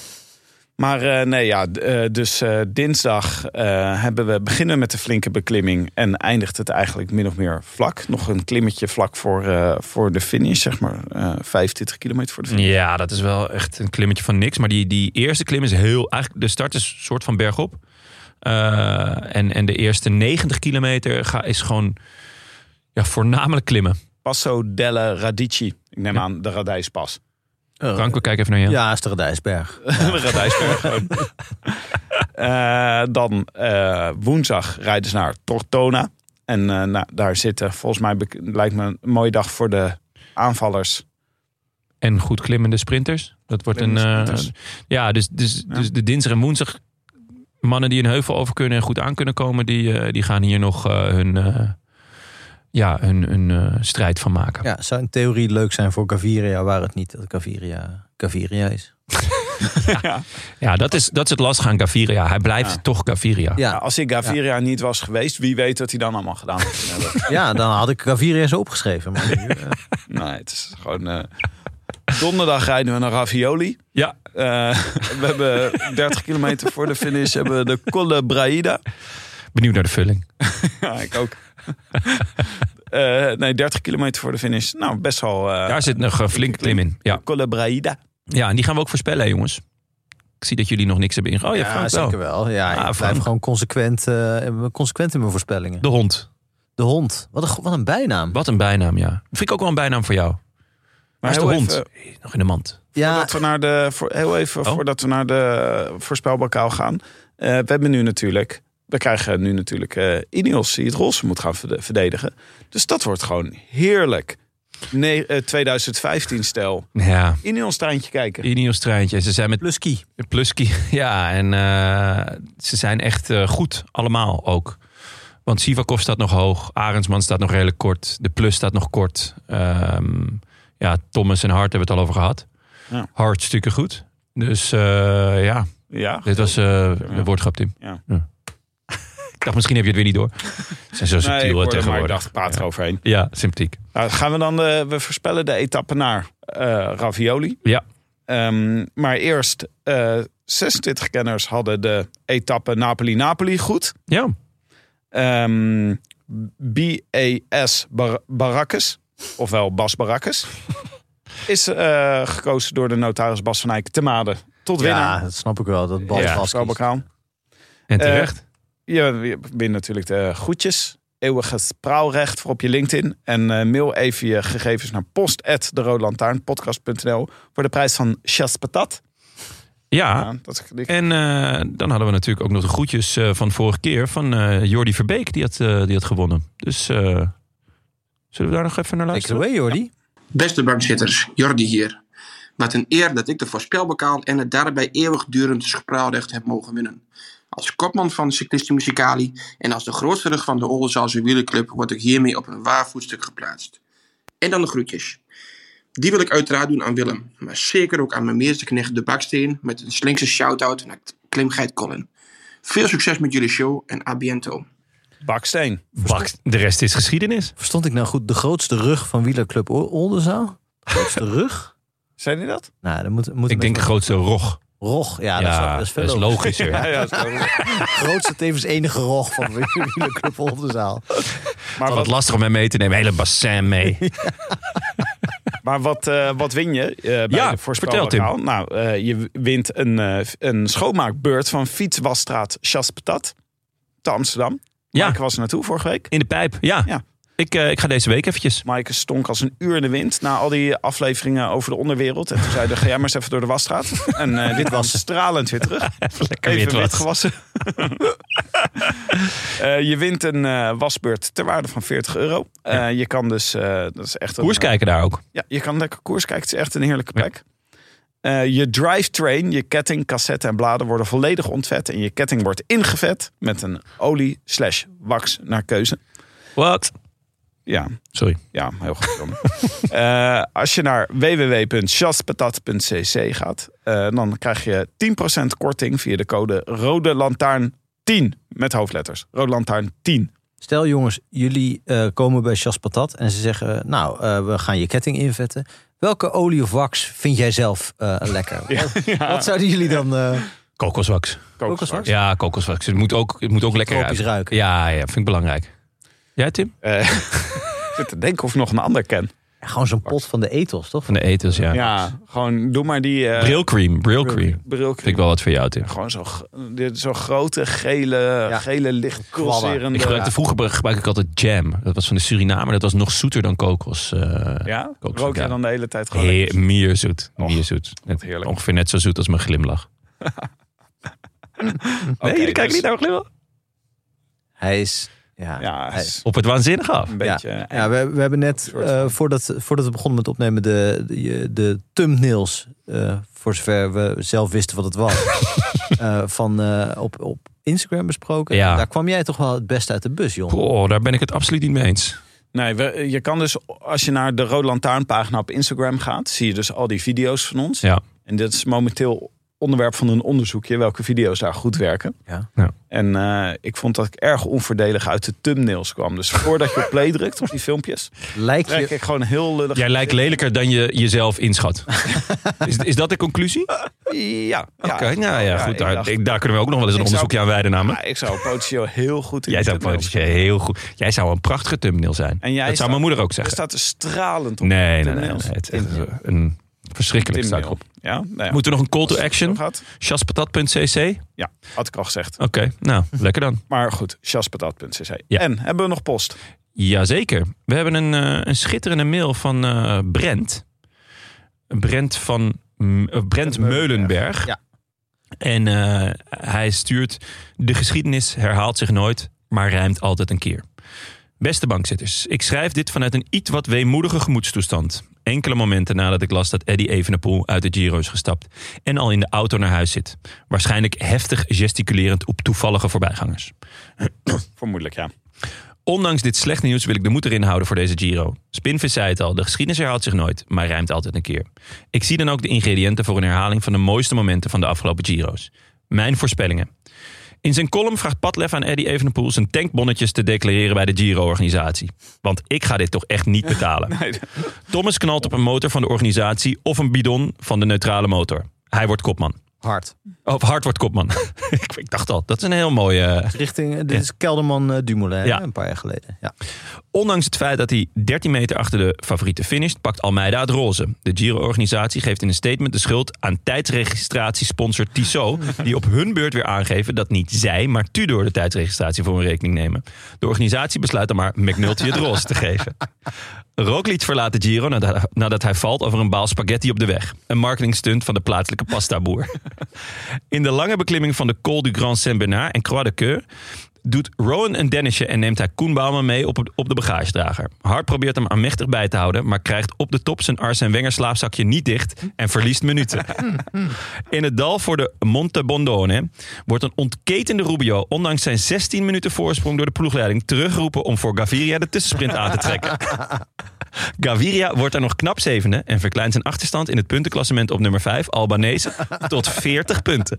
[SPEAKER 3] Maar eh, nee, ja, d- eh, dus eh, dinsdag eh, hebben we beginnen met de flinke beklimming. En eindigt het eigenlijk min of meer vlak. Nog een klimmetje vlak voor, eh, voor de finish, zeg maar eh 25 kilometer voor de finish.
[SPEAKER 1] Ja, dat is wel echt een klimmetje van niks. Maar die, die eerste klim is heel... Eigenlijk de start is een soort van bergop. Eh, en, en de eerste 90 kilometer ga, is gewoon ja, voornamelijk klimmen.
[SPEAKER 3] Passo della Radici. Ik neem aan de Radijspas.
[SPEAKER 1] Frank, we kijken even naar jou.
[SPEAKER 2] Ja, is de Radijsberg.
[SPEAKER 3] de Radijsberg. gewoon. Eh, dan eh, woensdag rijden ze naar Tortona. En eh, nou, daar zitten volgens mij, bek- lijkt me een mooie dag voor de aanvallers.
[SPEAKER 1] En goed klimmende sprinters. Dat wordt een...
[SPEAKER 3] Klimmende
[SPEAKER 1] eh,
[SPEAKER 3] sprinters.
[SPEAKER 1] ja, dus, dus,
[SPEAKER 3] Ja.
[SPEAKER 1] dus de dinsdag en woensdag... Mannen die een heuvel over kunnen en goed aan kunnen komen... die, eh, die gaan hier nog eh, hun, eh, ja, hun, hun eh, strijd van maken.
[SPEAKER 2] Ja, zou in theorie leuk zijn voor Gaviria, waar het niet dat Gaviria Gaviria is.
[SPEAKER 1] Ja, dat is, dat is het lastige aan Gaviria. Hij blijft
[SPEAKER 3] Ja.
[SPEAKER 1] toch Gaviria.
[SPEAKER 2] Ja,
[SPEAKER 3] Nou, als ik Gaviria niet was geweest, wie weet wat hij dan allemaal gedaan had. Nee, dat-
[SPEAKER 2] ja dan had ik Gaviria zo opgeschreven. Maar nu, eh,
[SPEAKER 3] nee, het is gewoon... eh, Donderdag rijden we naar Ravioli.
[SPEAKER 1] Ja,
[SPEAKER 3] Eh, we hebben 30 kilometer voor de finish hebben we de Colle Braida.
[SPEAKER 1] benieuwd naar de vulling.
[SPEAKER 3] Ja, ik ook. Eh, nee, 30 kilometer voor de finish. Nou, best wel... eh,
[SPEAKER 1] Daar zit nog een flinke klim in. Ja.
[SPEAKER 3] Colle Braida.
[SPEAKER 1] ja, en die gaan we ook voorspellen, hè, jongens. Ik zie dat jullie nog niks hebben ingegaan. Oh ja,
[SPEAKER 2] ja,
[SPEAKER 1] Frank wel.
[SPEAKER 2] zeker wel. Ja,
[SPEAKER 1] Ah,
[SPEAKER 2] ik
[SPEAKER 1] Frank.
[SPEAKER 2] blijf gewoon consequent, eh, consequent in mijn voorspellingen.
[SPEAKER 1] De hond.
[SPEAKER 2] De hond. Wat een, go- wat een bijnaam.
[SPEAKER 1] Wat een bijnaam, ja. Vind ik ook wel een bijnaam voor jou. Waar is de
[SPEAKER 3] heel
[SPEAKER 1] hond?
[SPEAKER 3] even-
[SPEAKER 1] Nog in de mand.
[SPEAKER 2] Ja,
[SPEAKER 3] Voordat we naar de, voor, heel even
[SPEAKER 1] Oh.
[SPEAKER 3] voordat we naar de eh, voorspelbokaal gaan. Eh, we hebben nu natuurlijk... We krijgen nu natuurlijk eh Ineos die het roze moet gaan verde- verdedigen. Dus dat wordt gewoon heerlijk. Nee, 2015-stijl.
[SPEAKER 1] Ja,
[SPEAKER 3] Ineos tuintje kijken.
[SPEAKER 1] Ineos treintje. Ze zijn met
[SPEAKER 2] Pluskie.
[SPEAKER 1] Plusky. Ja, en eh, ze zijn echt eh, goed. Allemaal ook. Want Sivakov staat nog hoog. Arendsman staat nog redelijk kort. De Plus staat nog kort. Ehm, ja, Thomas en Hart hebben we het al over gehad.
[SPEAKER 3] Ja.
[SPEAKER 1] Hart stukken goed. Dus eh, ja,
[SPEAKER 3] Ja,
[SPEAKER 1] dit was eh een woordgrap, Tim.
[SPEAKER 3] Ja.
[SPEAKER 1] Ik dacht, misschien heb je het weer niet door. Ze zijn zo
[SPEAKER 3] Nee, ik
[SPEAKER 1] subtiel
[SPEAKER 3] hoorde,
[SPEAKER 1] eh,
[SPEAKER 3] maar
[SPEAKER 1] tegenwoordig.
[SPEAKER 3] ik dacht, ik praat
[SPEAKER 1] ja.
[SPEAKER 3] eroverheen.
[SPEAKER 1] ja, sympathiek.
[SPEAKER 3] Nou, gaan we dan, de, we voorspellen de etappe naar eh, Ravioli.
[SPEAKER 1] Ja.
[SPEAKER 3] Ehm, maar eerst, eh 26 kenners hadden de etappe Napoli-Napoli goed.
[SPEAKER 1] Ja,
[SPEAKER 3] Ehm, BAS Bar Barakkes, ofwel Bas Barakkes, is eh, gekozen door de notaris Bas van Eyck te Maden tot
[SPEAKER 2] Ja,
[SPEAKER 3] winnaar.
[SPEAKER 2] dat snap ik wel. Dat bal
[SPEAKER 1] Ja,
[SPEAKER 2] vast. kiest.
[SPEAKER 3] Voorspelbokaal. Eh,
[SPEAKER 1] en terecht.
[SPEAKER 3] Je wint natuurlijk de groetjes. Eeuwig het praalrecht voor op je LinkedIn. En eh, mail even je gegevens naar post voor de prijs van Chas Patat.
[SPEAKER 1] ja,
[SPEAKER 3] Ja, dat is dik.
[SPEAKER 1] En eh, dan hadden we natuurlijk ook nog de groetjes eh, van vorige keer van eh, Jordi Verbeek, die had, eh, die had gewonnen. Dus eh, zullen we daar nog even naar
[SPEAKER 2] Take it
[SPEAKER 1] luisteren?
[SPEAKER 2] away, Jordi.
[SPEAKER 4] Beste bankzitters, Jordi hier. Wat een eer dat ik de voorspelbokaal en het daarbij eeuwigdurend spraalrecht heb mogen winnen. Als kopman van de Cyclisti Musicali en als de grootste rug van de Oldenzaalse wielenclub word ik hiermee op een waar voetstuk geplaatst. En dan de groetjes. Die wil ik uiteraard doen aan Willem, maar zeker ook aan mijn meesterknecht De Baksteen met een slinkse shout-out naar Klim Geit Colin. Veel succes met jullie show en a biento.
[SPEAKER 3] Baksteen.
[SPEAKER 1] Bak, de rest is geschiedenis.
[SPEAKER 2] Verstond ik nou goed de grootste rug van wielerclub O- Oldenzaal? Grootste rug?
[SPEAKER 3] Zei hij dat?
[SPEAKER 2] Nou, dan moet, moet
[SPEAKER 1] Ik denk de
[SPEAKER 2] met-
[SPEAKER 1] grootste rog.
[SPEAKER 2] Rog.
[SPEAKER 1] Ja,
[SPEAKER 2] Ja, dat is, dat is veel logischer.
[SPEAKER 1] logischer.
[SPEAKER 3] Ja, ja, zo.
[SPEAKER 2] grootste tevens enige rog van de wielerclub Oldenzaal.
[SPEAKER 3] maar
[SPEAKER 1] Wat
[SPEAKER 3] wat,
[SPEAKER 1] lastig om hem mee te nemen. Hele bassin mee.
[SPEAKER 3] maar wat, eh, wat win je eh, bij
[SPEAKER 1] Ja,
[SPEAKER 3] de voorspelbokaal? Nou, eh, je wint een, eh, een schoonmaakbeurt van fietswasstraat Chas Patat te Amsterdam.
[SPEAKER 1] Ja.
[SPEAKER 3] Ja. Ik was er naartoe vorige week.
[SPEAKER 1] In de pijp, ja.
[SPEAKER 3] Ja.
[SPEAKER 1] Ik, eh, ik ga deze week eventjes.
[SPEAKER 3] Maaike stonk als een uur in de wind na al die afleveringen over de onderwereld. En toen zei hij, ga jij maar eens even door de wasstraat. En eh, dit was stralend weer terug.
[SPEAKER 1] Even lekker
[SPEAKER 3] Even
[SPEAKER 1] wit was.
[SPEAKER 3] wit gewassen. Eh, je wint een eh, wasbeurt ter waarde van 40 euro. Eh, Je kan dus... eh, dat is echt een,
[SPEAKER 1] Koers kijken daar ook.
[SPEAKER 3] ja, je kan lekker koers kijken. Het is echt een heerlijke
[SPEAKER 1] Ja.
[SPEAKER 3] plek. Eh, je drivetrain, je ketting, cassette en bladen worden volledig ontvet. En je ketting wordt ingevet met een olie slash wax naar keuze.
[SPEAKER 1] Wat?
[SPEAKER 3] Ja,
[SPEAKER 1] Sorry.
[SPEAKER 3] ja, heel goed. Ron. Eh, als je naar www.chaspatat.cc gaat, eh, dan krijg je 10% korting via de code Rode Lantaarn 10 met hoofdletters. Rode Lantaarn 10.
[SPEAKER 2] Stel jongens, jullie eh, komen bij Chas Patat en ze zeggen... nou, eh, we gaan je ketting invetten. Welke olie of wax vind jij zelf eh, lekker? Wat, wat zouden jullie dan... eh,
[SPEAKER 1] Kokoswax.
[SPEAKER 2] Kokoswax?
[SPEAKER 1] Ja, kokoswax. Het moet ook, het moet ook lekker
[SPEAKER 2] Tropisch
[SPEAKER 1] ruiken.
[SPEAKER 2] ruiken.
[SPEAKER 1] Ja, ja, vind ik belangrijk. Jij Tim?
[SPEAKER 3] Eh, ik zit te denken of ik nog een ander ken.
[SPEAKER 2] Ja, Gewoon zo'n pot van de ethos, toch?
[SPEAKER 1] Van de etels, ja.
[SPEAKER 3] Ja, gewoon doe maar die... eh
[SPEAKER 1] Brilcream, brilcream.
[SPEAKER 3] brilcream.
[SPEAKER 1] Vind ik wel wat voor jou Tim.
[SPEAKER 3] Gewoon zo'n g- dit- zo'n grote, gele,
[SPEAKER 2] Ja.
[SPEAKER 3] gele licht
[SPEAKER 2] Kwabber.
[SPEAKER 3] pulserende...
[SPEAKER 1] Ik gebruikte, vroeger gebruik ik altijd jam. Dat was van de Suriname. Dat was nog zoeter dan kokos. eh
[SPEAKER 3] Ja?
[SPEAKER 1] Kokos,
[SPEAKER 3] Rook je
[SPEAKER 1] ja.
[SPEAKER 3] dan de hele tijd gewoon...
[SPEAKER 1] Heer, meer zoet. Meer zoet. Net-
[SPEAKER 3] heerlijk.
[SPEAKER 1] Ongeveer net zo zoet als mijn glimlach. nee, jullie kijken
[SPEAKER 3] dus-
[SPEAKER 1] niet naar mijn glimlach.
[SPEAKER 2] Hij is... Ja,
[SPEAKER 3] Ja,
[SPEAKER 2] hij
[SPEAKER 3] is
[SPEAKER 2] is-
[SPEAKER 1] Op het waanzinnige af.
[SPEAKER 3] een
[SPEAKER 2] ja.
[SPEAKER 3] beetje... eh,
[SPEAKER 2] Ja, we, we hebben net,
[SPEAKER 3] soort
[SPEAKER 2] eh, voordat, voordat we begonnen met opnemen, de, de, de thumbnails, eh, voor zover we zelf wisten wat het was, eh, van, eh, op, op Instagram besproken.
[SPEAKER 1] Ja.
[SPEAKER 2] Daar kwam jij toch wel het beste uit de bus, Jon.
[SPEAKER 1] Boah, Oh, daar ben ik het absoluut niet mee eens.
[SPEAKER 3] Nee, we- je kan dus als je naar de Rode Lantaarn pagina op Instagram gaat, zie je dus al die video's van ons.
[SPEAKER 1] Ja.
[SPEAKER 3] En dit is momenteel onderwerp van een onderzoekje, welke video's daar goed werken.
[SPEAKER 2] Ja.
[SPEAKER 1] Ja.
[SPEAKER 3] En eh, ik vond dat ik erg onvoordelig uit de thumbnails kwam. Dus voordat je op play drukt op die filmpjes,
[SPEAKER 2] Lijkt
[SPEAKER 3] trek
[SPEAKER 2] je...
[SPEAKER 3] ik gewoon heel lullig.
[SPEAKER 1] Jij lijkt lelijker dan je jezelf inschat. Is, is dat de conclusie?
[SPEAKER 3] Ja. ja.
[SPEAKER 1] Oké, nou ja, goed.
[SPEAKER 3] ik
[SPEAKER 1] Daar,
[SPEAKER 3] dacht-
[SPEAKER 1] ik- daar kunnen we ook nog wel eens een
[SPEAKER 3] Ik zou-
[SPEAKER 1] onderzoekje aan wijden namelijk.
[SPEAKER 3] Ja, ik zou potentieel heel goed in
[SPEAKER 1] Hm? Jij
[SPEAKER 3] de
[SPEAKER 1] zou
[SPEAKER 3] thumbnails
[SPEAKER 1] politiek heel goed. Jij zou een prachtige thumbnail zijn.
[SPEAKER 3] En jij
[SPEAKER 1] dat
[SPEAKER 3] staat-
[SPEAKER 1] zou mijn moeder ook
[SPEAKER 3] Je
[SPEAKER 1] zeggen.
[SPEAKER 3] staat er stralend op.
[SPEAKER 1] nee, nee, nee, nee.
[SPEAKER 3] thumbnails.
[SPEAKER 1] Het is echt een- een verschrikkelijk staat
[SPEAKER 3] Thumbnail.
[SPEAKER 1] erop.
[SPEAKER 3] Ja, nou ja.
[SPEAKER 1] Moeten we nog een call
[SPEAKER 3] Als
[SPEAKER 1] to
[SPEAKER 3] het
[SPEAKER 1] action?
[SPEAKER 3] nog had.
[SPEAKER 1] Chaspatat.cc? Oké,
[SPEAKER 3] Ja, had ik al gezegd.
[SPEAKER 1] nou, lekker dan.
[SPEAKER 3] Maar goed, chaspatat.cc.
[SPEAKER 1] Ja.
[SPEAKER 3] En hebben we nog post?
[SPEAKER 1] Jazeker. We hebben een, eh, een schitterende mail van eh, Brent. Brent van M- eh, Brent Meulenberg.
[SPEAKER 2] Ja.
[SPEAKER 1] En eh, hij stuurt: De geschiedenis herhaalt zich nooit, maar rijmt altijd een keer. Beste bankzitters, ik schrijf dit vanuit een iets wat weemoedige gemoedstoestand. Enkele momenten nadat ik las dat Eddie Evenepoel uit de Giro is gestapt en al in de auto naar huis zit. Waarschijnlijk heftig gesticulerend op toevallige voorbijgangers.
[SPEAKER 3] Vermoedelijk, ja.
[SPEAKER 1] Ondanks dit slecht nieuws wil ik de moed erin houden voor deze Giro. Spinvis zei het al, de geschiedenis herhaalt zich nooit, maar rijmt altijd een keer. Ik zie dan ook de ingrediënten voor een herhaling van de mooiste momenten van de afgelopen Giro's. Mijn voorspellingen. In zijn column vraagt Padlef aan Eddie Evenepoel zijn tankbonnetjes te declareren bij de Giro-organisatie. Want ik ga dit toch echt niet betalen. Thomas knalt op een motor van de organisatie of een bidon van de neutrale motor. Hij wordt kopman.
[SPEAKER 2] Hard.
[SPEAKER 1] Of Hart wordt kopman. ik ik dacht al, dat is een heel eh, mooie,
[SPEAKER 2] Richting, dit is Kelderman eh, Dumoulin,
[SPEAKER 1] Ja.
[SPEAKER 2] hè, een paar jaar geleden. Ja.
[SPEAKER 1] Ondanks het feit dat hij 13 meter achter de favoriete finisht, pakt Almeida het roze. De Giro-organisatie geeft in een statement de schuld aan tijdsregistratiesponsor Tissot, die op hun beurt weer aangeven dat niet zij, maar Tudor de tijdsregistratie voor hun rekening nemen. De organisatie besluit dan maar McNulty het roze te geven. Roglic verlaat de Giro nadat- nadat hij valt over een baal spaghetti op de weg. Een marketingstunt van de plaatselijke pastaboer. In de lange beklimming van de Col du Grand Saint-Bernard en Croix de Coeur doet Rowan een dennisje en neemt hij Koen Bouwman mee op, het- op de bagagedrager. Hart probeert hem aanmächtig bij te houden, maar krijgt op de top zijn Arsène Wenger slaapzakje niet dicht en verliest minuten. In het dal voor de Monte Bondone wordt een ontketende Rubio, ondanks zijn 16 minuten voorsprong door de ploegleiding, teruggeroepen om voor Gaviria de tussensprint aan te trekken. Gaviria wordt daar nog knap zevende en verkleint zijn achterstand in het puntenklassement op nummer 5, Albanese, tot 40 punten.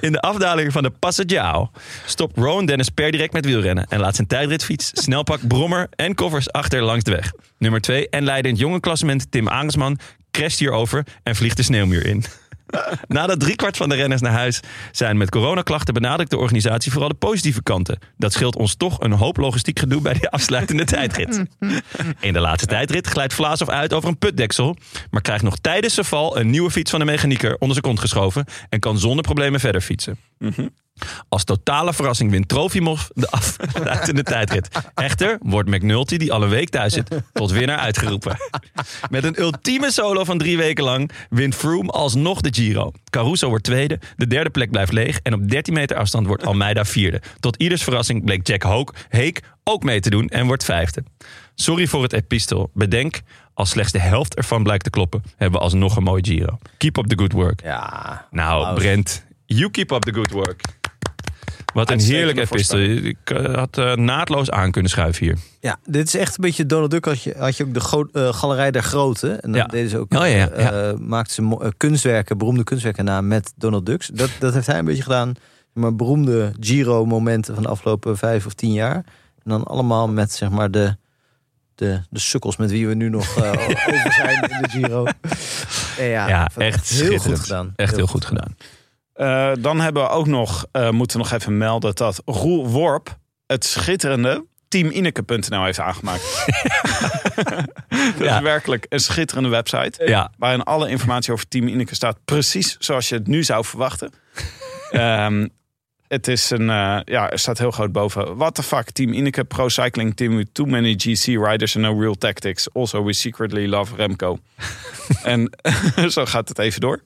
[SPEAKER 1] In de afdaling van de Passaggiao stopt Rowan Dennis per direct met wielrennen en laat zijn tijdritfiets, snelpak, brommer en koffers achter langs de weg. Nummer 2 en leidend jonge klassement Tim Arendsman crasht hierover en vliegt de sneeuwmuur in. Nadat driekwart van de renners naar huis zijn met coronaklachten, benadrukt de organisatie vooral de positieve kanten. Dat scheelt ons toch een hoop logistiek gedoe bij de afsluitende tijdrit. In de laatste tijdrit glijdt Vlaasov uit over een putdeksel, maar krijgt nog tijdens zijn val een nieuwe fiets van de mechanieker onder zijn kont geschoven en kan zonder problemen verder fietsen. Als totale verrassing wint Trofimov de afsluitende tijdrit. Echter wordt McNulty, die alle week thuis zit, tot winnaar uitgeroepen. Met een ultieme solo van drie weken lang wint Froome alsnog de Giro. Caruso wordt tweede, de derde plek blijft leeg en op 13 meter afstand wordt Almeida vierde. Tot ieders verrassing bleek Jack Hoek, Heek ook mee te doen en wordt vijfde. Sorry voor het epistel. Bedenk, als slechts de helft ervan blijkt te kloppen, hebben we alsnog een mooi Giro. Keep up the good work.
[SPEAKER 2] ja.
[SPEAKER 1] Nou,
[SPEAKER 2] Applaus.
[SPEAKER 1] Brent, you keep up the good work. Wat een heerlijke epistel. Ik eh, had eh, naadloos aan kunnen schuiven hier.
[SPEAKER 2] Ja, dit is echt een beetje Donald Duck. Had je, had je ook de gro- eh, Galerij der Grote. En dan
[SPEAKER 1] Ja.
[SPEAKER 2] deden ze ook,
[SPEAKER 1] Oh, ja, ja, ja.
[SPEAKER 2] eh, maakten ze mo- eh, kunstwerken, beroemde kunstwerken na met Donald Ducks. Dat, dat heeft hij een beetje gedaan. Maar beroemde Giro-momenten van de afgelopen vijf of tien jaar. En dan allemaal met zeg maar de, de, de sukkels met wie we nu nog eh, over zijn in de Giro. En ja,
[SPEAKER 1] Ja,
[SPEAKER 2] dat-
[SPEAKER 1] echt
[SPEAKER 2] heel goed
[SPEAKER 1] schitterend.
[SPEAKER 2] gedaan.
[SPEAKER 1] Echt heel goed gedaan.
[SPEAKER 3] Eh, dan hebben we ook nog, eh, moeten we nog even melden dat Roel Worp het schitterende teamineke.nl heeft aangemaakt. dat is
[SPEAKER 1] Ja.
[SPEAKER 3] werkelijk een schitterende website.
[SPEAKER 1] Ja.
[SPEAKER 3] Waarin alle informatie over Team Ineke staat. Precies zoals je het nu zou verwachten. Ehm, het is een, eh, ja, er staat heel groot boven. What the fuck, Team Ineke, Pro Cycling Team with too many GC riders and no real tactics. Also, we secretly love Remco. en zo gaat het even door.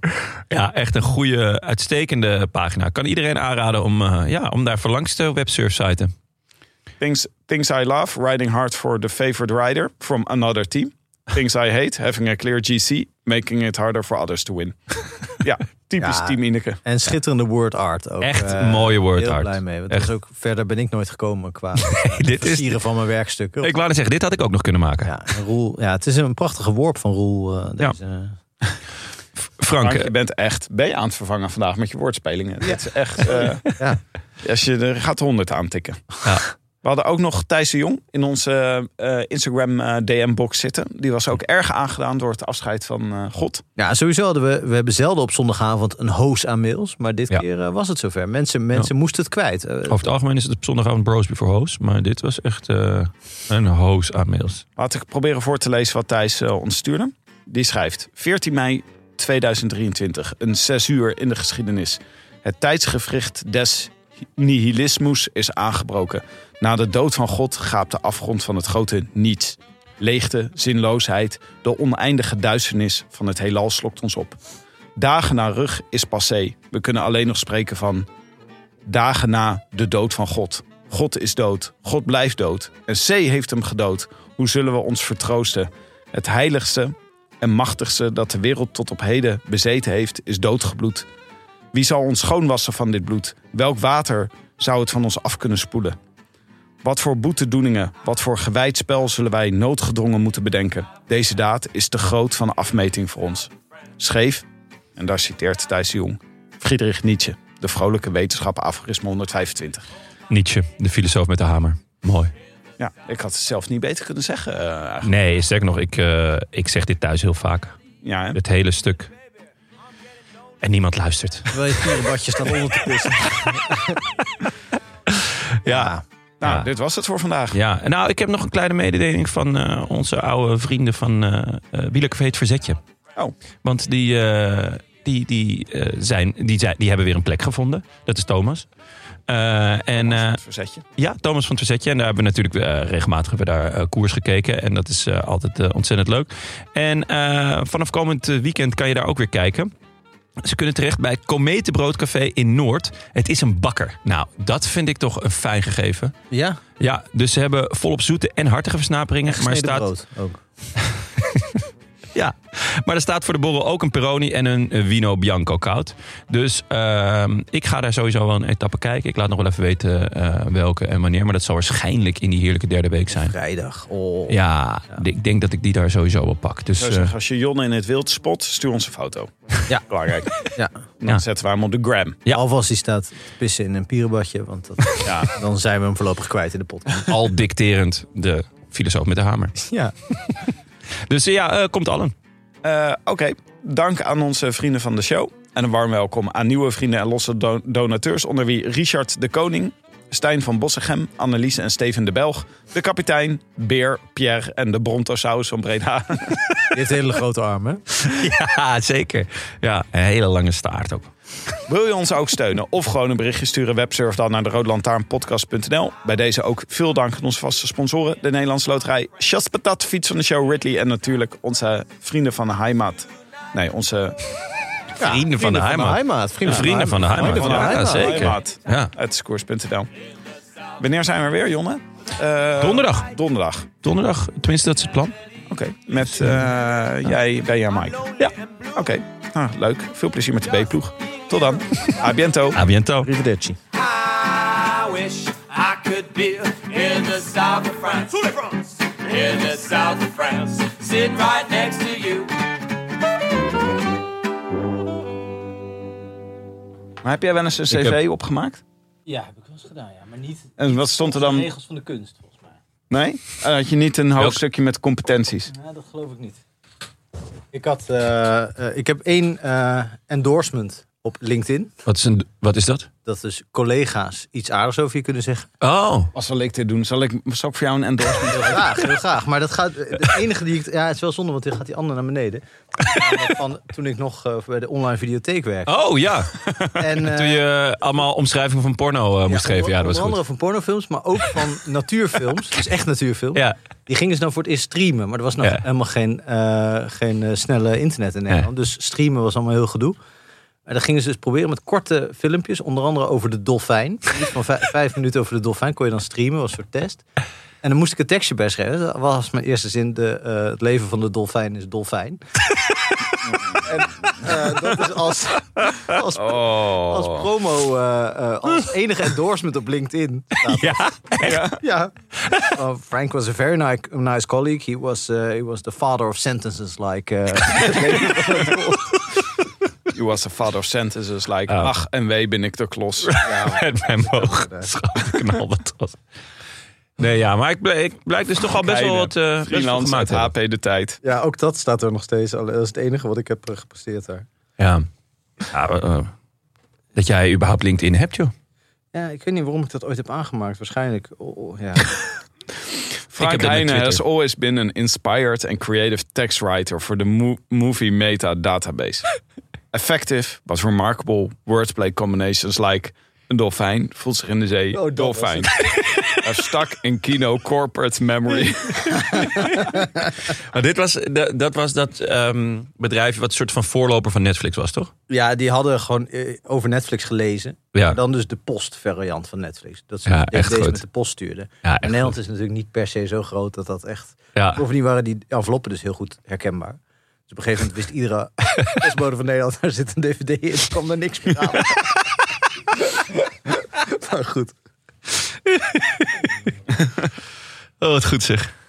[SPEAKER 1] Ja, echt een goede, uitstekende pagina. Kan iedereen aanraden om, eh, ja, om daar voor langs te websurfsiten.
[SPEAKER 3] Things, things I love, riding hard for the favored rider from another team. Things I hate, having a clear GC, making it harder for others to win. ja, typisch
[SPEAKER 2] Ja.
[SPEAKER 3] Team Ineke.
[SPEAKER 2] En schitterende word art ook.
[SPEAKER 1] Echt
[SPEAKER 2] Eh,
[SPEAKER 1] mooie word
[SPEAKER 2] heel
[SPEAKER 1] art.
[SPEAKER 2] blij mee. Want
[SPEAKER 1] Echt.
[SPEAKER 2] dat is ook, verder ben ik nooit gekomen qua
[SPEAKER 1] dit is-
[SPEAKER 2] versieren van mijn werkstukken.
[SPEAKER 1] Ik wou net zeggen, dit had ik ook nog kunnen maken.
[SPEAKER 2] ja, en Roel, ja, het is een prachtige worp van Roel. eh,
[SPEAKER 1] Ja.
[SPEAKER 2] deze.
[SPEAKER 1] Frank, eh,
[SPEAKER 3] Frank, je bent echt B aan het vervangen vandaag met je woordspelingen. Dat is echt. eh,
[SPEAKER 2] Ja.
[SPEAKER 3] Als je er gaat 100 aantikken.
[SPEAKER 1] Ja.
[SPEAKER 3] We hadden ook nog Thijs de Jong in onze eh, eh, Instagram eh, DM-box zitten. Die was ook erg aangedaan door het afscheid van eh, God.
[SPEAKER 2] Ja, sowieso hadden we, we hebben zelden op zondagavond een hoos aan mails. Maar dit
[SPEAKER 1] Ja. Oh.
[SPEAKER 2] keer eh, was het zover. Mensen, mensen moesten het kwijt. Eh,
[SPEAKER 1] over het algemeen is het op zondagavond Bros Before Hoes. Maar dit was echt eh, een hoos aan mails.
[SPEAKER 3] Laat ik proberen voor te lezen wat Thijs eh, ons stuurde. Die schrijft: 14 mei 2023, een 6 uur in de geschiedenis. Het tijdsgevricht des nihilismus is aangebroken. Na de dood van God gaapt de afgrond van het grote niets. Leegte, zinloosheid, de oneindige duisternis van het heelal slokt ons op. Dagen na rug is passé. We kunnen alleen nog spreken van dagen na de dood van God. God is dood, God blijft dood. En C heeft hem gedood. Hoe zullen we ons vertroosten? Het heiligste en machtigste dat de wereld tot op heden bezeten heeft, is doodgebloed. Wie zal ons schoonwassen van dit bloed? Welk water zou het van ons af kunnen spoelen? Wat voor boetedoeningen, wat voor gewijd spel zullen wij noodgedwongen moeten bedenken? Deze daad is te groot van afmeting voor ons. Scheef, en daar citeert Thijs de Jong, Friedrich Nietzsche, de vrolijke wetenschapper aforisme 125.
[SPEAKER 1] Nietzsche, de filosoof met de hamer. Mooi.
[SPEAKER 3] Ja, ik had het zelf niet beter kunnen zeggen. eh, eigenlijk.
[SPEAKER 1] Nee, sterker nog, ik, eh, ik zeg dit thuis heel vaak.
[SPEAKER 3] ja, hè?
[SPEAKER 1] Het hele stuk. En niemand luistert.
[SPEAKER 2] Terwijl je tierenbadje staat onder te pissen.
[SPEAKER 3] Ja. Nou,
[SPEAKER 1] Ja.
[SPEAKER 3] dit was het voor vandaag.
[SPEAKER 1] Ja, en nou, ik heb nog een kleine mededeling van eh, onze oude vrienden van eh eh, Wielercafé Het Verzetje.
[SPEAKER 3] Oh.
[SPEAKER 1] Want die, eh, die, die, eh, zijn, die, zijn, die hebben weer een plek gevonden. Dat is Thomas. Eh, en eh,
[SPEAKER 3] Het verzetje.
[SPEAKER 1] ja, Thomas van het Verzetje. En daar hebben we natuurlijk eh, regelmatig hebben we daar eh, koers gekeken. En dat is eh, altijd eh, ontzettend leuk. En eh, vanaf komend eh, weekend kan je daar ook weer kijken. Ze kunnen terecht bij Kometenbroodcafé in Noord. Het is een bakker. Nou, dat vind ik toch een fijn gegeven.
[SPEAKER 2] Ja,
[SPEAKER 1] Ja, dus ze hebben volop zoete en hartige versnaperingen. Maar er,
[SPEAKER 2] gesneden
[SPEAKER 1] staat,
[SPEAKER 2] brood ook.
[SPEAKER 1] ja, maar er staat voor de borrel ook een Peroni en een eh, Vino Bianco koud. Dus ehm, ik ga daar sowieso wel een etappe kijken. Ik laat nog wel even weten eh, welke en wanneer. Maar dat zal waarschijnlijk in die heerlijke derde week zijn.
[SPEAKER 2] Vrijdag. Oh.
[SPEAKER 1] Ja, ik denk dat ik die daar sowieso wel pak. Dus,
[SPEAKER 3] Zou
[SPEAKER 1] eh,
[SPEAKER 3] zeggen, als je Jonne in het wild spot, stuur ons een foto.
[SPEAKER 2] Ja.
[SPEAKER 3] Belangrijk.
[SPEAKER 2] Ja.
[SPEAKER 3] Dan
[SPEAKER 1] Ja.
[SPEAKER 3] zetten we hem op de gram.
[SPEAKER 1] Ja.
[SPEAKER 2] Alvast die staat te pissen in een pierenbadje. Want dat,
[SPEAKER 3] Ja.
[SPEAKER 2] dan zijn we hem voorlopig kwijt in de podcast.
[SPEAKER 1] al dicterend de filosoof met de hamer.
[SPEAKER 2] Ja.
[SPEAKER 1] Dus eh, ja, eh, komt allen.
[SPEAKER 3] Eh, Oké, dank aan onze vrienden van de show. En een warm welkom aan nieuwe vrienden en losse do- donateurs. Onder wie Richard de Koning, Stijn van Bossegem, Annelies en Steven de Belg. De kapitein, Beer, Pierre en de Brontosaurus van Breda.
[SPEAKER 2] Die heeft hele grote armen.
[SPEAKER 1] Ja, zeker. Ja, een hele lange staart ook.
[SPEAKER 3] Wil je ons ook steunen of gewoon een berichtje sturen? Websurf dan naar de roodlantaarnpodcast.nl. Bij deze ook veel dank aan onze vaste sponsoren. De Nederlandse Loterij, Just Patat, Fiets van de Show, Ridley. En natuurlijk onze vrienden van de Heimat. Nee, onze
[SPEAKER 1] vrienden van de heimat.
[SPEAKER 2] Vrienden,
[SPEAKER 1] Vrienden van de heimat.
[SPEAKER 2] Vrienden van de
[SPEAKER 1] Ja,
[SPEAKER 2] heimaat.
[SPEAKER 1] zeker. Ja.
[SPEAKER 3] uit Scoors.nl. Wanneer zijn we weer, Jonne? Eh,
[SPEAKER 1] Donderdag.
[SPEAKER 3] Donderdag.
[SPEAKER 1] Donderdag, tenminste dat is het plan.
[SPEAKER 3] Oké. Met eh, jij, Benja en Mike. Ja. Oké. Nou, leuk. Veel plezier met de B-ploeg. Tot dan. A biento.
[SPEAKER 1] A biento.
[SPEAKER 2] Arrivederci.
[SPEAKER 5] I wish I could be in the south of France. In the south of France, sitting right next to you.
[SPEAKER 3] Maar heb jij wel eens een
[SPEAKER 1] Ik
[SPEAKER 3] cv
[SPEAKER 1] heb-
[SPEAKER 3] opgemaakt?
[SPEAKER 6] Ja, heb ik wel eens gedaan, ja. Maar niet
[SPEAKER 3] En wat stond er
[SPEAKER 6] de
[SPEAKER 3] dan?
[SPEAKER 6] regels van de kunst, volgens mij.
[SPEAKER 3] Nee? Eh, Had je niet een hoofdstukje met competenties?
[SPEAKER 6] Nou, dat geloof ik niet.
[SPEAKER 2] Ik, had, eh, eh, ik heb één eh, endorsement op LinkedIn.
[SPEAKER 1] Wat is, een, wat is dat?
[SPEAKER 2] Dat dus collega's iets aardigs over je kunnen zeggen.
[SPEAKER 1] Oh,
[SPEAKER 3] Als zal ik dit doen? Zal ik, zal ik voor jou een endorsement doen?
[SPEAKER 2] Graag, heel graag. Maar dat gaat, de enige die ik... Ja, het is wel zonde, want dit gaat die ander naar beneden. Maar Van, toen ik nog eh, bij de online videotheek werkte.
[SPEAKER 1] oh ja.
[SPEAKER 2] en, eh,
[SPEAKER 1] Toen je allemaal omschrijvingen van porno eh, moest geven.
[SPEAKER 2] onder-
[SPEAKER 1] Ja, dat was
[SPEAKER 2] onder andere
[SPEAKER 1] goed.
[SPEAKER 2] van pornofilms, maar ook van natuurfilms. Dus echt natuurfilms.
[SPEAKER 1] Ja.
[SPEAKER 2] Die gingen ze dan voor het eerst streamen. Maar er was nog
[SPEAKER 1] Ja.
[SPEAKER 2] helemaal geen, eh, geen eh, snelle internet in Nederland. Dus streamen was allemaal heel gedoe. En dan gingen ze dus proberen met korte filmpjes. Onder andere over de dolfijn. Iets van vijf, vijf minuten over de dolfijn kon je dan streamen. was een soort test. En dan moest ik een tekstje bij schrijven. Dat was mijn eerste zin. De, eh, het leven van de dolfijn is dolfijn. en eh, dat is als, als, als promo, eh, eh, als enige endorsement op LinkedIn. staat
[SPEAKER 1] Ja,
[SPEAKER 2] ja. Well, Oh, Frank was a very ni- nice colleague. He was, uh, he was the father of sentences like... Uh,
[SPEAKER 3] You was the father of sentences like...
[SPEAKER 1] Oh.
[SPEAKER 3] Ach, en wee ben ik de klos.
[SPEAKER 1] met mijn boog. Knal wat was. Nee, ja, maar ik, bl- ik blijk dus toch al best wel wat eh best wel
[SPEAKER 3] Freelance uit
[SPEAKER 1] gemaakt
[SPEAKER 3] HP
[SPEAKER 1] hebben.
[SPEAKER 3] de tijd.
[SPEAKER 2] ja, ook dat staat er nog steeds. Al- Dat is het enige wat ik heb eh, gepresteerd daar.
[SPEAKER 1] Ja. Ja, eh, eh, dat jij überhaupt LinkedIn hebt, joh.
[SPEAKER 2] Ja, ik weet niet waarom ik dat ooit heb aangemaakt. Waarschijnlijk. Oh, oh, ja.
[SPEAKER 1] heb
[SPEAKER 3] Frank
[SPEAKER 1] dat met
[SPEAKER 3] Heijnen
[SPEAKER 1] Twitter.
[SPEAKER 3] has always been an inspired and creative text writer for the mo- movie meta database. Effective but remarkable wordplay combinations like een dolfijn voelt zich in de zee.
[SPEAKER 2] Oh, dat
[SPEAKER 3] dolfijn. Er stak in kino corporate memory.
[SPEAKER 1] Maar dit was, da- dat, was dat ehm, bedrijf wat een soort van voorloper van Netflix was, toch?
[SPEAKER 2] ja, die hadden gewoon eh, over Netflix gelezen.
[SPEAKER 1] Ja,
[SPEAKER 2] Maar dan dus de postvariant van Netflix. Dat ze
[SPEAKER 1] Ja,
[SPEAKER 2] de
[SPEAKER 1] echt
[SPEAKER 2] DVD's
[SPEAKER 1] goed.
[SPEAKER 2] met de post stuurden.
[SPEAKER 1] ja,
[SPEAKER 2] En
[SPEAKER 1] echt
[SPEAKER 2] Nederland
[SPEAKER 1] goed.
[SPEAKER 2] is natuurlijk niet per se zo groot dat dat echt...
[SPEAKER 1] ja.
[SPEAKER 2] Bovendien waren die enveloppen dus heel goed herkenbaar. Dus op een gegeven moment wist iedere postbode van Nederland... daar zit een dvd in, er kwam er niks meer aan. maar goed.
[SPEAKER 1] Oh, wat goed zeg.